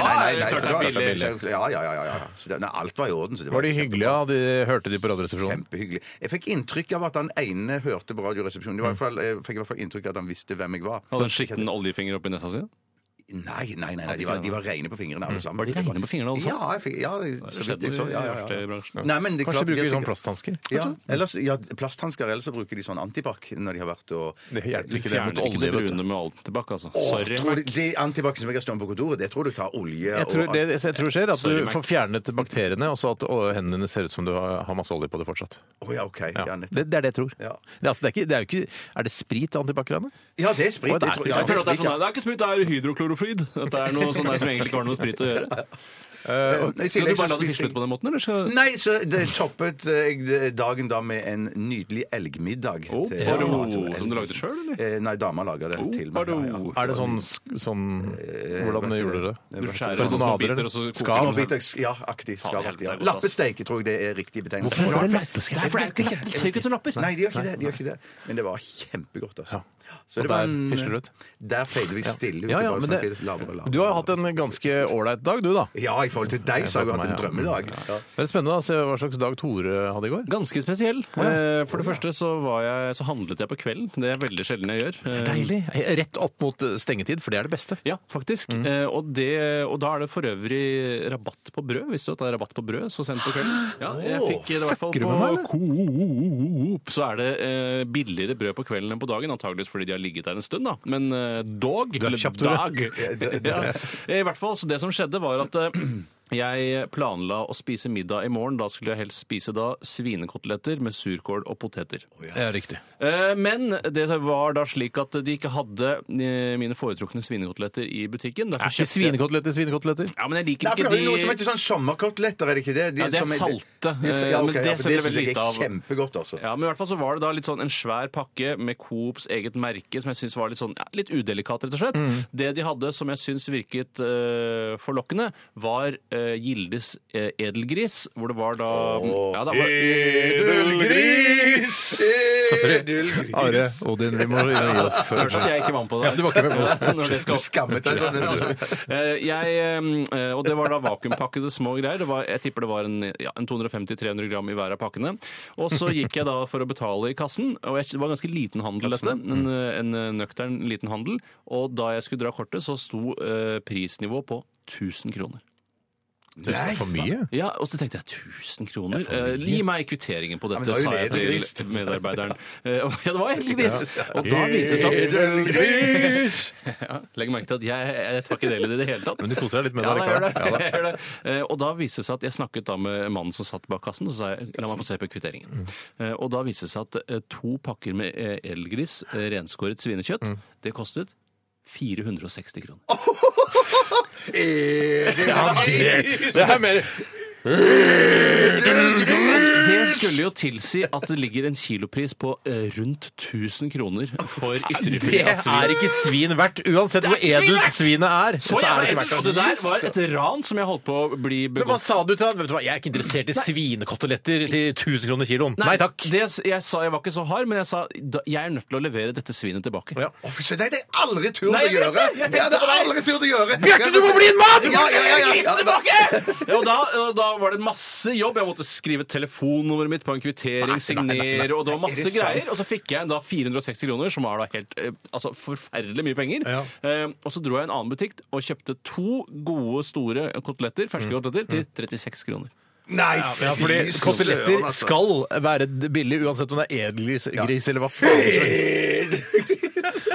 Speaker 9: nei,
Speaker 8: klart det
Speaker 9: så
Speaker 8: er
Speaker 9: da-
Speaker 8: billig.
Speaker 9: så- Ja, ja, ja. ja, ja. Så det, nei, alt var i orden. Så det
Speaker 7: Var de hyggelige? Ja, de hørte de på Radioresepsjonen?
Speaker 9: Kjempehyggelig. Jeg fikk inntrykk av at han ene hørte på Radioresepsjonen. Det var i hvert fall- Jeg fikk i hvert fall inntrykk av at han visste hvem jeg var.
Speaker 8: Mm. Hadde en skitten oljefinger oppi nesa si?
Speaker 9: Nei, nei, nei, nei de, var, de var reine på fingrene alle sammen.
Speaker 8: Mm. Var de reine på fingrene alle sammen?
Speaker 9: Ja, jeg fikk, ja så vidt jeg så. Ja, ja,
Speaker 8: Det skjedde i
Speaker 9: ja.
Speaker 8: bransjen.
Speaker 9: Nei, men det er
Speaker 7: Kanskje
Speaker 9: klart,
Speaker 7: de bruker
Speaker 9: det er
Speaker 7: sånn
Speaker 9: sikkert-
Speaker 7: plasthansker?
Speaker 9: Ja, ellers, ja, plasthansker, ellers så bruker de sånn antibac når de har vært og
Speaker 7: Det hjelper
Speaker 8: Du
Speaker 7: ikke det mot
Speaker 8: fjerner ikke det
Speaker 7: olje. vet du.
Speaker 8: brune med alt tilbake, altså.
Speaker 9: Åh,
Speaker 8: Sorry.
Speaker 9: tror du- Det antibac som jeg har stående på kontoret, det tror du tar olje
Speaker 7: Jeg tror,
Speaker 9: og
Speaker 7: det, jeg tror skjer at
Speaker 8: Sorry,
Speaker 7: du
Speaker 8: Mac.
Speaker 7: får fjernet bakteriene, og så at å, hendene dine ser ut som du har har masse olje på det fortsatt.
Speaker 9: Å ja, OK. Ja,
Speaker 7: Ja.
Speaker 9: nettopp.
Speaker 7: Det, det er det jeg tror.
Speaker 9: Ja.
Speaker 7: Det, er altså, det er, ikke, det er, jo ikke, er det sprit antibac-ranet?
Speaker 9: Ja, det er sprit.
Speaker 7: Å, det er
Speaker 9: jeg tror-
Speaker 7: sprit.
Speaker 9: ja,
Speaker 8: Jeg føler at det er
Speaker 9: sprit, ja.
Speaker 8: sånn der, Det er ikke sprit, det er hydroklorofrid. Dette er noe sånn der som egentlig ikke har noe med sprit å gjøre.
Speaker 9: I
Speaker 8: Så du
Speaker 9: tillegg
Speaker 8: bare
Speaker 9: så
Speaker 8: la det
Speaker 9: spiser
Speaker 8: fisle ut på den måten, eller? Skal...
Speaker 9: Nei, så det toppet jeg dagen da med en nydelig elgmiddag.
Speaker 8: Oh,
Speaker 9: til-
Speaker 8: pardon.
Speaker 9: Ja, til elg.
Speaker 8: Som du lagde selv, eller?
Speaker 9: Eh, Nei, dama laga det
Speaker 8: Oh,
Speaker 9: til meg. ja, ja.
Speaker 8: pardon.
Speaker 7: Er det sånn, sk- sånn
Speaker 9: Eh,
Speaker 7: Hvordan gjorde dere det?
Speaker 8: Du
Speaker 7: Sånn
Speaker 8: skjærer sånn små
Speaker 7: nader,
Speaker 8: biter,
Speaker 7: eller?
Speaker 8: og så koker
Speaker 7: Skal-
Speaker 8: du den.
Speaker 9: Småbiter, ja, aktig.
Speaker 8: Faen,
Speaker 9: Skarpt,
Speaker 8: helvete,
Speaker 9: ja.
Speaker 8: det er godt, ass.
Speaker 9: Lappesteik tror jeg det er riktig betegnelse.
Speaker 7: Hvorfor heter det lappesteik?
Speaker 9: Nei, for det er ikke
Speaker 8: Det ser ikke ut
Speaker 7: sånn
Speaker 8: som lapper.
Speaker 9: Nei, det gjør ikke det. det, gjør ikke det. Men det var kjempegodt, altså. Så
Speaker 7: Og der fisler det ut.
Speaker 9: Der feide vi eh, stille. vet
Speaker 7: Ja,
Speaker 9: du,
Speaker 7: ja,
Speaker 9: bare
Speaker 7: men
Speaker 9: snakket lavere og
Speaker 7: det,
Speaker 9: lavere.
Speaker 7: du har hatt en ganske ålreit dag, du, da.
Speaker 9: Ja, i forhold til deg så har jeg hatt en drømmedag. Ja.
Speaker 7: Det er spennende å se hva slags dag Tore hadde i går.
Speaker 8: Ganske spesiell. Eh, For det første så, var jeg, så handlet jeg på kvelden. Det er veldig sjelden jeg gjør. Eh,
Speaker 7: Deilig. Rett opp mot eh, stengetid, for det er det beste.
Speaker 8: Ja, faktisk.
Speaker 7: Mm.
Speaker 8: Eh, og, det, og da er det for øvrig rabatt på brød. Visste du at det er rabatt på brød så sent på kvelden? Ja, jeg fikk det i hvert fall
Speaker 7: fucker du
Speaker 8: på
Speaker 7: med meg, eller?
Speaker 8: Coop. Så er det eh, billigere brød på kvelden enn på dagen, antageligvis fordi de har ligget der en stund, da. Men eh, dog
Speaker 7: er
Speaker 8: eller
Speaker 7: kjapp, Tore. *laughs*
Speaker 8: dag. ja. I hvert fall, så det som skjedde var at eh, *clears throat* jeg planla å spise middag i morgen. Da skulle jeg helst spise da svinekoteletter med surkål og poteter.
Speaker 7: Ja, riktig.
Speaker 8: Eh, Men det var da slik at de ikke hadde eh, mine foretrukne svinekoteletter i butikken. Derfor
Speaker 7: Er ikke
Speaker 8: kjøpte jeg-
Speaker 7: svinekoteletter svinekoteletter?
Speaker 8: Ja, men jeg liker
Speaker 9: Nei, for
Speaker 8: ikke
Speaker 9: det er jo noe som
Speaker 8: de
Speaker 9: heter sånn sommerkoteletter, er det ikke det? De
Speaker 8: Ja, det er
Speaker 9: som
Speaker 8: salte,
Speaker 9: de-
Speaker 8: eh,
Speaker 9: ja,
Speaker 8: men
Speaker 9: ok,
Speaker 8: det
Speaker 9: ja,
Speaker 8: setter
Speaker 9: for det
Speaker 8: jeg
Speaker 9: syns
Speaker 8: veldig
Speaker 9: jeg
Speaker 8: lite
Speaker 9: er
Speaker 8: av.
Speaker 9: kjempegodt, altså.
Speaker 8: ja, men i hvert fall så var det da litt sånn en svær pakke med Coops eget merke, som jeg syns var litt sånn, ja, litt udelikat, rett og slett.
Speaker 9: Mm.
Speaker 8: Det de hadde som jeg syns virket eh, forlokkende, var eh, Gildes eh, edelgris, hvor det var da ja, det var,
Speaker 9: Edelgris!
Speaker 7: Sorry. Are, Odin, vi må gi oss.
Speaker 8: *laughs* Det hørtes at jeg ikke var med på det.
Speaker 7: Ja, du var ikke med på det.
Speaker 8: *laughs* Når det skal
Speaker 9: Du skammet deg sånn. nesten.
Speaker 8: Eh, jeg, eh, og det var da vakuumpakkede små greier. Det var, jeg tipper det var en, ja, en 250-300 gram i hver av pakkene. Og så gikk jeg da for å betale i kassen, og jeg, det var en ganske liten handel dette. En, eh, en eh, nøktern liten handel. Og da jeg skulle dra kortet, så sto eh, prisnivået på 1000 kroner.
Speaker 7: Tusen for mye.
Speaker 8: Ja, Og så tenkte jeg 1000 kroner. Eh, gi meg kvitteringen på dette,
Speaker 9: det var jo
Speaker 8: sa jeg
Speaker 9: edelgris,
Speaker 8: til medarbeideren. Eh, *laughs* og- ja, det var egentlig gris. Og da viser det seg
Speaker 9: Edelgris!
Speaker 8: ja, Legg merke til at jeg, jeg tar ikke del i det i det hele tatt.
Speaker 7: Men du koser deg litt med det
Speaker 8: Ja, da, jeg gjør det.
Speaker 7: allikevel.
Speaker 8: Jeg gjør det. Eh, Og da viste det seg at jeg snakket da med mannen som satt bak kassen, og så sa jeg la meg få se på kvitteringen. Eh, Og da viste det seg at eh, to pakker med eh, edelgris, eh, renskåret svinekjøtt, det kostet 460 *laughs* kroner. Eh,
Speaker 9: Edelgris!
Speaker 7: Det er mer
Speaker 8: Det Det skulle jo tilsi at det ligger en kilopris på eh, rundt 1000 kroner for
Speaker 7: Det
Speaker 8: ytrefilet av
Speaker 7: er
Speaker 8: svin.
Speaker 7: ikke svin verdt. Uansett hvor edelt svinet er, så er det ikke verdt
Speaker 8: Og det der var et ran som jeg holdt på å bli
Speaker 7: Men hva
Speaker 8: begått.
Speaker 7: sa du til ham? Vet du hva, Jeg er ikke interessert i svinekoteletter til 1000 kroner kiloen. Nei, takk.
Speaker 8: Det, jeg sa jeg var ikke så hard, men jeg sa da- jeg er nødt til å levere dette svinet tilbake.
Speaker 7: Ja.
Speaker 9: Å, fy søren, det hadde jeg aldri turt
Speaker 8: Nei,
Speaker 9: å
Speaker 8: jeg vet
Speaker 9: gjøre!
Speaker 8: det, jeg
Speaker 9: Det hadde jeg aldri turt å gjøre!
Speaker 7: Bjarte, du må bli en mann!
Speaker 9: Ja, ja, ja, ja, ja.
Speaker 8: Ja, og da, og da var det masse jobb. Jeg måtte skrive telefonnummeret mitt på en kvittering,
Speaker 7: Nei, nei, nei, nei.
Speaker 8: signere, og det var masse
Speaker 9: Er det sant?
Speaker 8: greier. Og så fikk jeg da 460 kroner, som var da helt eh, altså, forferdelig mye penger.
Speaker 7: Ja.
Speaker 8: Eh, og så dro jeg i en annen butikk og kjøpte to gode, store koteletter, ferske
Speaker 7: Mm.
Speaker 8: koteletter til 36 kroner.
Speaker 9: Nei,
Speaker 7: Ja, fordi
Speaker 9: fy søren,
Speaker 7: koteletter
Speaker 9: altså.
Speaker 7: skal være billig uansett om det er edelgris gris, eller hva faen.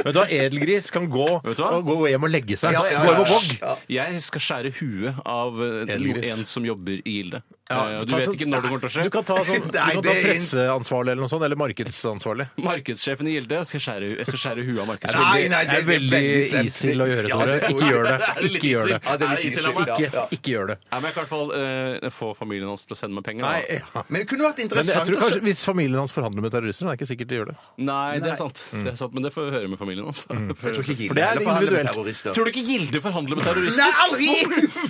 Speaker 7: Vet du hva, edelgris kan gå,
Speaker 8: Vet du hva?
Speaker 7: og gå hjem og legge seg.
Speaker 9: Ja, ja,
Speaker 7: Gå hjem
Speaker 9: ja.
Speaker 7: og vogg.
Speaker 8: Jeg skal skjære huet av eh,
Speaker 7: Edelgris.
Speaker 8: en som jobber i Gilde.
Speaker 7: Ja,
Speaker 8: Eh, og du
Speaker 7: ta
Speaker 8: vet
Speaker 7: sånn-
Speaker 8: ikke når det kommer til å skje.
Speaker 7: Du kan ta, sånn, du
Speaker 9: Nei,
Speaker 7: kan ta
Speaker 9: det er-
Speaker 7: presseansvarlig eller noe sånt, eller markedsansvarlig.
Speaker 8: Markedssjefen i Gilde skal skjære, jeg skal skjære huet av markedssjefen.
Speaker 9: Nei, nei,
Speaker 7: det er veldig easy å gjøre,
Speaker 9: Ja,
Speaker 7: Tore.
Speaker 9: det tror
Speaker 7: Ikke
Speaker 9: jeg.
Speaker 7: gjør det.
Speaker 8: Er det litt
Speaker 7: Ikke gjør det.
Speaker 8: easy?
Speaker 9: Ja, det er litt
Speaker 8: easy,
Speaker 9: easy.
Speaker 8: la meg.
Speaker 9: Ja,
Speaker 7: Ikke,
Speaker 9: ja.
Speaker 7: ikke gjør det.
Speaker 8: Nei, men jeg kan i hvert fall eh, få familien hans til å sende meg penger.
Speaker 7: Nei, eh,
Speaker 8: da.
Speaker 7: ja.
Speaker 9: Men det kunne vært
Speaker 7: Men jeg
Speaker 9: interessant
Speaker 7: tror
Speaker 9: å
Speaker 7: kanskje Hvis familien hans forhandler med terrorister, det er ikke sikkert de gjør det.
Speaker 8: Nei, det er sant.
Speaker 7: Mm.
Speaker 8: Det er sant men det får vi høre med familien hans. da.
Speaker 9: Jeg tror ikke Hitler
Speaker 7: For det er
Speaker 9: heller forhandler med
Speaker 7: individuelt.
Speaker 9: terrorister.
Speaker 8: *laughs* Tror du ikke Gilde forhandler med terrorister?
Speaker 9: Nei, aldri i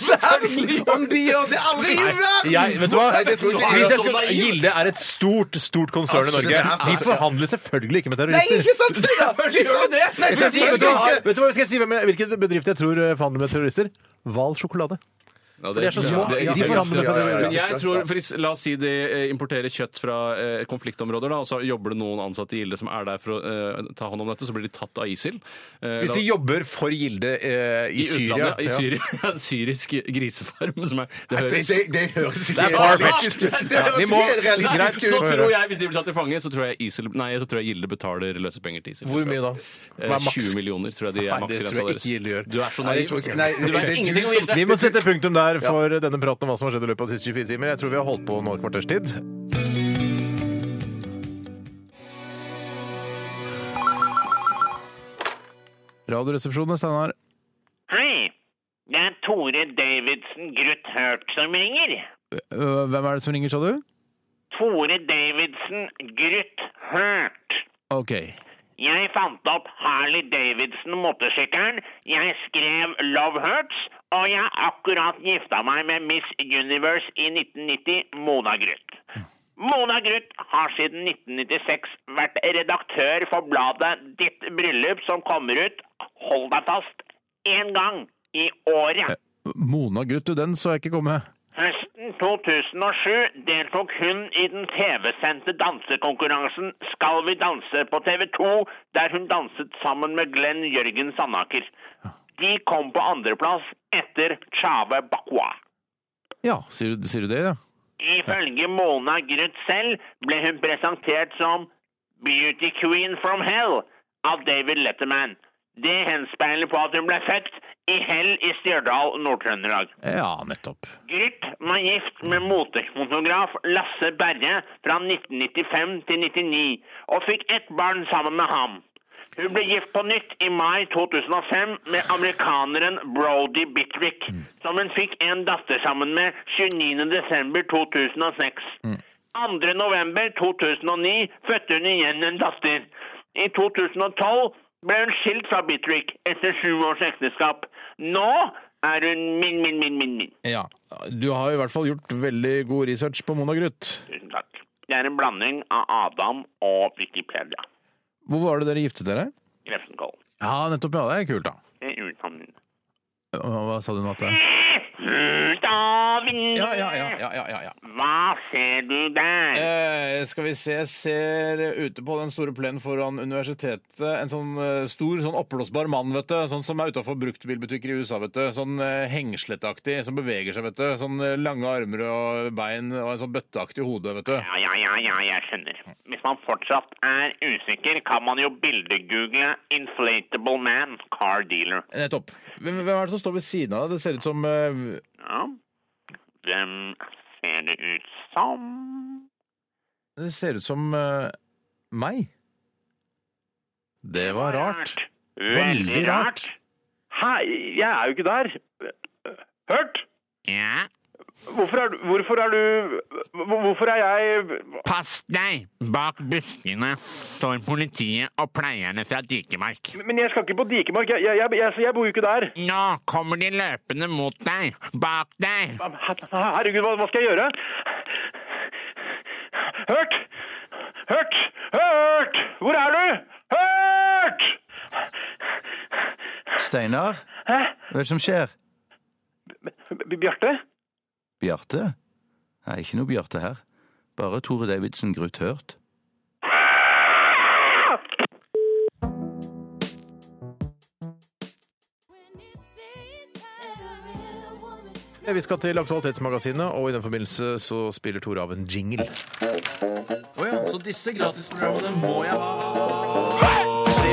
Speaker 9: verden! Om de gjør det, aldri i verden!
Speaker 7: Jeg, vet du hva?
Speaker 9: Nei, det tror jeg ikke.
Speaker 7: Hvis jeg
Speaker 9: Så
Speaker 7: skulle, Gilde er et stort stort konsern i
Speaker 9: Altså,
Speaker 7: Norge.
Speaker 9: ja.
Speaker 7: De forhandler selvfølgelig ikke med
Speaker 9: Nei,
Speaker 7: terrorister.
Speaker 9: ikke sant, Steinar! Gjør du det? Nei,
Speaker 7: Skal jeg si- Vet du hva,
Speaker 9: selvfølgelig ikke.
Speaker 7: vet du hva skal jeg si hvem jeg, hvilken bedrift jeg tror eh, forhandler med terrorister? Hval sjokolade.
Speaker 8: Ja,
Speaker 7: De er så små.
Speaker 8: det er-
Speaker 9: ja,
Speaker 7: De
Speaker 9: ja,
Speaker 7: forhandler med
Speaker 9: ja, ja, ja.
Speaker 7: terrorister.
Speaker 8: Men jeg tror, for is- La oss si de eh, importerer kjøtt fra eh, konfliktområder, da, og så jobber det noen ansatte i Gilde som er der for å eh, ta hånd om dette, så blir de tatt av ISIL. Eh,
Speaker 7: Hvis
Speaker 8: da-
Speaker 7: de jobber for Gilde eh, i,
Speaker 8: i
Speaker 7: Syria
Speaker 8: utlandet, I Syria. *laughs* En syrisk grisefarm som er Det
Speaker 9: Det,
Speaker 8: høres
Speaker 9: det, det høres
Speaker 7: Det
Speaker 9: ikke
Speaker 7: er far-fetched.
Speaker 9: realistisk ut. Det
Speaker 7: Ja, vi
Speaker 9: høres
Speaker 7: må-
Speaker 9: ikke helt
Speaker 7: greit,
Speaker 9: realistisk
Speaker 8: Så
Speaker 9: ut.
Speaker 7: Få
Speaker 8: tror
Speaker 7: høre.
Speaker 8: jeg, Hvis de blir tatt til fange, så tror jeg ISIL Nei, så tror jeg Gilde betaler løsepenger til ISIL.
Speaker 7: Hvor mye da? Hva
Speaker 8: Eh,
Speaker 7: er maks?
Speaker 8: 20 millioner tror jeg de
Speaker 7: Nei, det
Speaker 8: er
Speaker 7: tror
Speaker 8: maksgrensa
Speaker 7: jeg
Speaker 8: deres.
Speaker 7: ikke Gilde gjør.
Speaker 8: Du er så
Speaker 9: Nei, det
Speaker 8: naiv.
Speaker 9: tror jeg ikke. Nei,
Speaker 8: Du vet
Speaker 9: det-
Speaker 8: ingenting om Gilde.
Speaker 7: Vi må sette punktum der for denne praten om hva som har skjedd i løpet av de siste 24 timer. Jeg tror vi har holdt på nå et kvarters tid. Radioresepsjonen, Steinar.
Speaker 12: Hei, det er Tore Davidsen Grutt Hurt som ringer.
Speaker 7: Øh, Hvem er det som ringer, sa du?
Speaker 12: Tore Davidsen Grutt Hurt.
Speaker 7: OK.
Speaker 12: Jeg fant opp Harley Davidson motorsykkelen, jeg skrev Love Hurts, og jeg har akkurat gifta meg med Miss Universe i 1990, Mona Gruth. Mona Gruth har siden 1996 vært redaktør for bladet Ditt bryllup, som kommer ut, hold deg fast, én gang i året.
Speaker 7: Mona Gruth, du, den så jeg ikke komme.
Speaker 12: Høsten 2007 deltok hun i den TV-sendte dansekonkurransen Skal vi danse på TV 2, der hun danset sammen med Glenn Jørgen Sandaker. De kom på andreplass etter Chave Bakwa.
Speaker 7: Ja, sier du, sier du det, ja?
Speaker 12: Ifølge Mona Gruth selv ble hun presentert som Beauty Queen from Hell av David Letterman. Det henspeiler på at hun ble født i Hell i Stjørdal, Nord-Trøndelag.
Speaker 7: Ja, nettopp.
Speaker 12: Grytt var gift med motefonograf Lasse Berre fra 1995 til 99, og fikk ett barn sammen med ham. Hun ble gift på nytt i mai 2005 med amerikaneren Brody Bitwick, som hun fikk en datter sammen med 29. desember 2006. 2. november 2009 fødte hun igjen en datter. I 2012 ble hun skilt fra Bitwick etter sju års ekteskap. Nå er hun min, min, min, min, min.
Speaker 7: Ja. Du har i hvert fall gjort veldig god research på Mona Gruth.
Speaker 12: Tusen takk. Det er en blanding av Adam og Wikipedia.
Speaker 7: Hvor var det dere giftet dere?
Speaker 12: Grefsenkollen.
Speaker 7: Ja, nettopp. Ja, det er kult, da.
Speaker 12: Det er Ut av vinduet.
Speaker 7: Hva sa du nå at det
Speaker 12: Ut av vinduet!
Speaker 7: Ja, ja, ja, ja, ja, ja, ja.
Speaker 12: Hva ser du der?
Speaker 7: Eh, skal vi se, jeg ser ute på den store plenen foran universitetet en sånn eh, stor, sånn oppblåsbar mann, vet du. Sånn som er utafor bruktbilbutikker i USA, vet du. Sånn eh, hengsletaktig, som beveger seg, vet du. Sånn eh, lange armer og bein og en sånn bøtteaktig hode, vet du.
Speaker 12: Ja, ja, ja, ja, jeg skjønner. Hvis man fortsatt er usikker, kan man jo bildegoogle 'Inflatable Man Car Dealer'.
Speaker 7: Nettopp. Hvem, hvem er det som står ved siden av deg? Det ser ut som eh,
Speaker 12: Ja. Hvem ser det ut som?
Speaker 7: Det ser ut som eh, meg. Det var rart. Veldig
Speaker 12: Veldig
Speaker 7: rart.
Speaker 12: rart.
Speaker 11: Hei, jeg er jo ikke der. Hørt?
Speaker 12: Ja. Hvorfor er, du- hvorfor er du Hvorfor er jeg
Speaker 13: Pass deg! Bak buskene står politiet og pleierne fra Dikemark.
Speaker 12: Men jeg skal ikke på Dikemark. Jeg, jeg, jeg, jeg, jeg bor jo ikke der.
Speaker 13: Nå kommer de løpende mot deg. Bak deg!
Speaker 12: Herregud, hva, hva skal jeg gjøre? Hørt! Hørt! Hørt! Hvor er du? Hørt!
Speaker 9: Steinar? Hva er det som skjer?
Speaker 12: B- Bjarte?
Speaker 9: Bjarte? Nei, ikke noe Bjarte her. Bare Tore Davidsen Gruth Hørt.
Speaker 7: Vi skal til Aktualitetsmagasinet, og i den forbindelse så spiller Tore av en jingle.
Speaker 8: Så disse gratisprogrammene må jeg ha.
Speaker 11: Se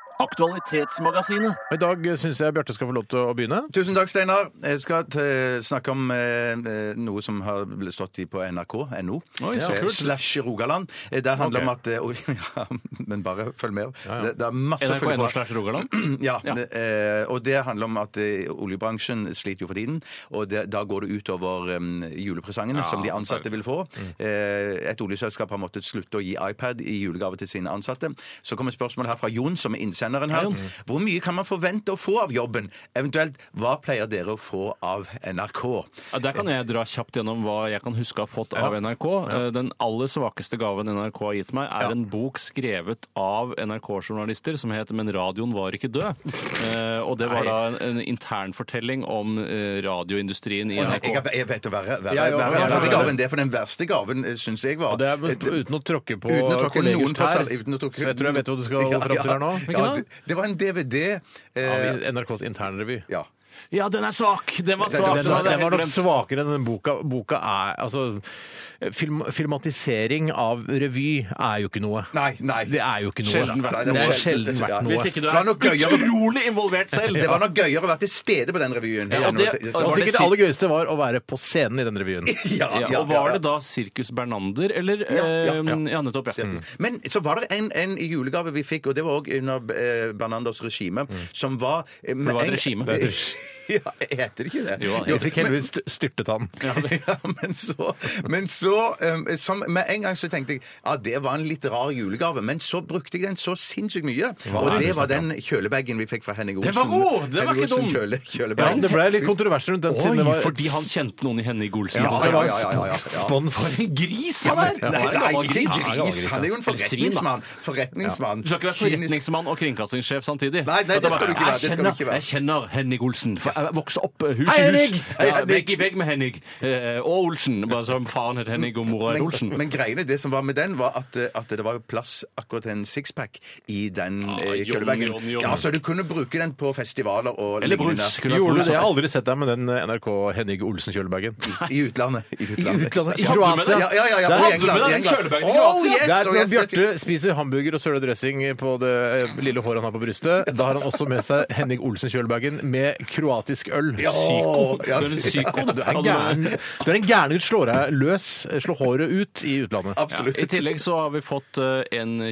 Speaker 8: Aktualitetsmagasinet.
Speaker 7: I dag syns jeg Bjarte skal få lov til å begynne.
Speaker 9: Tusen takk, Steinar. Jeg skal til, snakke om eh, eh, noe som har blitt stått i på nrk.no.
Speaker 7: Oi, så
Speaker 9: Eh,
Speaker 7: kult.
Speaker 9: Slash Rogaland. Eh, Det handler om at eh, *laughs* oi, ja, Men bare følg med. Det, det er masse å følge
Speaker 8: NRK.no
Speaker 9: med.
Speaker 8: slash Rogaland?
Speaker 9: *clears throat* Ja. det, eh, og det handler om at eh, oljebransjen sliter jo for tiden. Og det, da går det utover um, julepresangene
Speaker 8: Ja, Mm.
Speaker 9: som de ansatte vil få. Eh, et oljeselskap har måttet slutte å gi iPad i julegave til sine ansatte. Så kommer spørsmålet her fra Jon, som er innsenderen her. Hvor mye kan man forvente å få av jobben? Eventuelt, hva pleier dere å få av NRK?
Speaker 8: Ja, Der kan jeg dra kjapt gjennom hva jeg kan huske å ha fått av NRK. Eh, Den aller svakeste gaven NRK har gitt meg, er en bok skrevet av NRK-journalister som het 'Men radioen var ikke død'. Eh, Og det var da en, en internfortelling om eh, radioindustrien i
Speaker 9: Å, nei,
Speaker 8: NRK.
Speaker 9: jeg, har- jeg vet å være verre
Speaker 8: Ja, ja,
Speaker 9: verre-
Speaker 8: ja, ja,
Speaker 9: verre
Speaker 8: ja.
Speaker 9: gaven. Det er for den verste gaven, syns jeg var.
Speaker 7: Og det er uten å tråkke på
Speaker 9: Uten å tråkke
Speaker 7: kollegers
Speaker 9: noen på
Speaker 7: tær.
Speaker 9: sal- uten å tråkke-
Speaker 7: Så jeg tror jeg vet hva du skal fram til her nå.
Speaker 9: Ja, det, det var en DVD. eh,
Speaker 7: Av NRKs internrevy.
Speaker 9: ja.
Speaker 8: Ja, den er svak! Den var
Speaker 7: Den,
Speaker 8: svak!
Speaker 7: den, var- den var nok svakere enn den boka. Boka er Altså, film, filmatisering av revy er jo ikke noe.
Speaker 9: Nei, nei.
Speaker 7: Det er jo ikke noe.
Speaker 8: Sjelden
Speaker 9: Nei,
Speaker 8: verdt
Speaker 9: det
Speaker 7: Det
Speaker 9: er
Speaker 7: er sjelden verdt
Speaker 9: Ja.
Speaker 7: noe.
Speaker 8: Hvis ikke du
Speaker 9: Det var
Speaker 8: er
Speaker 9: nok gøyere-
Speaker 8: utrolig involvert selv.
Speaker 9: Det var nok gøyere å være til stede på den revyen.
Speaker 8: Ja, og det-
Speaker 9: enn å-
Speaker 8: og
Speaker 7: Og
Speaker 8: var det
Speaker 7: sikkert det
Speaker 8: si-
Speaker 7: aller gøyeste var å være på scenen i den revyen.
Speaker 9: ja,
Speaker 8: Ja,
Speaker 9: ja,
Speaker 8: og var
Speaker 9: ja,
Speaker 8: det da Sirkus Bernander, eller?
Speaker 9: Ja, ja,
Speaker 8: eh,
Speaker 9: ja.
Speaker 8: ja nettopp. Ja.
Speaker 9: ja. Mm. Men så var det en, en julegave vi fikk, og det var òg under eh, Bernanders regime,
Speaker 7: Mm.
Speaker 9: som var eh, med
Speaker 8: det var et regime.
Speaker 9: en- *laughs* ja, heter det ikke det?
Speaker 8: Jo,
Speaker 7: Vi fikk heldigvis st- styrtet han.
Speaker 9: *laughs* Ja, men så, men så eh, som, Med en gang så tenkte jeg ja, det var en litt rar julegave, men så brukte jeg den så sinnssykt mye.
Speaker 7: er
Speaker 9: og
Speaker 7: det
Speaker 9: det
Speaker 7: du
Speaker 9: var den kjølebagen vi fikk fra Henning Olsen.
Speaker 8: Den var god! Den var
Speaker 9: Henning
Speaker 8: ikke dum!
Speaker 9: Olsen Kjøle,
Speaker 7: Ja,
Speaker 9: kjølebag.
Speaker 7: det ble litt kontrovers rundt den
Speaker 8: Oi,
Speaker 7: siden det var
Speaker 8: fordi han kjente noen i Henny Golsen.
Speaker 9: Ja,
Speaker 7: det var
Speaker 9: ja, ja, ja, ja.
Speaker 7: spons.
Speaker 8: For en gris han er!
Speaker 9: Nei,
Speaker 8: Han er en
Speaker 9: nei,
Speaker 8: gammel
Speaker 9: ikke
Speaker 8: gris.
Speaker 7: Ja,
Speaker 9: gris. Han er jo en
Speaker 8: Eller svin, da.
Speaker 9: forretningsmann. Forretningsmann.
Speaker 8: Du skal ikke være
Speaker 9: Kynisk.
Speaker 8: forretningsmann og kringkastingssjef samtidig.
Speaker 9: Nei, nei, det skal du ikke være, det
Speaker 8: Jeg
Speaker 9: skal du ikke
Speaker 8: kjenner,
Speaker 9: være.
Speaker 8: jeg kjenner Henning Olsen. for Jeg vokste opp eh, hus
Speaker 7: Hei,
Speaker 8: i hus.
Speaker 7: Henning!
Speaker 9: Hei,
Speaker 8: Ja,
Speaker 9: Henning!
Speaker 8: vegg i vegg med Henning. Eh, Og Olsen, bare som faren het Henning og mora het Olsen.
Speaker 9: Men, men greiene, det som var med den, var at, eh, at det var jo plass akkurat til en sixpack i den ah,
Speaker 8: Jon,
Speaker 9: kjølebagen.
Speaker 8: Jon, Jon.
Speaker 9: Ja, så du kunne bruke den på festivaler og
Speaker 8: Eller
Speaker 9: lignende.
Speaker 8: brus. Kunne vært
Speaker 7: Gjorde du
Speaker 8: brus,
Speaker 7: det? Jeg har
Speaker 8: da.
Speaker 7: aldri sett deg med den NRK Henning Olsen-kjølebagen.
Speaker 9: I utlandet. I
Speaker 7: I
Speaker 9: utlandet.
Speaker 7: utlandet? I
Speaker 8: Hadde du
Speaker 7: Kroatia?
Speaker 8: med deg-
Speaker 9: Ja, ja, ja, ja,
Speaker 7: Der-
Speaker 9: på
Speaker 8: Hadde du
Speaker 9: England,
Speaker 8: med
Speaker 9: i
Speaker 8: deg den
Speaker 9: England.
Speaker 8: kjølebøken i
Speaker 9: Oh,
Speaker 8: Kroatia?
Speaker 9: yes,
Speaker 7: Det er
Speaker 9: oh,
Speaker 7: når
Speaker 9: yes,
Speaker 7: Bjarte spiser hamburger og søle dressing på det eh, lille håret han har på brystet. Da har han også med seg Henning Olsen-kjølbagen med kroatisk øl.
Speaker 9: Ja,
Speaker 7: Psyko.
Speaker 9: ja,
Speaker 8: Du er en psyko,
Speaker 7: Du er en gæren. Du er en gæren gutt. Slår deg løs. Slår håret ut i utlandet.
Speaker 9: Absolutt.
Speaker 8: I tillegg så har vi fått eh, en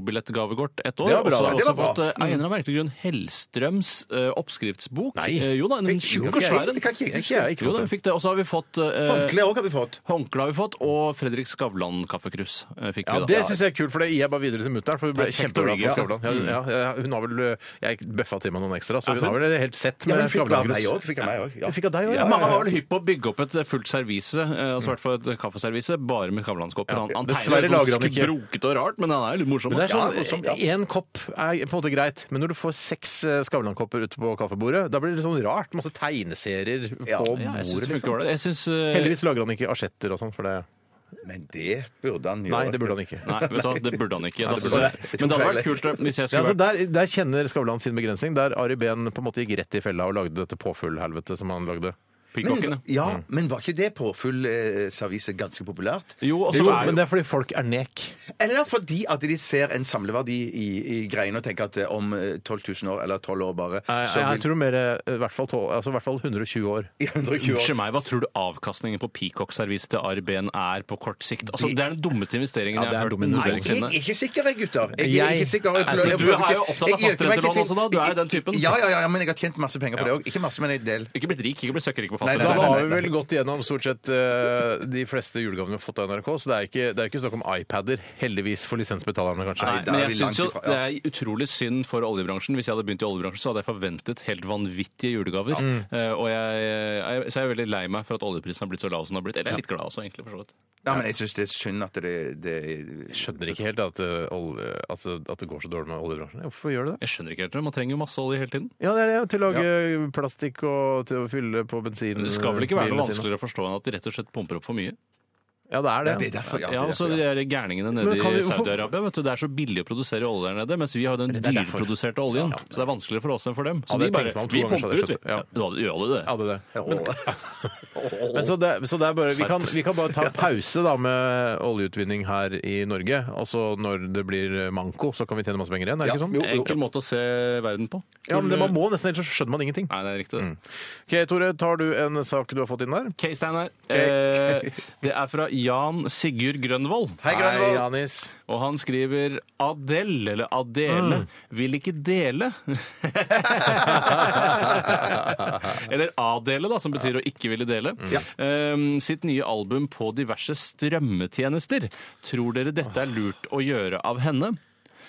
Speaker 8: kinobillettgavekort ett år.
Speaker 7: Det var
Speaker 8: Og
Speaker 7: bra.
Speaker 8: så har vi
Speaker 9: Det var
Speaker 8: også
Speaker 9: bra.
Speaker 8: fått eh, av en eller annen merkelig grunn Hellstrøms eh, oppskriftsbok.
Speaker 7: Nei.
Speaker 8: Eh, jo da, en tjukk og svær en.
Speaker 9: Det kan ikke jeg
Speaker 7: Ikke
Speaker 9: huske.
Speaker 7: jeg. Ikke
Speaker 8: Jo da,
Speaker 7: fått
Speaker 8: vi
Speaker 7: det.
Speaker 8: fikk det. Og så har vi fått eh,
Speaker 9: Håndkle òg har vi fått.
Speaker 8: Håndkle har vi fått, og Fredrik Skavlan-kaffekrus eh, fikk
Speaker 7: Ja,
Speaker 8: vi da.
Speaker 7: det syns jeg er kult, for det gir jeg bare videre til mutter'n. For hun ble
Speaker 8: Det er kjekt å
Speaker 7: kjempeglad
Speaker 8: ligge,
Speaker 7: for
Speaker 8: ja.
Speaker 7: Skavlan. Ja,
Speaker 9: Mm.
Speaker 7: ja, ja, hun har vel eh, Jeg bøffa til meg noen ekstra, så hun
Speaker 8: hun?
Speaker 7: har vel helt sett
Speaker 9: Ja,
Speaker 7: med
Speaker 9: men fikk av meg
Speaker 7: Skavlan-grus.
Speaker 9: òg. Fikk av meg òg. Ja.
Speaker 7: Hun fikk av deg òg,
Speaker 8: Ja, Mange var vel hypp på å bygge opp et fullt servise, eh, altså i hvert fall et kaffeservise, bare med Skavlan-kopper. Han, han
Speaker 7: Dessverre
Speaker 8: tegner
Speaker 7: lager
Speaker 8: sånn
Speaker 7: han ikke.
Speaker 8: skrukket og rart, men han er jo litt morsom.
Speaker 7: Men det er
Speaker 8: da.
Speaker 9: Ja,
Speaker 7: sånn,
Speaker 9: morsomt, ja.
Speaker 7: Én kopp er på en måte greit, men når du får seks eh, Skavlan-kopper ute på kaffebordet, da blir det litt sånn rart. Masse tegneserier på
Speaker 9: Ja.
Speaker 7: bordet.
Speaker 8: Ja, jeg syns det
Speaker 7: liksom.
Speaker 8: funker ålreit. Jeg syns eh,
Speaker 7: Heldigvis lager han ikke asjetter og sånn, for det
Speaker 9: Men det burde han gjøre.
Speaker 7: Nei, det burde han ikke.
Speaker 8: Nei, vet du hva, det burde han ikke. Da
Speaker 9: det burde
Speaker 8: synes jeg-
Speaker 9: han ikke.
Speaker 8: Men det hadde vært kult eh, hvis jeg
Speaker 7: Ja,
Speaker 8: skulle
Speaker 7: altså
Speaker 8: vært
Speaker 7: der, der kjenner Skavlan sin begrensning, der Ari Behn på en måte gikk rett i fella og lagde dette påfuglhelvetet som han lagde.
Speaker 8: Peacockene.
Speaker 9: Men, ja, men var ikke det påfyllserviset ganske populært?
Speaker 8: Jo, og så
Speaker 7: Jo,
Speaker 8: er jo-
Speaker 7: men det er fordi folk er nek.
Speaker 9: Eller fordi at de ser en samleverdi i, i greiene og tenker at eh, om eh, 12 000 år, eller 12 år bare,
Speaker 7: Jeg,
Speaker 9: så
Speaker 7: jeg
Speaker 9: vil
Speaker 7: tror mer eh, i hvert fall, tolv- altså, i hvert fall 120 år.
Speaker 9: *laughs* i
Speaker 8: Unnskyld
Speaker 9: 120 år
Speaker 8: meg, hva tror du avkastningen på Peacock-serviset til ARB-en er på kort sikt? Altså, det er den dummeste
Speaker 7: Ja,
Speaker 8: investeringen jeg
Speaker 7: det er
Speaker 8: har hørt
Speaker 7: dum
Speaker 9: Nei,
Speaker 7: investering.
Speaker 8: noensinne.
Speaker 9: jeg er ikke sikker, jeg, gutter. Jeg, er
Speaker 7: Jeg-
Speaker 9: ikke sikker. Jeg
Speaker 8: Altså,
Speaker 9: jeg
Speaker 8: du er
Speaker 9: prøver
Speaker 8: jo
Speaker 9: ikke-
Speaker 8: opptatt av
Speaker 9: jeg øker meg ikke
Speaker 8: fastrentelån
Speaker 9: til-
Speaker 8: også da, du er jo den typen.
Speaker 9: Ja, ja, ja, ja, men jeg har tjent masse penger på det òg. Ikke masse, men en del.
Speaker 8: Ikke blitt rik, ikke blitt søkkrik på
Speaker 9: Nei,
Speaker 7: Da
Speaker 9: nei, nei,
Speaker 8: fastlandet.
Speaker 7: har vi vel gått gjennom stort sett eh, de fleste julegavene vi har fått av NRK, så det er ikke, det er ikke snakk om iPader, heldigvis for lisensbetalerne, kanskje.
Speaker 9: Nei, da
Speaker 8: Men
Speaker 9: er
Speaker 8: jeg
Speaker 9: vi langt
Speaker 8: synes jo
Speaker 9: ifra,
Speaker 8: det er utrolig synd for oljebransjen. Hvis jeg hadde begynt i oljebransjen, så hadde jeg forventet helt vanvittige julegaver. Eh, og jeg, jeg, så jeg er veldig lei meg for at oljeprisen har blitt så lav som den har blitt. Eller jeg er litt glad også, egentlig. for så vidt.
Speaker 9: Ja, men jeg syns det er synd at det, det
Speaker 7: Jeg skjønner ikke helt at, eh, olje- altså, at det går så dårlig med oljebransjen. Ja, Hvorfor gjør det det?
Speaker 8: Jeg skjønner ikke helt det. Man trenger jo masse olje hele tiden.
Speaker 7: Ja, det er det. Til å lage plastikk og til å fylle på bensin.
Speaker 8: Det skal vel ikke være noe
Speaker 7: bilene sine.
Speaker 8: vanskeligere å forstå enn at de rett og slett pumper opp for mye.
Speaker 7: Ja, det er det.
Speaker 9: Ja, det er derfor, ja.
Speaker 8: Ja, altså,
Speaker 9: det
Speaker 8: og så
Speaker 9: er derfor,
Speaker 8: de
Speaker 9: ja.
Speaker 8: der gærningene
Speaker 7: Men
Speaker 8: nede
Speaker 7: kan vi-
Speaker 8: i
Speaker 7: hvorfor-
Speaker 8: Saudi-Arabia. vet du, Det er så billig å produsere olje der nede, mens vi har jo den
Speaker 7: det er derfor.
Speaker 8: dyrproduserte oljen. Så det er vanskeligere for oss enn for dem. Så
Speaker 7: Hadde
Speaker 8: de
Speaker 7: jeg tenkt meg
Speaker 8: bare
Speaker 7: om to
Speaker 8: Vi
Speaker 7: ganger, så hadde
Speaker 8: pumper
Speaker 7: jeg
Speaker 8: ut, vi.
Speaker 7: skjønt det. Ja.
Speaker 8: Ja, da gjør du det?
Speaker 7: Ja, det er det.
Speaker 9: Åh.
Speaker 7: Men så det, så det er bare, vi, kan, vi kan bare ta en pause da med oljeutvinning her i Norge. Og så når det blir manko, så kan vi tjene masse penger igjen. Er det
Speaker 9: Ja,
Speaker 7: ikke sånn?
Speaker 9: jo, jo.
Speaker 8: Enkel måte å se verden på.
Speaker 7: Ja, men det, Man må Mm. nesten, ellers så skjønner man ingenting.
Speaker 8: Nei, det er riktig. det.
Speaker 7: Ok, Tore, tar du en sak du har fått inn der?
Speaker 8: Ok, Steinar. Eh, det er fra Jan Sigurd Grønvold.
Speaker 9: Hei, Grønvold.
Speaker 7: Janis.
Speaker 8: Og han skriver Adele, eller Adele, vil ikke dele. eller Adele, da, som betyr å ikke ville dele. Eh, sitt nye album på diverse strømmetjenester. Tror dere dette er lurt å gjøre av henne?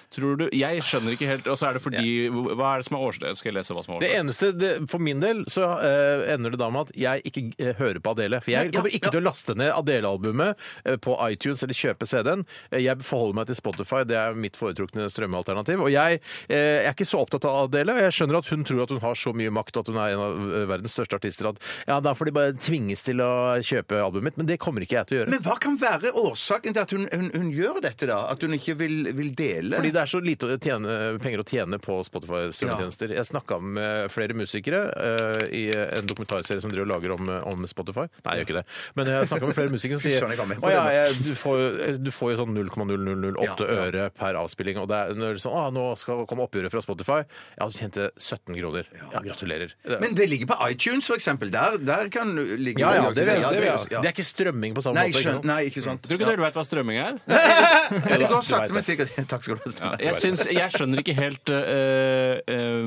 Speaker 8: Tror du, jeg skjønner ikke helt, og så er det fordi Hva er det som er årsaken? Skal jeg lese hva som er
Speaker 7: Det
Speaker 8: årsaken?
Speaker 7: eneste, det, For min del så eh, ender det da med at jeg ikke eh, hører på Adele. For jeg kommer ikke til å laste ned Adele-albumet eh, på iTunes eller kjøpe CD-en. Eh, Jeg forholder meg til Spotify, det er mitt foretrukne strømmealternativ. Og jeg, eh, er ikke så opptatt av Adele. og Jeg skjønner at hun tror at hun har så mye makt at hun er en av eh, verdens største artister at ja, da får de bare tvinges til å kjøpe albumet mitt. Men det kommer ikke jeg til å gjøre.
Speaker 9: Men hva kan være årsaken til at hun, hun, hun gjør dette, da? At hun ikke vil, vil dele?
Speaker 7: Fordi det er så lite å tjene, penger å tjene på Spotify-strømmetjenester. Jeg snakka med flere musikere eh, i en dokumentarserie som driver og lager om, eh, om Spotify. Nei, jeg gjør ikke det. Men jeg snakka med flere musikere som
Speaker 9: Fy *laughs* søren, jeg kan
Speaker 7: sier
Speaker 9: med på
Speaker 7: å ja,
Speaker 9: det
Speaker 7: jeg, du, får, jo- du får jo sånn 0,0008
Speaker 9: Ja, ja.
Speaker 7: øre per avspilling. Og det er, når det er sånn, å, nå skal komme oppgjøret fra Spotify. Ja, du tjente 17 kroner. Ja, gratulerer.
Speaker 9: Men det ligger på iTunes, for eksempel. Der, der kan ligge
Speaker 7: ja, ja, det, vet- det, vet-
Speaker 9: ja.
Speaker 7: det er ikke strømming på samme
Speaker 9: Nei,
Speaker 7: måte. ikke sant?
Speaker 9: skjønn, nei, ikke sant.
Speaker 8: Tror ikke dere vet hva strømming er?
Speaker 9: Ja, det
Speaker 7: Du
Speaker 9: går
Speaker 7: vet
Speaker 9: sakte, men
Speaker 7: det.
Speaker 9: sikkert. *laughs* Takk skal du ha. Steinar.
Speaker 8: Jeg, syns, jeg skjønner ikke helt eh, eh,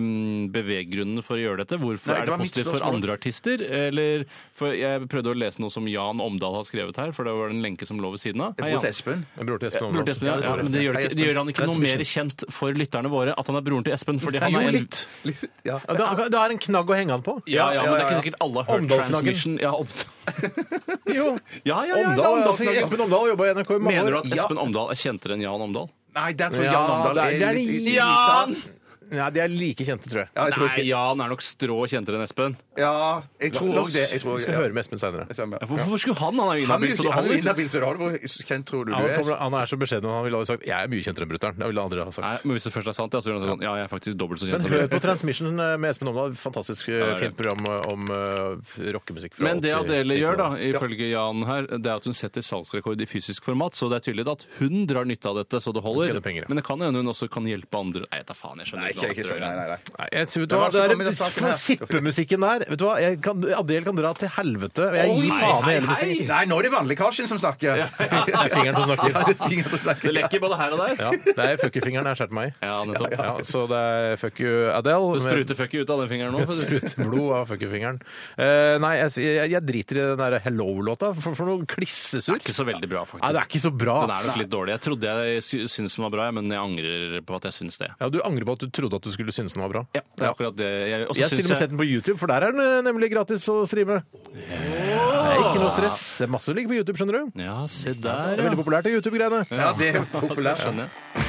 Speaker 8: beveggrunnen for å gjøre dette. Hvorfor
Speaker 9: Nei, det
Speaker 8: er det
Speaker 9: var mitt
Speaker 8: positivt for
Speaker 9: spørsmål.
Speaker 8: andre artister? Eller, for jeg prøvde å lese noe som Jan Omdal har skrevet her, for det var en lenke som lå ved siden av. Hei,
Speaker 9: Bror
Speaker 8: Jan.
Speaker 9: til Espen.
Speaker 7: Men Bror til Espen
Speaker 8: Bror til
Speaker 7: Omdal.
Speaker 8: Espen, ja, ja, men det gjør, det ikke, det gjør han ikke noe mer kjent for lytterne våre at han er broren til Espen. Fordi han
Speaker 7: Jo,
Speaker 8: er en,
Speaker 7: litt. Ja,
Speaker 9: Ja.
Speaker 7: Det er- det er en knagg å henge han på.
Speaker 8: ja, ja, men det er
Speaker 9: Ja, ja, ja.
Speaker 8: ikke sikkert alle har hørt
Speaker 7: Omdal-knaggen.
Speaker 8: Transmission. Ja, Omdal.
Speaker 7: Jo.
Speaker 8: Ja, ja, ja,
Speaker 7: Omdal,
Speaker 8: Omdal-knaggen.
Speaker 7: altså, Espen Omdal jobba i NRK i mange år.
Speaker 8: Mener du at
Speaker 9: Ja.
Speaker 8: Espen Omdal er kjentere enn Jan Omdal?
Speaker 9: Nei, der tror jeg
Speaker 7: Ja,
Speaker 9: Jan Omdal
Speaker 7: det er- det er
Speaker 9: er litt
Speaker 7: Jan!
Speaker 9: Ja,
Speaker 7: Nei, de er like kjente, tror jeg.
Speaker 9: jeg tror
Speaker 8: Nei,
Speaker 9: ikke
Speaker 8: Jan er nok strå kjentere enn Espen.
Speaker 9: Ja, jeg tror også det. Jeg tror,
Speaker 7: Vi
Speaker 9: også-
Speaker 7: skal
Speaker 9: ja.
Speaker 7: høre med Espen seinere.
Speaker 9: Samme.
Speaker 8: Ja, Hvorfor skulle han? Han er jo
Speaker 9: Han er jo
Speaker 8: inhabil, så
Speaker 9: ikke-
Speaker 8: det
Speaker 9: han er
Speaker 8: holder.
Speaker 9: inhabil, så det holder. Hvor kjent tror du du
Speaker 7: Han, kommer,
Speaker 9: er?
Speaker 7: han er så beskjeden, og han ville aldri sagt 'jeg er mye kjentere enn brutter'n'. Det ville han aldri ha
Speaker 8: Nei,
Speaker 7: sagt.
Speaker 8: men Hvis det først er sant, ja, så gjør han sånn. Ja, jeg er faktisk dobbelt så kjent.
Speaker 7: Men
Speaker 8: som
Speaker 7: hør
Speaker 8: dere.
Speaker 7: på Transmission eh, med Espen Omdal. Fantastisk
Speaker 8: det
Speaker 7: eh,
Speaker 8: er
Speaker 7: fint program om eh, rockemusikk. fra
Speaker 8: Men det
Speaker 7: 80-
Speaker 8: Adele gjør, da,
Speaker 7: 90-tallet.
Speaker 8: ifølge Jan her, det er at hun setter salgsrekord i fysisk format. Så det er tydelig at hun drar nytte av dette, så det
Speaker 7: Hun
Speaker 8: holder.
Speaker 7: tjener penger, ja.
Speaker 8: Men det kan hende hun også kan hjelpe andre. Nei, jeg tar faen, jeg
Speaker 9: Nei,
Speaker 8: skjønner
Speaker 9: ikke,
Speaker 8: ikke
Speaker 9: ikke,
Speaker 8: hva
Speaker 9: sånn. nei, nei, nei.
Speaker 7: Nei, jeg, vet du
Speaker 9: Det
Speaker 7: hva, det
Speaker 9: var som
Speaker 7: er
Speaker 9: kom i den saken her.
Speaker 7: sippemusikken der vet du hva, jeg kan, Adele kan dra til helvete. Jeg gir faen i hele musikken.
Speaker 9: Nei, nå er det vannlekkasjen som snakker.
Speaker 8: *laughs*
Speaker 7: Det er fingeren
Speaker 9: *laughs*
Speaker 7: som
Speaker 9: Ja,
Speaker 7: snakker.
Speaker 9: det er fingeren som snakker.
Speaker 8: Det lekker både her og der.
Speaker 7: Ja, det er fuckerfingeren jeg har skåret meg i.
Speaker 8: Ja, nettopp.
Speaker 7: Ja, så det er fuck you, Adele.
Speaker 8: Det
Speaker 7: med-
Speaker 8: spruter fucky ut av den fingeren nå. for å si det.
Speaker 7: Sprut blod av fuckerfingeren. Eh, nei, jeg, jeg, jeg driter i den der Hello-låta, for, for noe klissesur.
Speaker 8: Ikke så veldig bra, faktisk.
Speaker 7: Nei, det er ikke så bra.
Speaker 8: Den er
Speaker 7: ass.
Speaker 8: nok litt dårlig. Jeg trodde jeg sy- syntes den var bra, jeg, men jeg angrer på at jeg syns det.
Speaker 7: Ja, Du angrer på at du trodde at du skulle synes den var bra.
Speaker 8: Ja, det er akkurat det. Jeg, også
Speaker 7: Jeg har til og
Speaker 8: syns
Speaker 7: med
Speaker 8: jeg-
Speaker 7: sett den på YouTube, for der er den eh, nemlig gratis å streame. Det er ikke noe stress. Det er Masse som ligger på YouTube, skjønner du.
Speaker 8: Ja, se
Speaker 7: Det
Speaker 8: der,
Speaker 7: er veldig
Speaker 8: ja.
Speaker 7: populært, det YouTube-greiene.
Speaker 9: Ja, det er populært.
Speaker 8: Skjønner jeg.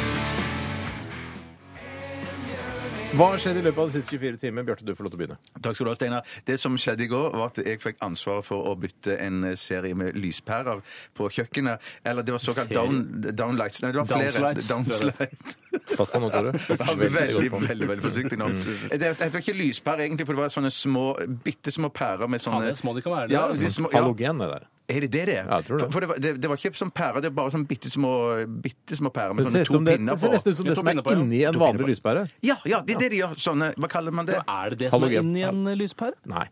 Speaker 7: Hva har skjedd i løpet av de siste 24 timene? Bjarte, du får lov til å begynne.
Speaker 9: Takk skal du ha, Steinar. Det som skjedde i går, var at jeg fikk ansvaret for å bytte en serie med lyspærer på kjøkkenet. Eller det var såkalt
Speaker 7: Serie?
Speaker 9: down, downlights. Nei, det var flere.
Speaker 7: Downslights.
Speaker 9: Downslights.
Speaker 7: Pass på nå, *laughs* Tore.
Speaker 9: *laughs* Ja, Veldig, veldig, veldig, forsiktig
Speaker 8: Mm.
Speaker 9: nå. Det, det var ikke lyspærer, egentlig, for det var sånne små, bitte små pærer med sånne
Speaker 8: det er små de kan være, det
Speaker 9: Ja,
Speaker 8: er. altså
Speaker 9: de små, ja.
Speaker 7: Halogen, det der.
Speaker 9: Er det det det er?
Speaker 7: Ja, jeg tror det.
Speaker 9: For, for det, var, det, det var ikke som pærer, det var bare sånn bitte små, bitte små pærer med
Speaker 7: Det ser,
Speaker 9: sånne
Speaker 7: ut
Speaker 9: to
Speaker 7: som det, det
Speaker 9: pinner
Speaker 7: ser
Speaker 9: på.
Speaker 7: nesten ut som
Speaker 9: Ja,
Speaker 7: det
Speaker 9: to
Speaker 7: som er
Speaker 9: pinner på, ja.
Speaker 7: inni en
Speaker 9: To pinner på.
Speaker 7: vanlig lyspære.
Speaker 9: Ja, ja, det er det de gjør. Sånne, hva kaller man det?
Speaker 8: Er det det som er
Speaker 7: Halogen.
Speaker 8: inni en lyspære?
Speaker 7: Nei.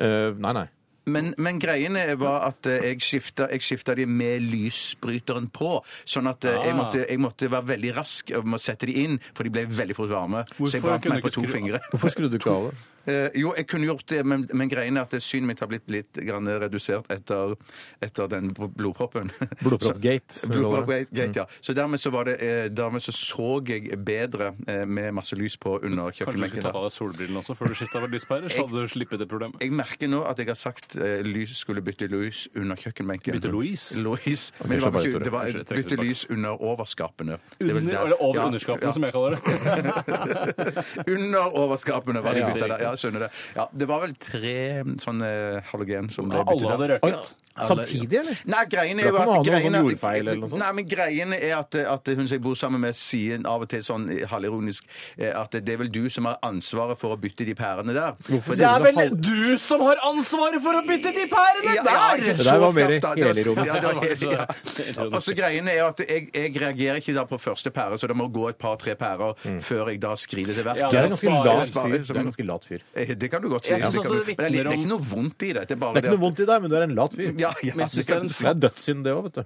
Speaker 7: Eh, nei, nei.
Speaker 9: Men, men greiene var at eh, jeg skifta, jeg skifta de med lysbryteren på. Sånn at eh, jeg,
Speaker 8: Ah.
Speaker 9: måtte, jeg måtte være veldig rask med å sette de inn, for de ble veldig fort varme. så
Speaker 8: Hvorfor
Speaker 9: jeg brant
Speaker 8: kunne
Speaker 9: meg
Speaker 8: du
Speaker 9: på
Speaker 8: ikke
Speaker 9: to
Speaker 8: skru-
Speaker 9: fingre.
Speaker 7: Hvorfor skrudde du ikke av det?
Speaker 9: Eh, jo, jeg kunne gjort det, men, men greiene er at synet mitt har blitt litt grann redusert etter, etter den bl-
Speaker 7: *laughs*
Speaker 9: blodproppen.
Speaker 7: Blodproppgate,
Speaker 9: Så-
Speaker 7: som vi kaller det. Mm.
Speaker 9: Blodproppgate, ja. Så dermed så, var det, eh, dermed så så jeg bedre eh, med masse lys på
Speaker 8: Kanskje
Speaker 9: under
Speaker 8: du skulle
Speaker 9: kjøkkenbenken.
Speaker 8: tatt av
Speaker 9: der.
Speaker 8: deg solbrillene også før du skifta over lyspærer? Så hadde du sluppet det problemet.
Speaker 9: Jeg merker nå at jeg har sagt eh, lys skulle bytte lys under kjøkkenbenken.
Speaker 8: Bytte Louise?
Speaker 9: Louise.
Speaker 7: Ok,
Speaker 9: Men det
Speaker 7: slapp av
Speaker 9: var,
Speaker 7: litt, Tore.
Speaker 9: ikke, det
Speaker 8: Unnskyld,
Speaker 9: var
Speaker 8: jeg trekker
Speaker 9: bytte
Speaker 8: tilbake.
Speaker 9: lys under overskapene. Det er
Speaker 8: Under,
Speaker 9: vel der-
Speaker 8: eller over
Speaker 9: Ja,
Speaker 8: underskapene,
Speaker 9: ja.
Speaker 8: som jeg
Speaker 9: *laughs*
Speaker 8: kaller det.
Speaker 9: Under overskapene var det
Speaker 8: Ja,
Speaker 9: bytta
Speaker 8: riktig.
Speaker 9: der. Ja, jeg skjønner det. Ja, det var vel tre mm, sånne eh, halogen som ble
Speaker 8: Alle
Speaker 9: byttet
Speaker 8: hadde
Speaker 9: der.
Speaker 7: Oi,
Speaker 8: røket.
Speaker 7: samtidig, eller?
Speaker 9: Nei, greiene
Speaker 7: Det
Speaker 9: er
Speaker 7: var
Speaker 9: jo
Speaker 7: ikke noe
Speaker 9: at,
Speaker 7: annet,
Speaker 9: greiene,
Speaker 8: sånn
Speaker 7: noen jordfeil eller noe sånt?
Speaker 9: nei, men greiene er at, eh, at hun som jeg bor sammen med, sier av og til sånn halvironisk eh, at det er vel du som har ansvaret for å bytte de pærene der. For
Speaker 7: sier du det halv-
Speaker 8: du som har ansvaret for å bytte de pærene
Speaker 9: Ja, ja, ikke
Speaker 7: Det
Speaker 9: så
Speaker 7: der var mer
Speaker 9: skarpt, da. Det var-
Speaker 7: helironisk.
Speaker 9: Ja, det var helt- ja. Og så greiene er at jeg, jeg reagerer ikke da på første pære, så det må gå et par-tre pærer før jeg da skrider til verk.
Speaker 8: Ja,
Speaker 7: Du Mm. er en ganske lat
Speaker 9: Sparer-
Speaker 7: fyr. Du er en ganske lat fyr.
Speaker 9: Eh, Det kan du godt si.
Speaker 8: Jeg synes
Speaker 9: Det kan
Speaker 8: også
Speaker 9: du-
Speaker 8: det
Speaker 9: Men det er litt-
Speaker 8: vitner
Speaker 9: det er ikke noe vondt i det. Det er bare
Speaker 7: Det er
Speaker 9: det
Speaker 7: ikke noe
Speaker 9: at-
Speaker 7: vondt i deg, men du er en lat fyr.
Speaker 9: Ja, ja,
Speaker 8: Men jeg synes
Speaker 9: det kan
Speaker 8: det er en
Speaker 9: du si.
Speaker 7: Det er dødssynd, det òg, vet du.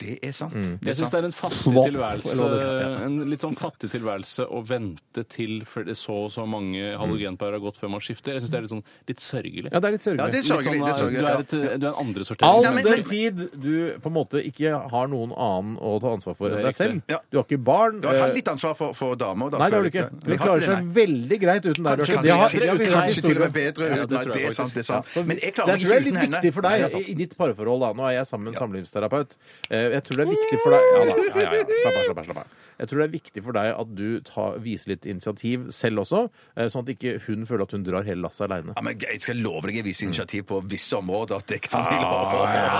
Speaker 9: Det er sant.
Speaker 7: Mm.
Speaker 9: Det er
Speaker 8: Jeg syns
Speaker 9: sant.
Speaker 8: det er en fattig
Speaker 7: Swap,
Speaker 8: tilværelse,
Speaker 7: eller hva det heter.
Speaker 8: en litt sånn fattig tilværelse å vente til før det så og så mange
Speaker 9: Mm.
Speaker 8: halogenpærer har gått før man skifter. Jeg syns det er litt sånn litt sørgelig.
Speaker 7: Ja, det er litt
Speaker 9: Ja,
Speaker 7: sørgelig.
Speaker 9: det er
Speaker 8: Litt
Speaker 9: sørgelig. det er
Speaker 8: sånn, du, er
Speaker 9: sørgelig ja.
Speaker 8: et, du er en andre
Speaker 7: All
Speaker 9: Ja, men-
Speaker 7: den tid du på en måte ikke har noen annen å ta ansvar for enn
Speaker 8: Det er
Speaker 7: deg selv.
Speaker 8: riktig.
Speaker 9: Ja.
Speaker 7: Du har ikke barn.
Speaker 9: Du har
Speaker 7: eh,
Speaker 9: litt ansvar for, for damer. Da,
Speaker 7: Nei, det har
Speaker 9: føler
Speaker 7: du ikke.
Speaker 9: jeg.
Speaker 7: Hun
Speaker 9: Jeg har
Speaker 7: klarer
Speaker 9: ikke det,
Speaker 7: seg
Speaker 9: nei.
Speaker 7: veldig greit uten deg, Bjarte.
Speaker 9: Kanskje,
Speaker 7: Det har-
Speaker 9: til-
Speaker 7: det har vi hørt
Speaker 9: kanskje til og
Speaker 7: historier
Speaker 9: med
Speaker 7: om.
Speaker 9: bedre
Speaker 8: Ja, det
Speaker 9: uten
Speaker 8: tror
Speaker 9: at
Speaker 8: jeg
Speaker 9: det er
Speaker 8: faktisk.
Speaker 9: sant. det er
Speaker 7: Ja,
Speaker 9: sant.
Speaker 7: så-
Speaker 9: Men jeg
Speaker 7: så jeg tror det
Speaker 9: klarer ikke
Speaker 7: er
Speaker 9: uten
Speaker 7: litt
Speaker 9: henne.
Speaker 7: viktig for
Speaker 9: Nei,
Speaker 7: deg
Speaker 9: det er sant.
Speaker 7: i- i ditt parforhold, da. Nå er jeg sammen med en samlivsterapeut. Eh, Jeg tror det er viktig for deg ja, da, ja, ja, ja. Slapp
Speaker 9: *laughs*
Speaker 7: av, slapp av, slapp av. Jeg tror det er viktig for deg at du tar, viser litt initiativ selv også, eh, sånn at ikke hun føler at hun drar hele lasset aleine.
Speaker 9: Ja, men jeg skal love deg jeg viser
Speaker 7: Mm.
Speaker 9: initiativ på visse områder. at Det kan
Speaker 7: Ah,
Speaker 9: jeg love.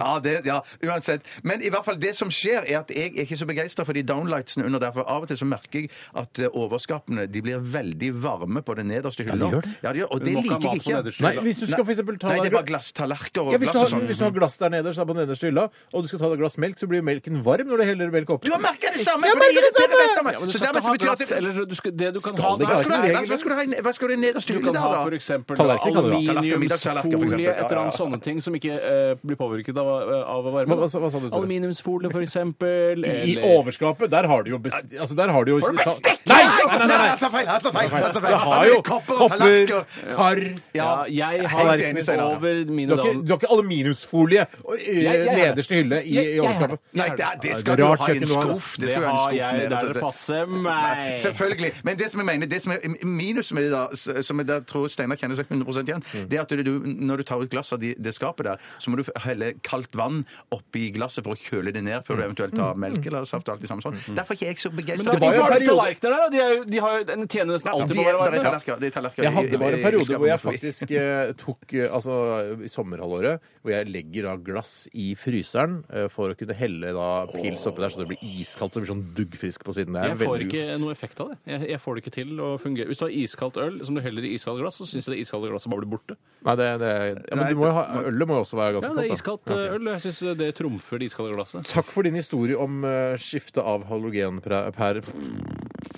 Speaker 9: Ja, det, ja, uansett. Men i hvert fall det som skjer, er at jeg er ikke så begeistra for de downlightsene under der. For av og til så merker jeg at eh, overskapene de blir veldig varme på den nederste hylla.
Speaker 7: gjør det.
Speaker 9: Ja, de gjør, og
Speaker 8: Du
Speaker 9: det
Speaker 8: må ikke ha
Speaker 9: liker
Speaker 8: mat
Speaker 9: jeg
Speaker 8: på
Speaker 9: ikke.
Speaker 8: nederste
Speaker 7: Nei,
Speaker 8: hylla.
Speaker 7: hvis du skal for eksempel ta
Speaker 9: Nei, det
Speaker 7: deg
Speaker 9: er bare glasstallerkener og
Speaker 7: ja, hvis, du
Speaker 9: glass og
Speaker 7: har,
Speaker 9: sånn.
Speaker 7: hvis du har glass der nederst, da på nederste hylla, og du skal ta deg et glass melk, så blir melken varm når du heller melk oppi.
Speaker 9: Du har merka det samme!
Speaker 7: Jeg
Speaker 9: for
Speaker 7: merker det
Speaker 9: det
Speaker 7: samme!
Speaker 9: irriterer vettet av meg.
Speaker 8: Ja, men du
Speaker 9: Så
Speaker 8: skal ikke ha glass, eller du skal, det
Speaker 9: dermed så betyr det at det-
Speaker 8: du kan
Speaker 7: Skal
Speaker 8: ha
Speaker 7: det
Speaker 8: da,
Speaker 7: ikke være
Speaker 9: Hva skal du ha i glass? Hva
Speaker 8: regel?
Speaker 9: skal du ha i- hva skal du ha i nederste
Speaker 8: Du
Speaker 9: hylle
Speaker 8: kan
Speaker 9: der,
Speaker 8: ha
Speaker 9: da?
Speaker 8: for eksempel da,
Speaker 7: Tallerken kan du ha.
Speaker 9: Tallerken, middagstallerken, for
Speaker 8: aluminiumsfolie,
Speaker 9: eksempel.
Speaker 8: et eller annet sånne ting som ikke eh, blir påvirket av, eh, av varme.
Speaker 7: Hva- hva sa- hva sa du, Tore?
Speaker 8: Aluminiumsfolie, for eksempel.
Speaker 7: I
Speaker 8: eller-
Speaker 7: overskapet, der har du jo best... Altså, der har du jo Nei! Nei, nei, nei!
Speaker 9: Han sa feil! Han sa feil! han sa feil.
Speaker 7: Du har jo kopper,
Speaker 9: tallerkener.
Speaker 7: kar
Speaker 8: Ja, jeg
Speaker 9: helt
Speaker 8: har
Speaker 9: enig, Steinar.
Speaker 8: over
Speaker 7: Du
Speaker 8: mine
Speaker 7: har, ikke,
Speaker 8: dager
Speaker 7: du har ikke aluminiumsfolie og, i
Speaker 8: Jeg- jeg har
Speaker 7: nederste hylle i,
Speaker 8: Jeg-
Speaker 7: i
Speaker 8: jeg har
Speaker 7: overskapet?
Speaker 9: Nei, det, er- det
Speaker 7: Det
Speaker 9: skal
Speaker 7: er
Speaker 9: du
Speaker 7: rart
Speaker 9: ha i en
Speaker 7: kjøkken du har, da.
Speaker 9: skuff.
Speaker 8: Det
Speaker 9: skal du ha i en
Speaker 8: har
Speaker 9: skuff
Speaker 8: jeg
Speaker 9: nederst.
Speaker 8: der det passer
Speaker 9: Nei,
Speaker 8: meg.
Speaker 9: Selvfølgelig. Men det som jeg mener, det som er minus med det, da, s- som jeg da tror Steinar kjenner seg 100 igjen, det er at du, når du tar ut glass av de, det skapet der, så må du helle kaldt vann oppi glasset for å kjøle det ned før du eventuelt tar melk eller saft og alt det samme sånn. Derfor er ikke jeg så begeistra.
Speaker 8: Det var jo
Speaker 7: en
Speaker 8: bare
Speaker 7: periode-
Speaker 8: tallerkener der, da. de, er jo- de har jo en tjener nesten
Speaker 9: Ja, de,
Speaker 8: alltid
Speaker 9: de
Speaker 8: på å være
Speaker 9: er
Speaker 8: varme.
Speaker 9: tallerkener- det er tallerkener
Speaker 7: Jeg
Speaker 9: i-
Speaker 7: hadde bare
Speaker 9: i-
Speaker 7: en
Speaker 9: i
Speaker 7: periode
Speaker 9: skapet
Speaker 7: hvor jeg
Speaker 9: forbi.
Speaker 7: faktisk eh, tok eh, Altså i sommerhalvåret, hvor jeg legger da glass i fryseren eh, for å kunne helle da pils oppi der så det blir iskaldt så det blir sånn duggfrisk på siden. Det er
Speaker 8: Jeg får
Speaker 7: veldig
Speaker 8: ikke
Speaker 7: godt.
Speaker 8: noe effekt av det. Jeg, jeg får det ikke til å fungere. Hvis du har iskaldt øl som du heller i iskaldt glass, så syns jeg det iskalde glasset bare blir borte.
Speaker 7: Nei, det, det, ja, men
Speaker 9: Nei,
Speaker 7: du må jo ha, ølet må jo også være
Speaker 8: Ja,
Speaker 7: ganske
Speaker 8: det er
Speaker 7: kaldt.
Speaker 8: iskaldt
Speaker 7: da.
Speaker 8: eh,
Speaker 7: Ok.
Speaker 8: øl. Jeg syns det trumfer det iskalde glasset.
Speaker 7: Takk for din historie om eh, skifte av halogenpærer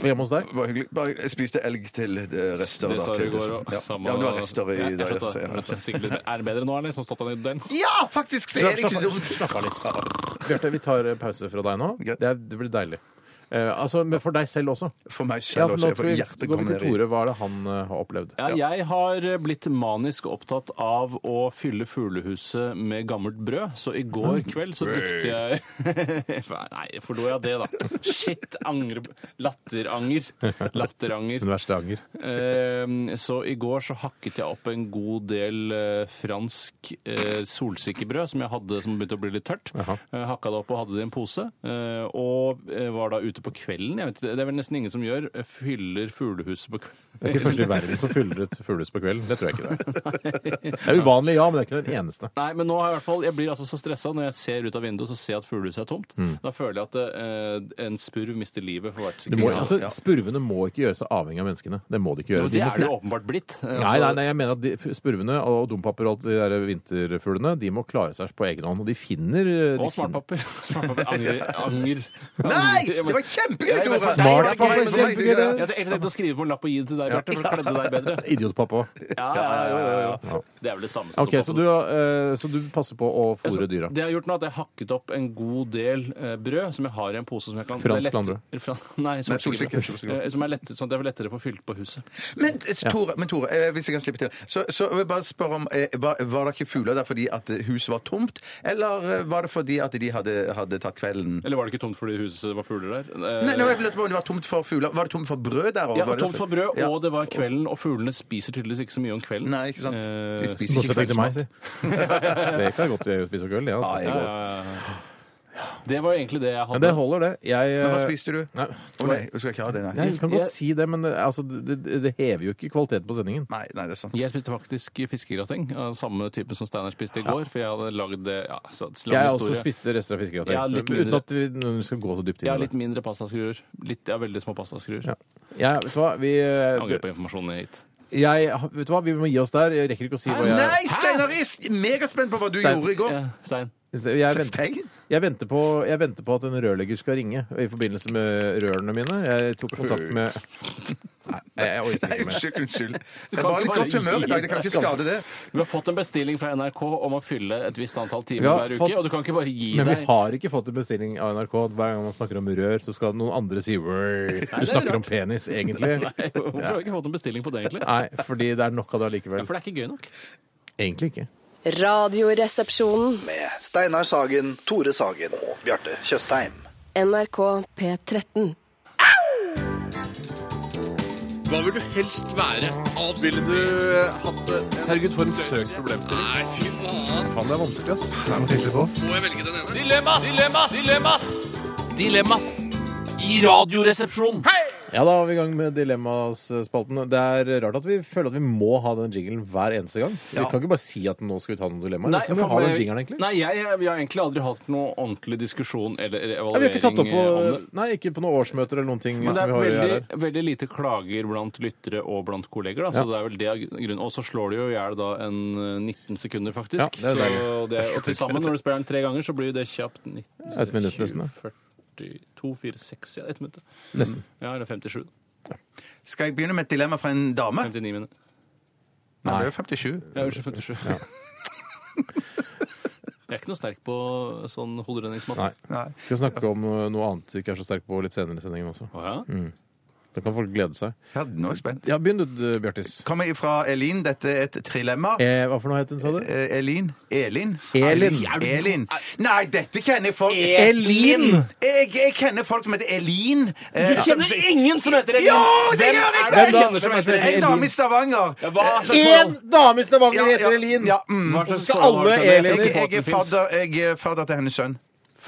Speaker 7: hjemme hos deg.
Speaker 9: Det var hyggelig. Bare jeg spiste elg til eh, rester.
Speaker 8: Det
Speaker 9: da,
Speaker 8: sa
Speaker 9: til
Speaker 8: du i går
Speaker 9: som-
Speaker 8: òg.
Speaker 9: Ja. ja, det var rester i
Speaker 8: jeg,
Speaker 9: dag.
Speaker 8: jeg
Speaker 9: så
Speaker 8: skjønte
Speaker 9: jeg-
Speaker 8: det. Det er sikkert litt- Er det bedre nå, eller? Sånn stått han i den?
Speaker 9: Ja, faktisk! Så er det ikke så dumt.
Speaker 7: Slapp av litt. Bjarte, vi tar eh, pause fra deg nå.
Speaker 9: Greit.
Speaker 7: Det, er, det blir deilig. Eh, altså, men for deg selv også.
Speaker 9: For meg
Speaker 7: Ja, for
Speaker 9: selv også.
Speaker 7: nå
Speaker 9: Jeg
Speaker 7: skal
Speaker 9: får
Speaker 7: vi,
Speaker 9: hjertet
Speaker 7: går
Speaker 9: komme
Speaker 7: vi til
Speaker 9: ned i
Speaker 7: Tore. Hva er det han eh, har opplevd?
Speaker 8: Ja, jeg har blitt manisk opptatt av å fylle fuglehuset med gammelt brød, så i går kveld så brukte jeg *laughs* Nei, forlot jeg det, da. Shit, angre... Latteranger. Latteranger.
Speaker 7: Den verste anger.
Speaker 8: Eh, Så i går så hakket jeg opp en god del eh, fransk eh, solsikkebrød som jeg hadde som begynte å bli litt tørt.
Speaker 7: Jaha.
Speaker 8: Eh, Hakka det opp og hadde det i en pose. eh, Og eh, var da ute også på kvelden. Jeg vet, ikke, det er vel nesten ingen som gjør. eh, Fyller fuglehuset på kvelden.
Speaker 7: Det er ikke første i verden som fyller et fuglehus på kvelden. Det tror jeg ikke det er. Det er uvanlig, ja, men det er ikke den eneste.
Speaker 8: Nei, men nå har jeg i hvert fall Jeg blir altså så stressa når jeg ser ut av vinduet og så ser jeg at fuglehuset er tomt.
Speaker 7: Mm.
Speaker 8: Da føler jeg at eh, en spurv mister livet for hvert
Speaker 7: Du
Speaker 8: sekund.
Speaker 7: må, altså,
Speaker 8: Ja.
Speaker 7: spurvene må ikke gjøre seg avhengig av menneskene. Det må de ikke gjøre.
Speaker 8: Men det
Speaker 7: De må-
Speaker 8: er det jo åpenbart blitt. Eh,
Speaker 7: Nei, nei,
Speaker 8: altså-
Speaker 7: nei, jeg mener at de, f- spurvene og dompaper og alt de der vinterfuglene, de må klare seg på egen hånd. Og de finner eh, de
Speaker 8: Og smartpapper. *laughs* Smartpapper angrer.
Speaker 7: *laughs*
Speaker 8: angrer.
Speaker 9: Nei, det var kjempegøy, Tore!
Speaker 7: Smartpapper, kjempegøy.
Speaker 8: Jeg tenkte jeg tenkte å skrive på en lapp og gi den til deg, Bjarte, for det kledde deg bedre.
Speaker 7: finner- Idiotpappa.
Speaker 8: Ja, ja, ja, ja, ja. Det er vel det samme som
Speaker 7: OK, så du, eh, så du passer på å fôre dyra.
Speaker 8: Det jeg har gjort nå, er at jeg har hakket opp en god del eh, brød som jeg har i en pose som jeg kan det er
Speaker 7: Fransk
Speaker 8: lett-
Speaker 7: landbrød.
Speaker 8: Fran- *laughs* Nei,
Speaker 9: Nei,
Speaker 8: solsikker.
Speaker 9: solsikker.
Speaker 8: Eh, Som er lett, sånn at jeg vil lettere få fylt på huset.
Speaker 9: Men eh, Tore, men, Tore eh, hvis jeg kan slippe til Så, så vil jeg bare spørre om eh, var, var det ikke fugler der fordi at eh, huset var tomt, eller eh, var det fordi at de hadde, hadde tatt kvelden?
Speaker 8: Eller var det ikke tomt fordi huset var fugler der? Eh,
Speaker 9: Nei, nei, jeg lurte på om det var tomt for fugler. Var det tomt for brød der òg?
Speaker 8: ja, tomt for brød, og det var kvelden, og fuglene spiser tydeligvis ikke så mye om kvelden. Nei, ikke sant?
Speaker 9: De spiser
Speaker 7: Bortsett fra ikke meg, si. *laughs* Det kan jeg godt gjøre å spise gull, det. Altså.
Speaker 8: Ja, ja, ja, ja. Det var egentlig det jeg hadde.
Speaker 7: Men det holder, det. Jeg,
Speaker 9: Men hva
Speaker 7: eh,
Speaker 9: spiste du?
Speaker 7: Nei,
Speaker 9: Å nei, du skal ikke ha det, nei.
Speaker 7: Nei, jeg kan godt
Speaker 8: Jeg-
Speaker 7: si det, men eh, altså, det, det- det hever jo ikke kvaliteten på sendingen.
Speaker 9: Nei, det er sant.
Speaker 8: Jeg spiste faktisk fiskegrateng av samme type som Steinar spiste i går. For jeg hadde lagd det ja, så, lang
Speaker 7: Jeg har også
Speaker 8: historie.
Speaker 7: spist rester av fiskegrateng.
Speaker 8: Ja, litt
Speaker 7: uten
Speaker 8: mindre.
Speaker 7: at vi nå skal gå så dypt inn
Speaker 8: Jeg har
Speaker 7: i det.
Speaker 8: litt mindre pastaskruer. Litt, jeg har veldig små pastaskruer.
Speaker 7: Jeg, vet du hva, vi, eh,
Speaker 8: Jeg angrer på informasjonen jeg har gitt.
Speaker 7: jeg, vet du hva, vi må gi oss der. Jeg rekker ikke å si hva jeg
Speaker 9: Nei, Steinar er megaspent på hva du
Speaker 7: Stein-
Speaker 9: gjorde i går!
Speaker 8: Stein.
Speaker 7: Jeg venter, jeg, venter på, jeg venter på at en rørlegger skal ringe i forbindelse med rørene mine. Jeg tok kontakt med Nei, jeg orker
Speaker 9: Nei,
Speaker 7: ikke mer.
Speaker 9: unnskyld. unnskyld.
Speaker 8: Du
Speaker 9: Jeg
Speaker 8: kan
Speaker 9: var
Speaker 8: ikke
Speaker 9: litt
Speaker 8: bare
Speaker 9: godt humør i dag. Det kan ikke
Speaker 8: gi-
Speaker 9: skade det.
Speaker 8: Vi har fått en bestilling fra NRK om å fylle et visst antall timer
Speaker 7: Vi har
Speaker 8: hver uke,
Speaker 7: fått-
Speaker 8: og du kan ikke bare gi
Speaker 7: Men vi
Speaker 8: deg
Speaker 7: har ikke fått en bestilling av NRK. Hver gang man snakker om rør, så skal noen andre si «Wøy». Du
Speaker 8: Nei, det er
Speaker 7: snakker om
Speaker 8: rart.
Speaker 7: penis, egentlig.
Speaker 8: Nei, Hvorfor har vi ikke fått en bestilling på det, egentlig?
Speaker 7: Nei, fordi det er nok av det
Speaker 8: Ja,
Speaker 7: allikevel.
Speaker 8: for det er ikke gøy nok.
Speaker 7: Egentlig ikke.
Speaker 4: Radioresepsjonen.
Speaker 5: Med Steinar Sagen, Tore Sagen og Bjarte Tjøstheim.
Speaker 4: NRK P13.
Speaker 8: Hva vil du helst være? Ville du hatt det? Herregud, for en søkt problemstilling. Nei, fy faen.
Speaker 7: Faen, det er vanskelig, ass.
Speaker 8: Må jeg velge den ene? Dilemmas! Dilemmas! Dilemmas! Dilemmas! I Radioresepsjonen. Hei!
Speaker 7: Ja, da er vi i gang med Dilemmaspalten. Det er rart at vi føler at vi må ha den jinglen hver eneste gang. Vi
Speaker 8: Ja.
Speaker 7: kan ikke bare si at nå skal vi ta noen dilemmaer.
Speaker 8: Nei,
Speaker 7: Hvorfor må vi ha den jinglen, egentlig?
Speaker 8: Nei, jeg, jeg, vi har egentlig aldri hatt noe ordentlig diskusjon eller
Speaker 7: Nei, vi
Speaker 8: eller
Speaker 7: har
Speaker 8: evaluering
Speaker 7: ikke tatt opp på,
Speaker 8: eh, om det.
Speaker 7: nei, ikke på noen årsmøter eller noen ting.
Speaker 8: Men det
Speaker 7: som
Speaker 8: er
Speaker 7: vi har å gjøre her.
Speaker 8: veldig, veldig lite klager blant lyttere og blant
Speaker 7: Ja.
Speaker 8: kolleger. Da, så det er vel det er grunnen. Og så slår det jo i hjel da en eh, 19 sekunder, faktisk.
Speaker 7: Ja, det er
Speaker 8: så det, og til sammen, når du spiller den tre ganger, så blir det kjapt 19,
Speaker 7: Et minutt nesten, da.
Speaker 8: 42, 4, 6, ja, ett minutt. da.
Speaker 7: Nesten.
Speaker 8: Ja, eller 57.
Speaker 9: Skal jeg begynne med et dilemma fra en dame?
Speaker 8: 59 minutter.
Speaker 9: Nei, det er jo 57.
Speaker 8: Ja, unnskyld, 57. *laughs* Jeg er ikke noe sterk på sånn hoderedningsmåte.
Speaker 7: Nei. Vi skal snakke om eh, noe annet vi ikke er så sterke på litt senere i sendingen også. Mm. Da kan folk glede seg.
Speaker 9: Ja, nå er jeg spent.
Speaker 7: Ja, Begynn du, eh, Bjartis.
Speaker 9: Kommer fra Elin. Dette er et trilemma.
Speaker 7: Eh, hva for noe het hun, sa du?
Speaker 9: Eh, Elin? Elin?
Speaker 7: Elin.
Speaker 9: Elin. Nei, dette kjenner jeg folk
Speaker 7: Elin!
Speaker 9: Jeg, jeg kjenner folk som heter Elin. Eh,
Speaker 8: ingen som heter
Speaker 9: Jo, det gjør jeg!
Speaker 7: Hvem da?
Speaker 9: Jeg kjenner
Speaker 7: Hvem er
Speaker 9: som
Speaker 7: det som
Speaker 9: heter
Speaker 7: heter
Speaker 9: En dame i Stavanger.
Speaker 8: Ja, hva slags
Speaker 7: Én dame i Stavanger
Speaker 9: Ja, ja,
Speaker 7: heter Elin!
Speaker 9: ja, mm.
Speaker 8: Hva
Speaker 7: Og så
Speaker 8: slags
Speaker 7: skal
Speaker 8: forhold
Speaker 7: alle
Speaker 8: kan det hete?
Speaker 7: Eliner
Speaker 9: Jeg, jeg, er fadder, jeg er fadder til hennes sønn.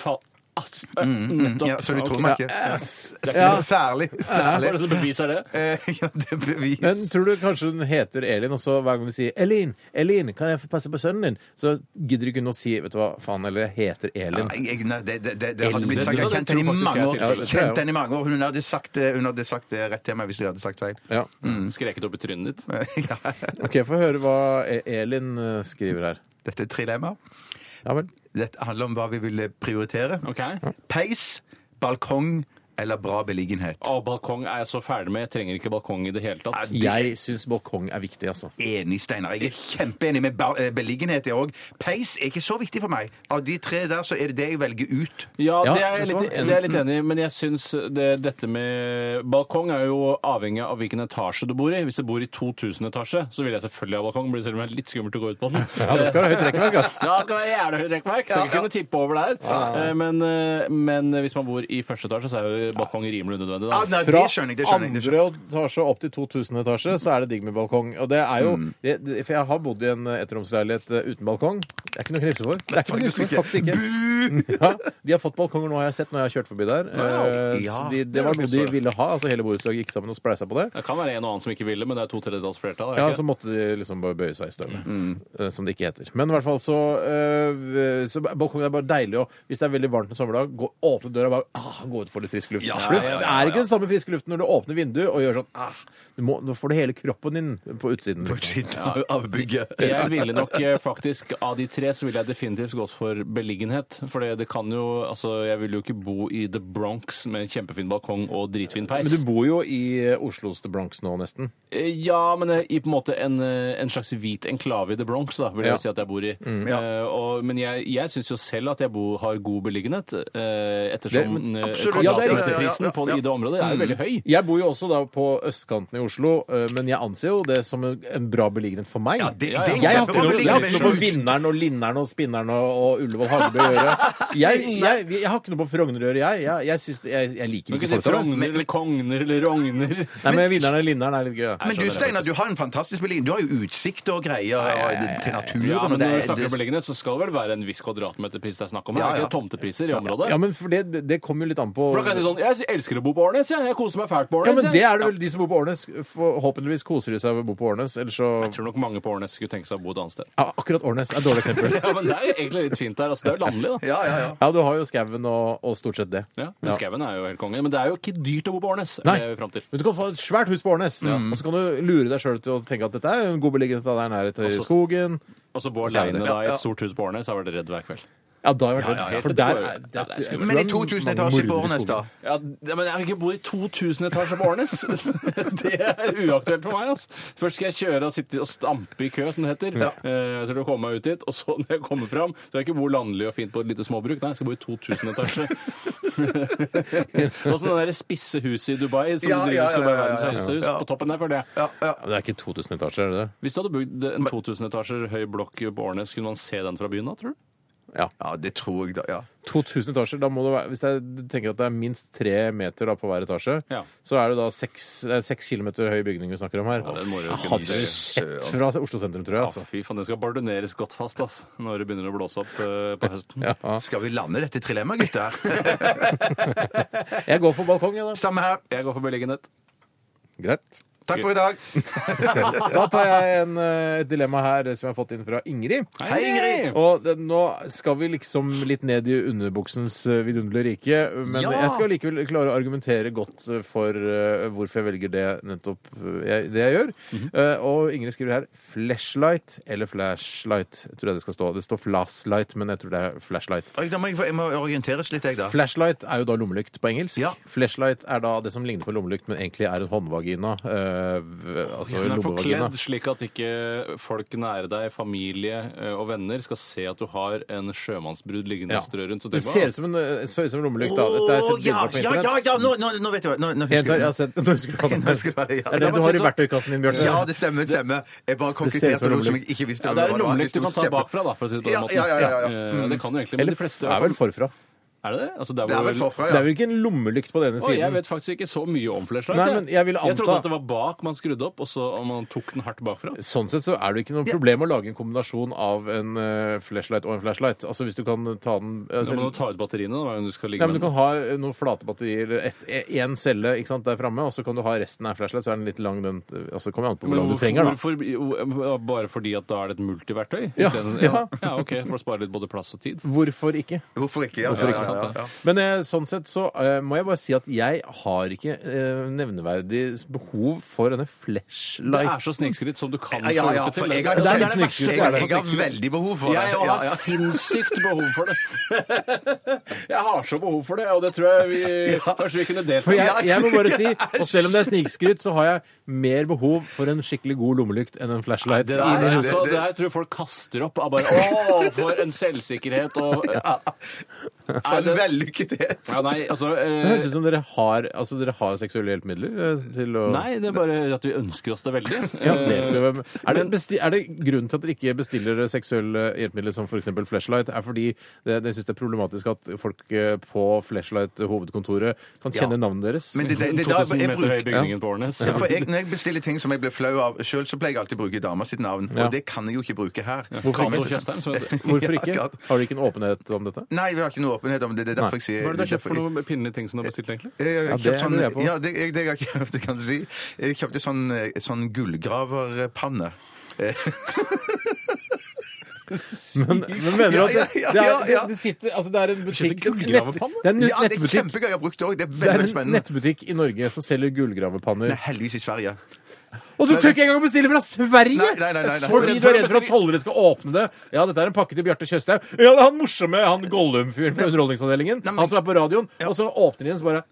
Speaker 8: Fa- ass, eh, Nettopp.
Speaker 9: Ja, så du tror
Speaker 8: Ok.
Speaker 9: meg ikke?
Speaker 7: Ja.
Speaker 9: Særlig.
Speaker 8: Hva
Speaker 9: Særlig.
Speaker 8: er det som beviser det?
Speaker 9: Eh, *laughs* Ja, det
Speaker 7: Men
Speaker 9: bevis.
Speaker 7: tror du kanskje hun heter Elin, og så hver gang vi sier 'Elin, Elin, kan jeg få passe på sønnen din?' Så gidder ikke hun å si 'Vet du hva, faen, eller jeg heter Elin'.
Speaker 9: Nei, jeg- nei, det, det, det, det hadde
Speaker 8: Elin.
Speaker 9: blitt sagt. Jeg har
Speaker 8: Det
Speaker 9: kjent
Speaker 8: tror
Speaker 9: henne i
Speaker 8: faktisk
Speaker 9: mange
Speaker 8: jeg er
Speaker 9: år.
Speaker 8: tilfellet.
Speaker 7: Ja, det
Speaker 9: Kjent
Speaker 7: tror jeg
Speaker 9: henne i mange år. Hun hadde sagt, det- hun hadde sagt det rett til meg hvis jeg hadde sagt feil. *laughs*
Speaker 7: Ja.
Speaker 8: Skreket opp i trynet ditt?
Speaker 9: Ja.
Speaker 7: OK, få høre hva E- Elin eh, skriver her.
Speaker 9: Dette er et trilemma.
Speaker 7: Ja vel.
Speaker 9: Dette handler om hva vi ville prioritere.
Speaker 8: Ok.
Speaker 9: Peis, balkong eller bra beliggenhet.
Speaker 8: Å, balkong er jeg så ferdig med. Jeg trenger ikke balkong i det hele tatt.
Speaker 7: Jeg syns balkong er viktig, altså.
Speaker 9: Enig, Steinar. Jeg er kjempeenig med ba- eh, beliggenhet, jeg òg. Peis er ikke så viktig for meg. Av de tre der, så er det det jeg velger ut.
Speaker 8: Ja,
Speaker 7: Ja,
Speaker 8: det er jeg
Speaker 7: vet du
Speaker 8: litt, e-
Speaker 7: hva?
Speaker 8: det er jeg litt enig i, men jeg syns det, dette med balkong er jo avhengig av hvilken etasje du bor i. Hvis du bor i 2000 etasje, så vil jeg selvfølgelig ha balkong, men det ser ut litt skummelt å gå ut på den.
Speaker 7: *laughs* Ja, det skal ha høyt altså. rekkverk, ass.
Speaker 8: Ja, det skal være jævlig høyt rekkverk. Skal ikke kunne tippe over der. Eh, Men, eh, men hvis man bor i første etasje, så er jo balkong rimelig unødvendig.
Speaker 9: Ah,
Speaker 8: Da.
Speaker 9: nei,
Speaker 7: Fra
Speaker 9: det skjønner jeg. Det skjønner jeg, det skjønner jeg.
Speaker 7: andre etasje og opp til 2000 etasje, så er det digg med balkong. Og det er jo det, det, For jeg har bodd i en eh, ettromsleilighet eh, uten balkong. Det er ikke noe å knipse for. Det er ikke noe å knipse for, faktisk ikke.
Speaker 9: Bu!
Speaker 7: Ja, de har fått balkonger nå, har jeg sett, når jeg har kjørt forbi der.
Speaker 8: Wow.
Speaker 7: Eh,
Speaker 8: Ja,
Speaker 7: så de,
Speaker 8: det
Speaker 7: det var
Speaker 8: er
Speaker 7: noe de
Speaker 8: det.
Speaker 7: ville ha. altså Hele borettslaget gikk sammen og spleisa på det.
Speaker 8: Det kan være en og annen som ikke ville, men det er to tredjedels flertall. er det
Speaker 7: Ja,
Speaker 8: ikke? Mm.
Speaker 7: så måtte de liksom bare bøye seg i støvet, eh, som det ikke heter. Men i hvert fall så, eh, så Balkongen er bare deilig. Og hvis det er veldig varmt en sommerdag, gå, åpne døra og bare ah, gå ut og få litt frisk luft.
Speaker 8: Ja,
Speaker 7: For det
Speaker 8: ja, ja,
Speaker 7: er ikke den samme friske luften når du åpner vinduet og gjør sånn ah, du må, Nå får du hele kroppen din på utsiden. På utsiden
Speaker 9: av bygget.
Speaker 8: Jeg ville nok eh, faktisk, av de tre, så ville jeg definitivt gått for beliggenhet. For det, det kan jo Altså, jeg vil jo ikke bo i The Bronx med en kjempefin balkong og dritfin peis.
Speaker 7: Men du bor jo i eh, Oslos The Bronx nå, nesten.
Speaker 8: Eh, Ja, men eh, i på en måte en, eh, en slags hvit enklave i The Bronx, da, vil jeg
Speaker 7: Ja.
Speaker 8: si at jeg bor i.
Speaker 7: Mm. Ja.
Speaker 8: Eh, og, men jeg, jeg syns jo selv at jeg bor, har god beliggenhet, eh,
Speaker 7: Det-
Speaker 8: ettersom
Speaker 7: men-
Speaker 8: eh,
Speaker 7: Absolutt. Ja, Mm. det er riktig.
Speaker 8: kvadratmeterprisen på i det området er jo veldig høy.
Speaker 7: Jeg bor jo også da på østkanten i Oslo, eh, men jeg anser jo det som en en bra beliggenhet for meg.
Speaker 8: det- det er
Speaker 7: Jeg
Speaker 8: en
Speaker 7: har ikke
Speaker 8: kjempebra
Speaker 7: noe- jeg har
Speaker 8: beliggenhet.
Speaker 7: ikke noe på Vinneren og Linneren og Spinneren og, og Ullevål Hageby å gjøre. Jeg, jeg, jeg har ikke noe på Frogner å gjøre, jeg. Jeg, jeg, synes det- jeg, jeg
Speaker 8: Du
Speaker 7: liker
Speaker 8: kan
Speaker 7: ikke
Speaker 8: ikke si
Speaker 7: folk der.
Speaker 8: Frogner eller Kogner eller Rogner.
Speaker 7: Nei, men Vinneren og Linneren er litt gøy.
Speaker 9: Men du Steinar, du har en fantastisk beliggenhet. Du har jo utsikt og greier og til naturen.
Speaker 8: Ja,
Speaker 9: og
Speaker 8: men når
Speaker 9: det sånn- er-
Speaker 8: vi snakker
Speaker 9: det-
Speaker 8: om beliggenhet, så skal det vel være en viss kvadratmeterpris det er snakk om?
Speaker 9: Ja,
Speaker 8: Er det
Speaker 9: ja.
Speaker 8: ikke tomtepriser i området?
Speaker 7: Ja, men for det, det- det kommer jo litt an på
Speaker 8: For da kan jeg si sånn, jeg elsker å bo på Årnes, jeg. Jeg koser meg fælt på
Speaker 7: Ja,
Speaker 8: Årnes.
Speaker 7: men det
Speaker 8: jeg.
Speaker 7: er det vel de som bor på Årnes. Forhåpentligvis koser de seg ved å bo på Årnes, ellers så
Speaker 8: Jeg tror nok mange på Årnes skulle tenke seg å bo et annet sted.
Speaker 7: ja, Akkurat Årnes er et dårlig eksempel.
Speaker 8: *laughs* Ja, men det er jo egentlig litt fint der. Altså, det er jo landlig, da.
Speaker 7: Ja, du har jo skauen og, og stort sett det.
Speaker 8: Ja, men
Speaker 7: Ja.
Speaker 8: Skauen er jo helt konge. Men det er jo ikke dyrt å bo på Årnes. er
Speaker 7: Nei.
Speaker 8: det vi er frem til.
Speaker 7: Men du kan få et svært hus på Årnes, og så kan du lure deg sjøl til å tenke at dette er jo en god beliggenhet, da det er nærhet til
Speaker 8: Og så-
Speaker 7: skogen.
Speaker 8: Og så bo
Speaker 7: Og så er det
Speaker 8: aleine
Speaker 7: det.
Speaker 8: da i
Speaker 7: Ja, ja.
Speaker 8: et stort hus på Årnes, så er det redd hver kveld.
Speaker 7: Ja, da har jeg vært redd.
Speaker 8: Ja, ja, ja.
Speaker 7: For
Speaker 8: Det
Speaker 7: der
Speaker 8: går jo.
Speaker 7: er
Speaker 8: Ja, det er skummelt.
Speaker 9: Men i 2000 etasjer på Årnes, da?
Speaker 8: Ja, det- men jeg har ikke bodd i 2000 etasjer på Årnes. *laughs* Det er uaktuelt for meg. Altså. Først skal jeg kjøre og sitte og stampe i kø, som det heter.
Speaker 7: Ja.
Speaker 8: Eh, til å komme meg ut dit. Og så når jeg kommer fram, så skal jeg ikke bo landlig og fint på et lite småbruk. Nei, jeg skal bo i 2000 etasjer. *laughs* og sånn det der spisse huset i Dubai som
Speaker 7: Ja,
Speaker 8: driver,
Speaker 7: ja,
Speaker 8: skal
Speaker 7: ja,
Speaker 8: være
Speaker 7: ja,
Speaker 8: verdens
Speaker 7: ja, ja.
Speaker 8: høyeste hus.
Speaker 7: Ja.
Speaker 8: På toppen der, føler jeg.
Speaker 7: Det er ikke 2000 etasjer, er det det?
Speaker 8: Hvis du hadde bygd en 2000 etasjer høy blokk på Årnes, kunne man se den fra byen da, tror du?
Speaker 7: Ja.
Speaker 9: det tror jeg, da. ja.
Speaker 7: 2000 etasjer, da må det være, Hvis jeg tenker at det er minst tre meter da på hver etasje,
Speaker 8: Ja.
Speaker 7: så er det da seks, eh, seks kilometer høy bygning vi snakker om her.
Speaker 8: den må du jo
Speaker 7: Jeg
Speaker 8: kunne
Speaker 7: hadde
Speaker 8: se.
Speaker 7: du sett fra Oslo sentrum, tror jeg.
Speaker 8: Ja,
Speaker 7: Altså.
Speaker 8: fy faen, det skal bardoneres godt fast ass, når det begynner å blåse opp eh, på høsten.
Speaker 9: Skal vi lande dette trilemmaet, *laughs* gutter?
Speaker 7: Jeg går for balkong, jeg, da.
Speaker 9: Samme her.
Speaker 8: Jeg går for beliggenhet.
Speaker 7: Greit.
Speaker 9: Takk for i dag.
Speaker 7: Da tar jeg en, eh, et dilemma her eh, som jeg har fått inn fra Ingrid.
Speaker 9: Hei, Ingrid!
Speaker 7: Og det, nå skal vi liksom litt ned i underbuksens eh, vidunderlige rike, men
Speaker 9: Ja!
Speaker 7: jeg skal likevel klare å argumentere godt eh, for eh, hvorfor jeg velger det nettopp eh, jeg, det jeg gjør. Eh, og Ingrid skriver her 'flashlight' eller 'flashlight'. Jeg tror det det skal stå. Det står 'flashlight', men jeg tror det er 'flashlight'.
Speaker 9: Oi, Da må jeg, få- jeg må orienteres litt, jeg, da.
Speaker 7: Flashlight er jo da lommelykt på engelsk. Flashlight er da det som ligner på lommelykt, men egentlig er en håndvagina. eh, v- altså
Speaker 8: Den er
Speaker 7: lommevagina.
Speaker 8: forkledd slik at ikke folk nære deg, familie eh, og venner, skal se at du har en sjømannsbrud liggende og strø rundt. Så
Speaker 7: Det
Speaker 8: tenk
Speaker 7: ser
Speaker 8: bare,
Speaker 7: ut som en, eh, ser ut som en lommelykt. da. Dette har jeg
Speaker 9: Å,
Speaker 7: sett bilder
Speaker 9: ja,
Speaker 7: av på
Speaker 9: ja,
Speaker 7: internett.
Speaker 9: ja, ja, nå, nå, nå vet jeg hva. Nå, nå
Speaker 7: Jeg
Speaker 9: husker
Speaker 7: tar, jeg
Speaker 9: jeg
Speaker 7: har sett, nå *laughs* husker du hva den
Speaker 9: Nå husker *laughs* jeg hva
Speaker 7: er.
Speaker 9: det
Speaker 7: Det er
Speaker 9: er. Ja,
Speaker 7: det
Speaker 9: men
Speaker 7: du har
Speaker 9: så-
Speaker 7: i verktøykassen din, Bjørte.
Speaker 9: Ja, det stemmer. det stemmer.
Speaker 7: Det
Speaker 9: Jeg bare
Speaker 7: ser ut
Speaker 9: konkreterte
Speaker 7: som
Speaker 9: på
Speaker 7: en
Speaker 9: noe som jeg
Speaker 7: lommelykt.
Speaker 9: ikke visste
Speaker 8: ja, det er en lommelykt du kan ta bakfra, da, for å si det på den
Speaker 9: Ja,
Speaker 8: måten.
Speaker 9: ja, ja, ja, ja.
Speaker 8: Eh, Det kan du egentlig, men
Speaker 7: Eller
Speaker 8: de fleste
Speaker 7: er vel forfra.
Speaker 8: Er det det? Altså, der
Speaker 9: sånn- Det er
Speaker 8: hvor-
Speaker 9: vel forfra,
Speaker 7: Det er vel ikke en lommelykt på denne
Speaker 8: Å, jeg
Speaker 7: siden?
Speaker 8: vet faktisk ikke så mye om flashlight.
Speaker 7: Nei, men jeg vil
Speaker 8: trodde
Speaker 7: anta-
Speaker 8: at det var bak man skrudde opp, og så om man tok den hardt bakfra.
Speaker 7: Sånn sett så er det ikke noe problem å lage en kombinasjon av en eh, flashlight og en flashlight. Altså hvis du kan ta den
Speaker 8: Da
Speaker 7: altså,
Speaker 8: må du ta ut batteriene da, hver gang du skal ligge
Speaker 7: Nei, men Du
Speaker 8: med
Speaker 7: kan ha eh, noen flate batterier, eller én celle ikke sant, der framme, og så kan du ha resten av en flashlight. Så er den litt lang, den altså, det kommer an på hvor lang du
Speaker 8: hvorfor-
Speaker 7: trenger, da.
Speaker 8: hvorfor- bare fordi at da er det et multiverktøy?
Speaker 7: Ja,
Speaker 8: Isteden-
Speaker 7: ja.
Speaker 8: ja, ok, for å spare litt både plass og tid.
Speaker 7: Hvorfor ikke?
Speaker 9: Hvorfor ikke? Ja,
Speaker 7: Hvorfor ikke?
Speaker 9: ja, ja, ja, ja.
Speaker 7: Men eh, sånn sett så eh, må jeg bare si at jeg har ikke eh, nevneverdig behov for denne
Speaker 8: Det
Speaker 7: flashlight.
Speaker 8: er så snikskryt som du kan
Speaker 9: Ja, ja, ja,
Speaker 8: få
Speaker 9: for
Speaker 8: gjort det
Speaker 9: jeg
Speaker 8: til.
Speaker 9: har,
Speaker 7: Det er litt
Speaker 9: jeg,
Speaker 7: snikskryt,
Speaker 9: jeg,
Speaker 7: det er det.
Speaker 9: jeg har veldig behov for det.
Speaker 8: Jeg
Speaker 9: Ja,
Speaker 8: har
Speaker 9: ja.
Speaker 8: sinnssykt behov for det. *laughs* Jeg har så behov for det, og det tror jeg
Speaker 7: *laughs*
Speaker 8: vi kanskje vi kunne delt.
Speaker 7: For jeg, jeg må bare
Speaker 8: *laughs*
Speaker 7: si, og selv om det er snikskryt, så har jeg mer behov for en skikkelig god lommelykt enn en flashlight.
Speaker 8: Det der,
Speaker 7: I det-
Speaker 8: altså, det der tror jeg folk kaster opp av bare Å, for en selvsikkerhet og
Speaker 9: For en vellykkethet!
Speaker 14: Ja, nei, altså, eh,
Speaker 7: Det høres ut som dere har, altså, dere har seksuelle hjelpemidler eh, til å
Speaker 14: Nei, Eh, det er bare at vi ønsker oss det
Speaker 9: *laughs*
Speaker 14: veldig.
Speaker 7: Ja, det skal vi- er, det besti er det grunnen til at dere ikke bestiller seksuelle hjelpemidler som f.eks. flashlight, er fordi det, det synes det er problematisk at folk eh, på flashlight-hovedkontoret kan kjenne navnet deres?
Speaker 9: Men det- det- det- da-
Speaker 14: 2000
Speaker 9: jeg
Speaker 14: meter
Speaker 9: bruker-
Speaker 14: høy bygningen på Årnes.
Speaker 9: Ja, for jeg, når jeg bestiller ting som jeg blir flau av sjøl, så pleier jeg alltid å bruke dama sitt navn.
Speaker 7: Ja.
Speaker 9: Og det kan jeg jo ikke bruke her.
Speaker 14: Hvorfor ikke? Kato Tjøstheim, som
Speaker 7: *laughs*
Speaker 14: heter det. *laughs*
Speaker 7: Hvorfor ikke?
Speaker 9: Ja,
Speaker 7: Har de ikke en åpenhet om dette?
Speaker 9: Nei, vi har ikke noe åpenhet om det. Det er derfor
Speaker 7: Nei.
Speaker 9: jeg sier
Speaker 14: Hva er det du har kjøpt for
Speaker 9: derfor-
Speaker 14: noen pinlige ting som du har bestilt, egentlig?
Speaker 9: Jeg har
Speaker 7: Ja, det
Speaker 9: kjøpt sånn,
Speaker 7: lurer jeg på.
Speaker 9: ja, det, jeg, det jeg har kjøpt, *laughs* kan du si. Jeg kjøpte sånn, eh, sånn gullgraverpanne.
Speaker 7: *laughs* Men, men mener du at det, det,
Speaker 9: Ja, ja, ja,
Speaker 7: er, det,
Speaker 9: ja.
Speaker 7: det sitter Altså, det er en butikk
Speaker 14: Kjøpte gullgravepanne?
Speaker 7: Det er en
Speaker 9: Ja, det er
Speaker 7: nettbutikk.
Speaker 9: kjempegøy. Jeg har brukt det òg. Det er
Speaker 7: Det er
Speaker 9: veldig
Speaker 7: en
Speaker 9: spennende.
Speaker 7: nettbutikk i Norge som selger gullgravepanner.
Speaker 9: Nei, heldigvis i Sverige.
Speaker 7: Og du tør ikke engang bestille fra Sverige!
Speaker 9: Nei, nei, nei, nei, nei.
Speaker 7: Fordi du er redd for at tollere skal åpne det. Ja, dette er en pakke til Bjarte Tjøstheim. Ja, det er han morsomme, han Gollum-fyren på Underholdningsavdelingen.
Speaker 9: Nei, men-
Speaker 7: Han som er på radioen. Og så åpner de den, så bare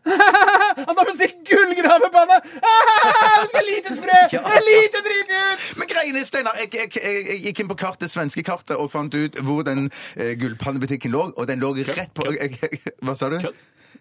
Speaker 7: *laughs* Han har bestilt gullgravepanne! *laughs* Det skal lite spre!
Speaker 9: Ja.
Speaker 7: Det er lite drit ut!
Speaker 9: Men greiene, Steinar, jeg, jeg, jeg, jeg gikk inn på kartet, svenske kartet og fant ut hvor den eh, gullpannebutikken lå, og den lå rett på jeg, jeg, Hva sa du?
Speaker 14: Kødd?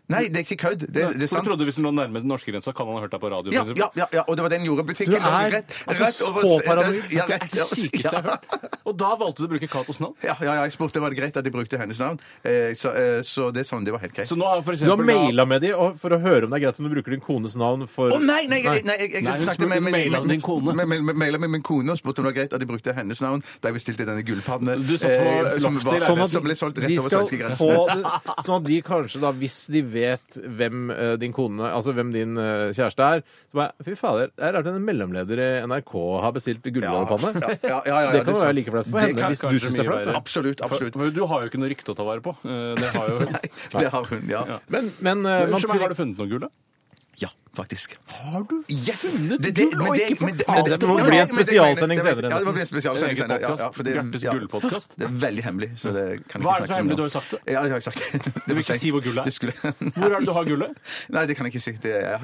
Speaker 9: Nei, det er ikke kødd. Det, det er
Speaker 14: For du
Speaker 9: sant.
Speaker 14: trodde hvis den lå nærmest norskegrensa, kan han ha hørt deg på radioen?
Speaker 9: Ja,
Speaker 14: for
Speaker 9: ja,
Speaker 14: eksempel?
Speaker 9: ja, ja, og det var den
Speaker 7: Du
Speaker 9: jordbutikken.
Speaker 7: er
Speaker 9: lå rett,
Speaker 7: altså
Speaker 9: rett over-
Speaker 7: så paranoid.
Speaker 9: Ja,
Speaker 14: Det er ikke det sykeste jeg har hørt. Og da valgte du å bruke Katos navn.
Speaker 9: Ja, ja, ja, jeg spurte var det greit at de brukte hennes navn. Eh, så, eh, så det er sånn, det var helt greit.
Speaker 14: Så nå har for
Speaker 7: Du har
Speaker 14: eksempel da-
Speaker 7: maila med de og- for å høre om det er greit om du bruker din kones navn for
Speaker 9: Å nei, nei, jeg, nei, jeg, jeg
Speaker 14: Nei, hun
Speaker 9: snakket
Speaker 14: spurte
Speaker 9: med, med,
Speaker 14: mail av din kone.
Speaker 9: Med, med, med, mail av min kone og spurte om det var greit at de brukte hennes navn da jeg bestilte denne gullpanne
Speaker 14: Du satt på
Speaker 9: som,
Speaker 14: loftet i
Speaker 9: var,
Speaker 14: leiligheten.
Speaker 9: sånn at, som ble solgt rett
Speaker 7: de
Speaker 9: over
Speaker 7: skal
Speaker 9: svenskegrensen.
Speaker 7: få det, sånn at de kanskje da, hvis de vet hvem eh, din kone, altså hvem din eh, kjæreste er, så bare Fy fader, det er rart en mellomleder i NRK har bestilt gullgravepanne.
Speaker 9: Ja, ja, ja, ja, ja,
Speaker 7: det kan jo
Speaker 9: er
Speaker 7: være
Speaker 9: sant.
Speaker 7: like flaut for
Speaker 9: Det
Speaker 7: henne
Speaker 9: kan
Speaker 7: hvis du
Speaker 14: kanskje
Speaker 7: syns det er
Speaker 14: mye
Speaker 7: flaut.
Speaker 14: være.
Speaker 7: da.
Speaker 9: Absolutt, absolutt.
Speaker 14: For Du har jo ikke noe rykte å ta vare på. Eh, Det har
Speaker 9: *laughs*
Speaker 14: jo...
Speaker 9: Nei, det har hun, ja.
Speaker 14: Ja.
Speaker 7: Men, men eh, man
Speaker 14: Unnskyld meg, har
Speaker 7: trenger
Speaker 14: du funnet noe gull, da?
Speaker 9: Ja, faktisk.
Speaker 14: Har du?
Speaker 9: Yes!
Speaker 14: Funnet
Speaker 9: Det- det-
Speaker 14: gull
Speaker 9: men
Speaker 14: og
Speaker 9: det-
Speaker 14: ikke
Speaker 9: men det-
Speaker 14: fortalt
Speaker 9: men det-
Speaker 14: det må
Speaker 9: men-
Speaker 7: bli en
Speaker 9: men- men-
Speaker 7: spesialsending
Speaker 9: det- det-
Speaker 7: senere,
Speaker 9: Ja, det må bli en
Speaker 14: En
Speaker 9: spesialsending
Speaker 14: egen
Speaker 9: senere. Ja,
Speaker 14: podcast.
Speaker 9: ja, for det-
Speaker 14: Bjartes
Speaker 9: ja.
Speaker 14: gullpodcast.
Speaker 9: Det er veldig hemmelig, så det
Speaker 14: Hva er det som
Speaker 9: kan jeg ikke snakke
Speaker 14: er hemmelig?
Speaker 9: så mye om.
Speaker 14: Du har jo sagt det.
Speaker 9: Ja, jeg har sagt det. det.
Speaker 14: vil
Speaker 9: var
Speaker 14: ikke
Speaker 9: sent.
Speaker 14: si hvor gullet er?
Speaker 9: Det skulle-
Speaker 14: Hvor er det du har gullet?
Speaker 9: *laughs* Nei, det kan jeg ikke si. Det er,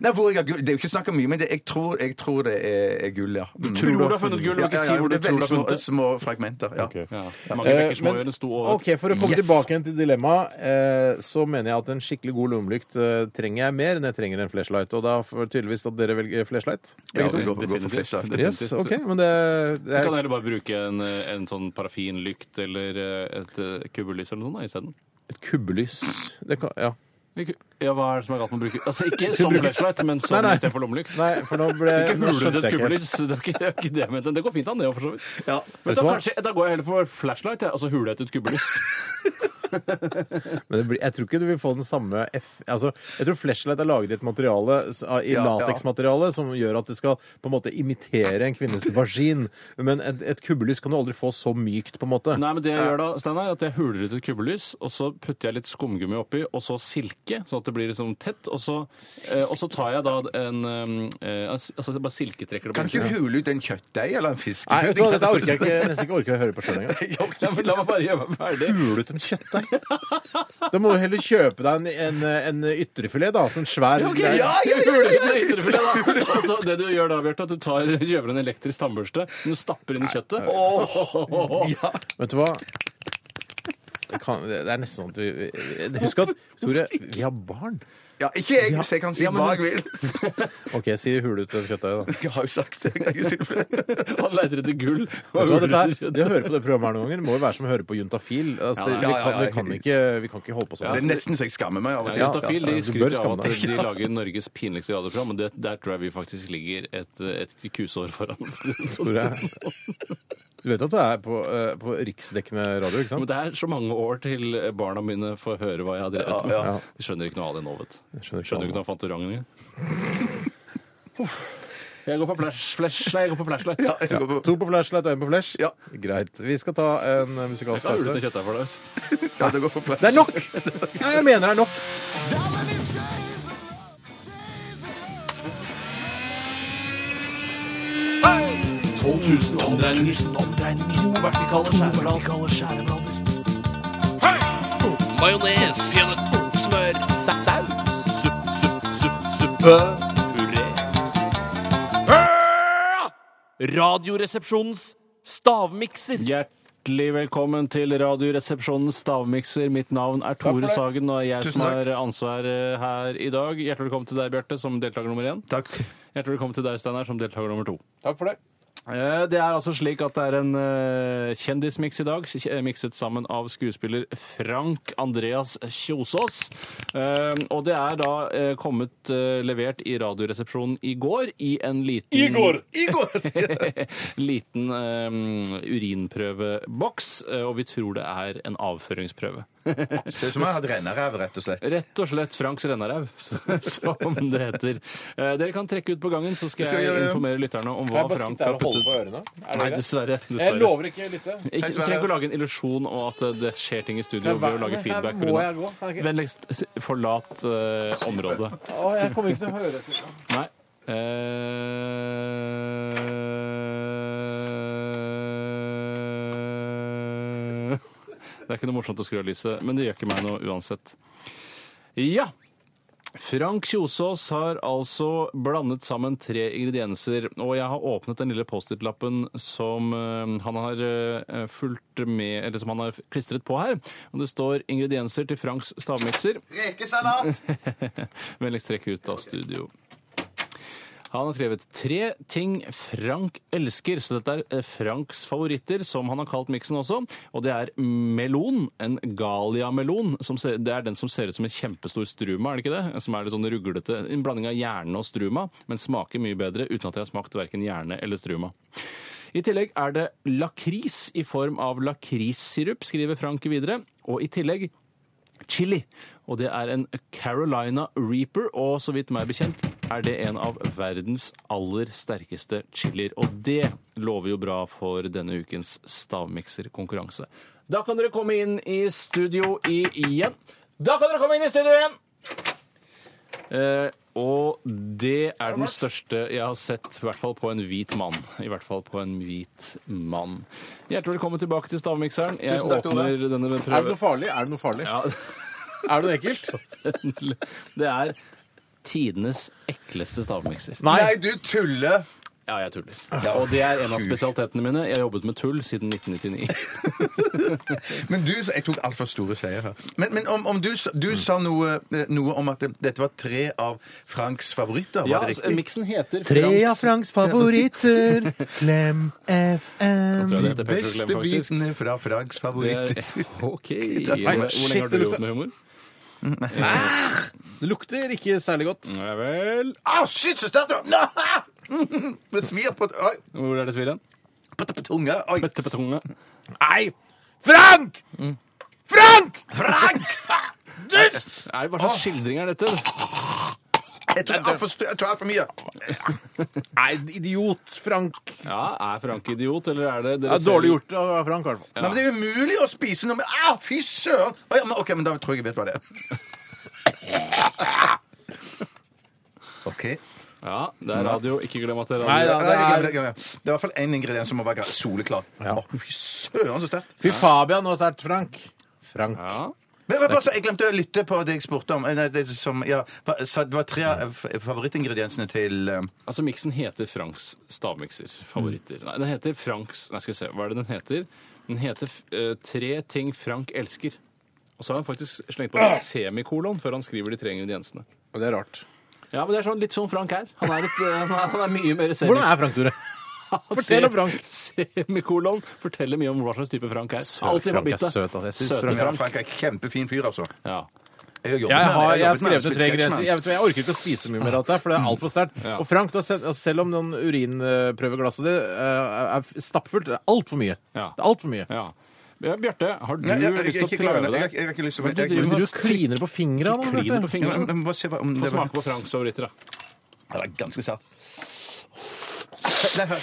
Speaker 9: nei, hvor jeg har gull Det er jo ikke snakk om mye, men det, jeg, tror, jeg tror det er, er gull, ja. Mm.
Speaker 14: Tror du har funnet gull, og
Speaker 9: Ja,
Speaker 14: ikke
Speaker 9: ja,
Speaker 14: si
Speaker 9: ja,
Speaker 14: hvor du
Speaker 9: det er
Speaker 14: tror du
Speaker 9: veldig
Speaker 14: har funnet det.
Speaker 9: små, små fragmenter. Ja.
Speaker 14: Ja. Mange
Speaker 7: Eh,
Speaker 14: bekker små
Speaker 7: men-
Speaker 14: gjør en stor
Speaker 7: OK, for å komme
Speaker 9: Yes.
Speaker 7: tilbake igjen til dilemmaet, eh, så mener jeg at en skikkelig god lommelykt eh, trenger jeg mer enn jeg trenger en flashlight. Og da får tydeligvis at dere velger flashlight.
Speaker 9: Ja, vi går,
Speaker 14: definitivt.
Speaker 9: går for flashlight.
Speaker 7: Yes,
Speaker 14: Definitivt.
Speaker 7: OK, men det, det
Speaker 14: Du
Speaker 7: er
Speaker 14: kan heller bare bruke en, eh, en sånn parafinlykt eller eh, et eh, kubbelys eller noe sånt da, isteden.
Speaker 7: et kubbelys. Det kan, ja.
Speaker 14: Ikke- Ja, hva er det som er galt med å bruke Altså ikke *laughs*
Speaker 7: Skal
Speaker 14: som
Speaker 7: du bruke-
Speaker 14: flashlight, men
Speaker 7: Nei,
Speaker 14: som
Speaker 7: nei.
Speaker 14: istedenfor lommelykt.
Speaker 7: Nei, for nå ble
Speaker 14: Ikke
Speaker 7: nå
Speaker 14: hule
Speaker 7: skjønte
Speaker 14: til et
Speaker 7: jeg ikke.
Speaker 14: kubbelys. *laughs* Det er ikke det, er ikke det jeg mente. Det går fint an, det òg, for så vidt.
Speaker 9: Ja.
Speaker 14: Men
Speaker 7: Vet du
Speaker 14: da,
Speaker 7: hva?
Speaker 14: kanskje, da går jeg heller for flashlight, jeg. altså hule etter et *laughs* kubbelys.
Speaker 7: Men det blir, jeg tror ikke du vil få den samme F... Altså, jeg tror flashlight er laget i et materiale, s- av- i
Speaker 9: Ja, ja.
Speaker 7: lateksmateriale, som gjør at det skal på en måte imitere en kvinnes vagin. Men et, et kubbelys kan du aldri få så mykt, på en måte.
Speaker 14: Nei, men det jeg gjør da, Steinar, at jeg huler ut et kubbelys, og så putter jeg litt skumgummi oppi, og så silke, sånn at det blir liksom tett, og så, eh, og så tar jeg da en eh, eh, Altså bare silketrekker det
Speaker 9: Kan ikke du hule ut en kjøttdeig eller en fisk?
Speaker 7: Nei, vet du hva, dette orker jeg ikke, nesten ikke orker å høre på sjøl engang.
Speaker 14: Ja, men La meg bare gjøre meg ferdig.
Speaker 7: Hulet en kjøttdeig? Da må du heller kjøpe deg en, en, en ytrefilet, da. Sånn svær
Speaker 14: Ok,
Speaker 7: greie.
Speaker 14: ja, ja, ja, ja, ja, ja. Altså, det du gjør da, Bjarte, at du tar, kjøper en elektrisk tannbørste, men du stapper inn i kjøttet. *laughs*
Speaker 9: Ja.
Speaker 7: Vet du hva? Det, kan, det er nesten sånn at du Husk at Tore, vi har barn.
Speaker 9: ja, ikke jeg, så jeg kan si
Speaker 7: Ja, men-
Speaker 9: hva jeg vil. *laughs*
Speaker 7: OK, si hule ut en kjøttdeig, da.
Speaker 9: Jeg har jo sagt det. Jeg kan ikke si det flere.
Speaker 14: Han leter etter *laughs* gull. og
Speaker 7: Vet du hva,
Speaker 14: huler
Speaker 7: dette
Speaker 14: etter
Speaker 7: her,
Speaker 14: kjøttet.
Speaker 7: det å høre på det programmet her noen ganger må jo være som å høre på juntafil. Altså, det,
Speaker 14: Ja,
Speaker 7: vi,
Speaker 9: ja, ja,
Speaker 7: kan,
Speaker 9: ja.
Speaker 7: vi, kan ikke, vi kan ikke holde på
Speaker 9: Det er
Speaker 7: sånn.
Speaker 9: nesten så jeg skammer meg av og til.
Speaker 7: Ja,
Speaker 14: Juntafil
Speaker 7: ja, ja,
Speaker 14: de
Speaker 7: du bør
Speaker 14: skryter av
Speaker 7: skamme
Speaker 14: at
Speaker 7: deg.
Speaker 14: de lager Norges pinligste radioprogram, men det, der tror jeg vi faktisk ligger et, et kusår foran. *laughs*
Speaker 7: Tore. Du vet at du er på, eh, på riksdekkende radio, ikke
Speaker 14: Men
Speaker 7: sant?
Speaker 14: det er så mange år til barna mine får høre hva jeg har drevet med. De skjønner ikke noe av det nå, vet du.
Speaker 7: Jeg skjønner ikke
Speaker 14: Skjønner
Speaker 7: noe
Speaker 14: ikke noe av Fantorangen engang. Jeg går for flash, flash, nei, jeg går for flashlight.
Speaker 9: Ja, jeg går på-
Speaker 7: To på flashlight og én på flash?
Speaker 9: Ja.
Speaker 7: Greit. Vi skal ta en eh, musikalsk
Speaker 14: Jeg har
Speaker 7: pause.
Speaker 14: ulete kjøttdeig for deg. altså.
Speaker 9: ja, det går for flash.
Speaker 7: Det er nok! Ja, jeg mener det er nok.
Speaker 15: Radioresepsjonens stavmikser.
Speaker 14: Hjert-
Speaker 8: Hjertelig velkommen til Radioresepsjonens stavmikser. Mitt navn er Tore Sagen, og det er jeg
Speaker 9: Tusen
Speaker 8: som
Speaker 9: takk.
Speaker 8: har ansvar eh, her i dag. Hjertelig velkommen til deg, Bjarte, som deltaker nummer én.
Speaker 9: Takk.
Speaker 8: Hjertelig velkommen til deg, Steinar, som deltaker nummer to.
Speaker 14: Takk for det.
Speaker 8: Eh, Det er altså slik at det er en eh, kjendismiks i dag, kj- mikset sammen av skuespiller Frank Andreas Kjosås. Eh, Og det er da eh, kommet eh, levert i Radioresepsjonen i går i en liten *laughs* liten eh, urinprøveboks, eh, og vi tror det er en avføringsprøve.
Speaker 9: Det er som om jeg hadde renneræv, rett og slett.
Speaker 8: Rett og slett Franks rennaræv, *laughs* som det heter. Eh, Dere kan trekke ut på gangen, så skal
Speaker 14: Skal vi
Speaker 8: jeg
Speaker 14: gjøre det?
Speaker 8: informere lytterne om
Speaker 14: Kan
Speaker 8: hva
Speaker 14: jeg bare
Speaker 8: Frank
Speaker 14: sitte her
Speaker 8: har
Speaker 14: og holde
Speaker 8: puttet
Speaker 14: for ørene? Er det
Speaker 8: Nei,
Speaker 14: greit?
Speaker 8: dessverre.
Speaker 14: Jeg
Speaker 8: dessverre.
Speaker 14: lover ikke å lytte.
Speaker 8: Ikke, du trenger ikke å lage en illusjon om at eh, det skjer ting i studio
Speaker 14: Men hva-
Speaker 8: ved å
Speaker 14: men
Speaker 8: lage
Speaker 14: her
Speaker 8: feedback.
Speaker 14: må
Speaker 8: Rune.
Speaker 14: jeg gå. Kan jeg ikke-
Speaker 8: Vennligst s- forlat eh, området.
Speaker 14: Å, jeg kommer ikke til å høre etter.
Speaker 8: Nei. Eh, *laughs* Det er ikke noe morsomt å skru av lyset, men det gjør ikke meg noe uansett. Ja! Frank Kjosås har altså blandet sammen tre ingredienser, og jeg har åpnet den lille Post-It-lappen som eh, han har eh, fulgt med, eller som han har klistret på her. Og det står ingredienser til Franks stavmikser.
Speaker 9: Rekesalat!
Speaker 8: *laughs* Vennligst trekk ut av studio. Han har skrevet tre ting Frank elsker, så dette er eh, Franks favoritter, som han har kalt miksen også. Og det er melon, en Galia-melon. som ser- Det er den som ser ut som en kjempestor struma, er det ikke det? Som er litt sånn ruglete. En blanding av hjerne og struma, men smaker mye bedre uten at jeg har smakt verken hjerne eller struma. I tillegg er det lakris i form av lakrissirup, skriver Frank videre. Og i tillegg chili. Og det er en Carolina Reaper, og så vidt meg bekjent er det en av verdens aller sterkeste chilier. Og det lover jo bra for denne ukens stavmikserkonkurranse. Da kan dere komme inn i studio i- igjen. Da kan dere komme inn i studio igjen! Eh, og det er den største jeg har sett, i hvert fall på en hvit mann. I hvert fall på en hvit mann. Hjertelig velkommen tilbake til stavmikseren. Jeg
Speaker 14: Tusen takk, Tore.
Speaker 8: åpner denne
Speaker 14: Er det noe
Speaker 8: prøven.
Speaker 14: farlig? Er det noe farlig? Er det noe ekkelt?
Speaker 8: *laughs* Det er tidenes ekleste stavmikser.
Speaker 9: Nei, du tuller!
Speaker 8: Ja, jeg tuller. og det er en av spesialitetene mine. Jeg har jobbet med tull siden 1999.
Speaker 9: Men du, Jeg tok altfor store seier her. Men, men om, om du, s- du sa noe, eh, noe om at det, dette var tre av Franks favoritter, var
Speaker 8: Ja,
Speaker 9: det
Speaker 8: altså,
Speaker 9: riktig?
Speaker 8: miksen heter
Speaker 14: Tre av Franks favoritter. Klem FM.
Speaker 8: tror jeg det
Speaker 9: De
Speaker 8: heter Petter og
Speaker 9: beste
Speaker 8: Klem, faktisk.
Speaker 9: bitene fra Franks favoritter.
Speaker 8: Det er, OK.
Speaker 9: Takk.
Speaker 8: Hvor
Speaker 9: *laughs*
Speaker 8: lenge har du jobbet med humor?
Speaker 14: Det lukter ikke særlig godt.
Speaker 8: Ja vel.
Speaker 9: Å, shit, så sterkt! det var! *laughs* Det svir på, oi,
Speaker 8: Hvor er det svirren?
Speaker 9: på, på tunga. Oi. Mm.
Speaker 8: Pette på tunga.
Speaker 14: Nei! Frank! Frank!
Speaker 8: Nei, Hva slags skildring er dette?
Speaker 9: Jeg tok altfor stu- jeg tok altfor mye.
Speaker 14: Nei, idiot Frank.
Speaker 8: Ja, Er Frank idiot, eller er det
Speaker 14: Det
Speaker 8: dere
Speaker 14: er dårlig gjort av Frank, i hvert fall.
Speaker 9: Nei, men Det er jo umulig å spise noe med ah, Fy søren! Å, ja, men, OK, men da tror jeg jeg vet
Speaker 14: *laughs*
Speaker 9: hva det er. OK.
Speaker 8: Ja, Det er radio. Ikke glem at dere
Speaker 14: Nei,
Speaker 8: er
Speaker 14: ja,
Speaker 9: Nei,
Speaker 14: det
Speaker 9: jeg
Speaker 14: er
Speaker 9: glemmer det, jeg glemmer det. det er i hvert fall én ingrediens som må være soleklar. Å, fy søren, så sterkt.
Speaker 14: Fy Fabian var sterkt, Frank. Frank.
Speaker 8: ja.
Speaker 9: Men, men, pass, jeg glemte å lytte på det jeg spurte om. Eh, Nei, det, som, ja, hva- sa- det var tre av f- favorittingrediensene til eh,
Speaker 8: Altså, miksen heter Franks stavmikser. Favoritter. Nei, den heter Franks Nei, skal vi se. Hva er det den heter? Den heter eh, Tre ting Frank elsker. Og så har han faktisk slengt på en semikolon før han skriver de tre ingrediensene.
Speaker 14: Og det er rart.
Speaker 8: Ja, men det er sånn, litt sånn Frank er. Han er, et, eh, han er, han er mye mer semi.
Speaker 14: Hvordan er Frank, Tore?
Speaker 8: Han
Speaker 14: Fortell
Speaker 8: ser-
Speaker 14: om Frank.
Speaker 8: Semikolon forteller mye om hva slags type Frank er.
Speaker 14: Søt
Speaker 8: Alltid på
Speaker 14: Frank er
Speaker 8: bittet.
Speaker 14: søt, altså. Jeg synes
Speaker 8: Søte
Speaker 14: Frank-
Speaker 9: Ja, Frank er kjempefin fyr, altså.
Speaker 8: Ja.
Speaker 9: Jeg har jobbet
Speaker 14: Jeg
Speaker 9: med han,
Speaker 14: har, jeg har
Speaker 9: jobbet med han,
Speaker 14: skrevet ned tre
Speaker 9: spilt sketsj med han.
Speaker 14: grenser. Jeg, vet, hva, jeg orker ikke å spise mye mer av dette, her, for det er altfor sterkt.
Speaker 8: Ja.
Speaker 14: Og Frank, du har selv, selv om noen urinprøveglasset ditt eh, er stappfullt, det er altfor mye. Det
Speaker 8: Ja.
Speaker 14: er altfor mye.
Speaker 8: ja. Ja, Bjarte, har du
Speaker 9: Nei, jeg-
Speaker 8: lyst
Speaker 9: jeg-
Speaker 8: til
Speaker 9: jeg-
Speaker 8: å
Speaker 9: jeg klarer
Speaker 8: prøve
Speaker 9: det. Jeg-
Speaker 8: det?
Speaker 9: jeg- jeg har ikke lyst til å-
Speaker 8: Hva er det du
Speaker 9: jeg-
Speaker 14: Men
Speaker 8: driver
Speaker 14: du
Speaker 8: med?
Speaker 14: kliner på fingra nå,
Speaker 8: Kliner på
Speaker 14: Bjarte.
Speaker 9: Ja, men-
Speaker 8: fingrene.
Speaker 9: men bare se hva- om
Speaker 8: Få
Speaker 9: det var-
Speaker 8: smake på Franks favoritter, da.
Speaker 9: Ja, det er ganske sært. Nei, hør.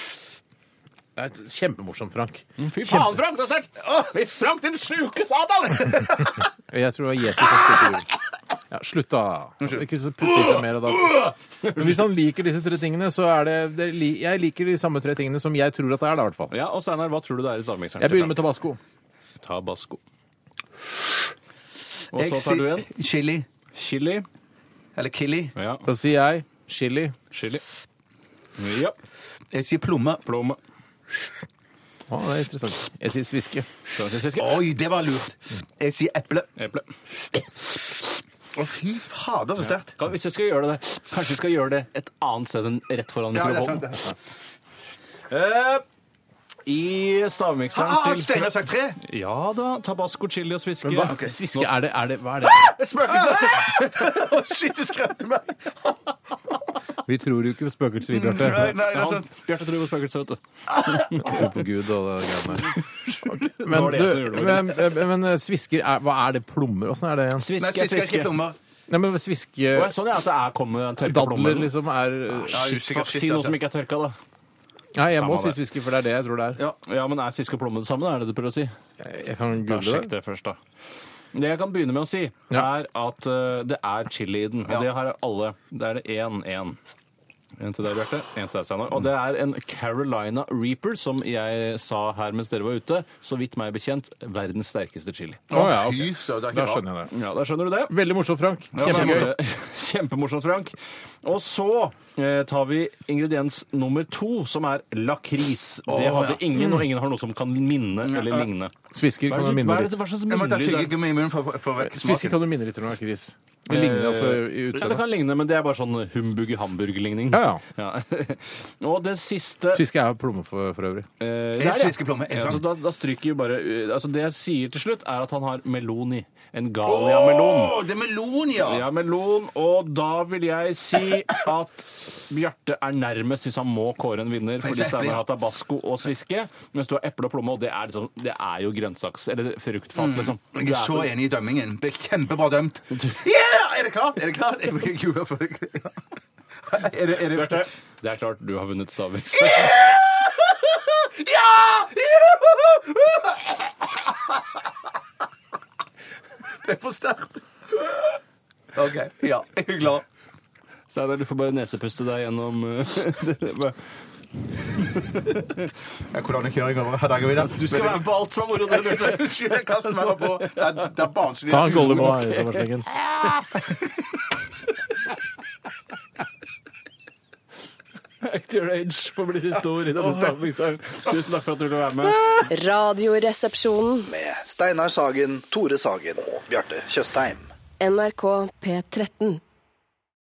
Speaker 14: Det er Kjempemorsomt, Frank.
Speaker 8: Fy faen, Frank, det er sterkt! Fy Frank, din sjuke satan!
Speaker 14: Jeg tror det var Jesus som spilte jul. Ja, slutt, da. Ikke så putte i seg mer av det. Men hvis han liker disse tre tingene, så er det, det er li- Jeg liker de samme tre tingene som jeg tror at det er, da, i hvert fall.
Speaker 8: Ja, og Steinar, hva tror du det er i stavmikseren?
Speaker 14: Jeg begynner med tabasco.
Speaker 8: med tabasco. Og
Speaker 9: Jeg
Speaker 8: så tar du
Speaker 9: sier
Speaker 8: en
Speaker 9: Chili.
Speaker 8: chili.
Speaker 9: Eller Killi.
Speaker 8: Ja,
Speaker 14: Så sier jeg chili.
Speaker 8: chili. Ja,
Speaker 9: Jeg sier plomme.
Speaker 8: plomme.
Speaker 14: Å, det er interessant. Jeg sier sviske.
Speaker 9: Oi, det var lurt! Jeg sier eple.
Speaker 8: Eple.
Speaker 9: Å, fy fader, så sterkt.
Speaker 8: Kan- Hvis vi skal gjøre det, kanskje vi skal gjøre det et annet sted enn rett foran
Speaker 9: Ja, det er
Speaker 8: mikrofonen.
Speaker 9: sant, det er sant.
Speaker 8: Eh, I stavmikseren
Speaker 9: Ah, ah, Steinar sagt tre! *laughs*
Speaker 8: Ja da. Tabasco, chili og sviske.
Speaker 14: hva- ok, sviske, er det- er det- hva er det?
Speaker 9: Ah!
Speaker 8: Et spøkelse!
Speaker 9: Å, shit, du skremte meg!
Speaker 14: Vi tror jo ikke på spøkelser, vi, Bjarte.
Speaker 9: Nei, nei, det er
Speaker 8: Ja,
Speaker 9: sant.
Speaker 8: Bjarte tror på spøkelser, vet du.
Speaker 14: Vi tror på Gud og det greiene der.
Speaker 8: Det
Speaker 14: Men,
Speaker 8: var det jeg som
Speaker 14: du,
Speaker 8: gjorde altså, det.
Speaker 14: men, men eh, svisker, er, hva er det? Plommer? Åssen er det igjen?
Speaker 9: Nei,
Speaker 8: Sviske,
Speaker 9: sist skal jeg ikke plommer.
Speaker 14: Nei, men sviske
Speaker 8: Å, jeg så det sånn, at det er kommet en tørka plomme.
Speaker 14: Dadler liksom er
Speaker 8: Ja,
Speaker 9: Shit, sikkert shit,
Speaker 8: si noe
Speaker 9: altså.
Speaker 8: som ikke er tørka, da.
Speaker 14: Nei, jeg må
Speaker 8: Samme
Speaker 14: si
Speaker 8: det.
Speaker 14: sviske, for det er det jeg tror det er.
Speaker 8: Ja, men er sviske og plomme det samme, da? Er det det du prøver å si?
Speaker 14: Jeg kan
Speaker 8: Da
Speaker 14: google
Speaker 8: sjekk
Speaker 14: det.
Speaker 8: det først, da. Det jeg kan begynne med å si,
Speaker 14: Ja.
Speaker 8: er at eh, det er chili i den. Og det har alle. Det er det én, én. En til deg, Bjarte. En til deg, Steinar. Og det er en Carolina Reaper, som jeg sa her mens dere var ute. Så vidt meg bekjent, verdens sterkeste chili.
Speaker 14: Å, ja, ok.
Speaker 9: Fy søren, det
Speaker 14: Da
Speaker 9: er ikke bra.
Speaker 14: skjønner jeg det.
Speaker 8: Ja, Da skjønner du det.
Speaker 14: Veldig morsomt, Frank. Kjempegøy.
Speaker 8: Kjempemorsomt, *laughs* Kjempemorsomt, Frank. Og så eh, tar vi ingrediens nummer to, som er lakris. Det hadde ingen, og ingen har Mm. noe som kan minne eller ligne.
Speaker 14: Svisker
Speaker 8: Hva
Speaker 14: kan du
Speaker 8: er det,
Speaker 14: minne
Speaker 8: hva er
Speaker 14: litt.
Speaker 8: det, hva slags
Speaker 9: Jeg må
Speaker 8: munnlyd
Speaker 9: ta
Speaker 8: er det?
Speaker 9: tyggegummi i munnen for for- for å vekke
Speaker 14: Svisker
Speaker 9: smaken.
Speaker 14: kan du minne litt, tror jeg, Chris. Det ligner altså i
Speaker 8: Ja, det
Speaker 14: utseendet.
Speaker 8: kan ligne, men det er bare sånn humbug-hamburg-ligning.
Speaker 14: Ja,
Speaker 8: *laughs* og det siste
Speaker 14: Sviske er jo plomme for, for øvrig.
Speaker 8: eh,
Speaker 9: Det er
Speaker 8: der, ja.
Speaker 9: sviskeplomme, ikke
Speaker 8: Ja,
Speaker 9: sant?
Speaker 8: så da, da stryker vi bare eh, altså Det jeg sier til slutt, er at han har melon i. En Galia-melon.
Speaker 9: Å, det er melon, ja!
Speaker 8: Ja, melon. Og da vil jeg si at Bjarte er nærmest hvis han må kåre en vinner. Fordi
Speaker 9: eksempel,
Speaker 8: Steinar
Speaker 9: ja.
Speaker 8: har tabasco og sviske, mens du har eple og plomme, og det er, liksom, det er jo grønnsaks... Eller fruktfat, liksom.
Speaker 9: Mm. Jeg
Speaker 8: Det
Speaker 9: er
Speaker 8: er-
Speaker 9: så enig i dømmingen. Det er kjempebra dømt. Yeah! Er det klart? Er det klart? Jeg blir ikke gul for *laughs* det. Er det, er det...
Speaker 8: Bjarte, det er klart du har vunnet
Speaker 9: *laughs*
Speaker 8: Stavmiks.
Speaker 9: Ja! Det er for sterkt. OK. Ja, jeg er glad.
Speaker 8: Steinar, du får bare nesepuste deg gjennom eh, *laughs*
Speaker 9: Kolonnekjøring over Hardangervidda.
Speaker 8: Du skal være med på alt som er moro. det lurte jeg.
Speaker 9: Unnskyld, jeg kaster meg på. Det er, det er barnslig.
Speaker 14: Ta en golleball her, sommerslengen.
Speaker 8: Act your age for å bli så stor i denne stavmikseren. Tusen takk for at du ville være med.
Speaker 4: Radioresepsjonen.
Speaker 3: Med Steinar Sagen, Tore Sagen og Bjarte Tjøstheim.
Speaker 4: NRK P13.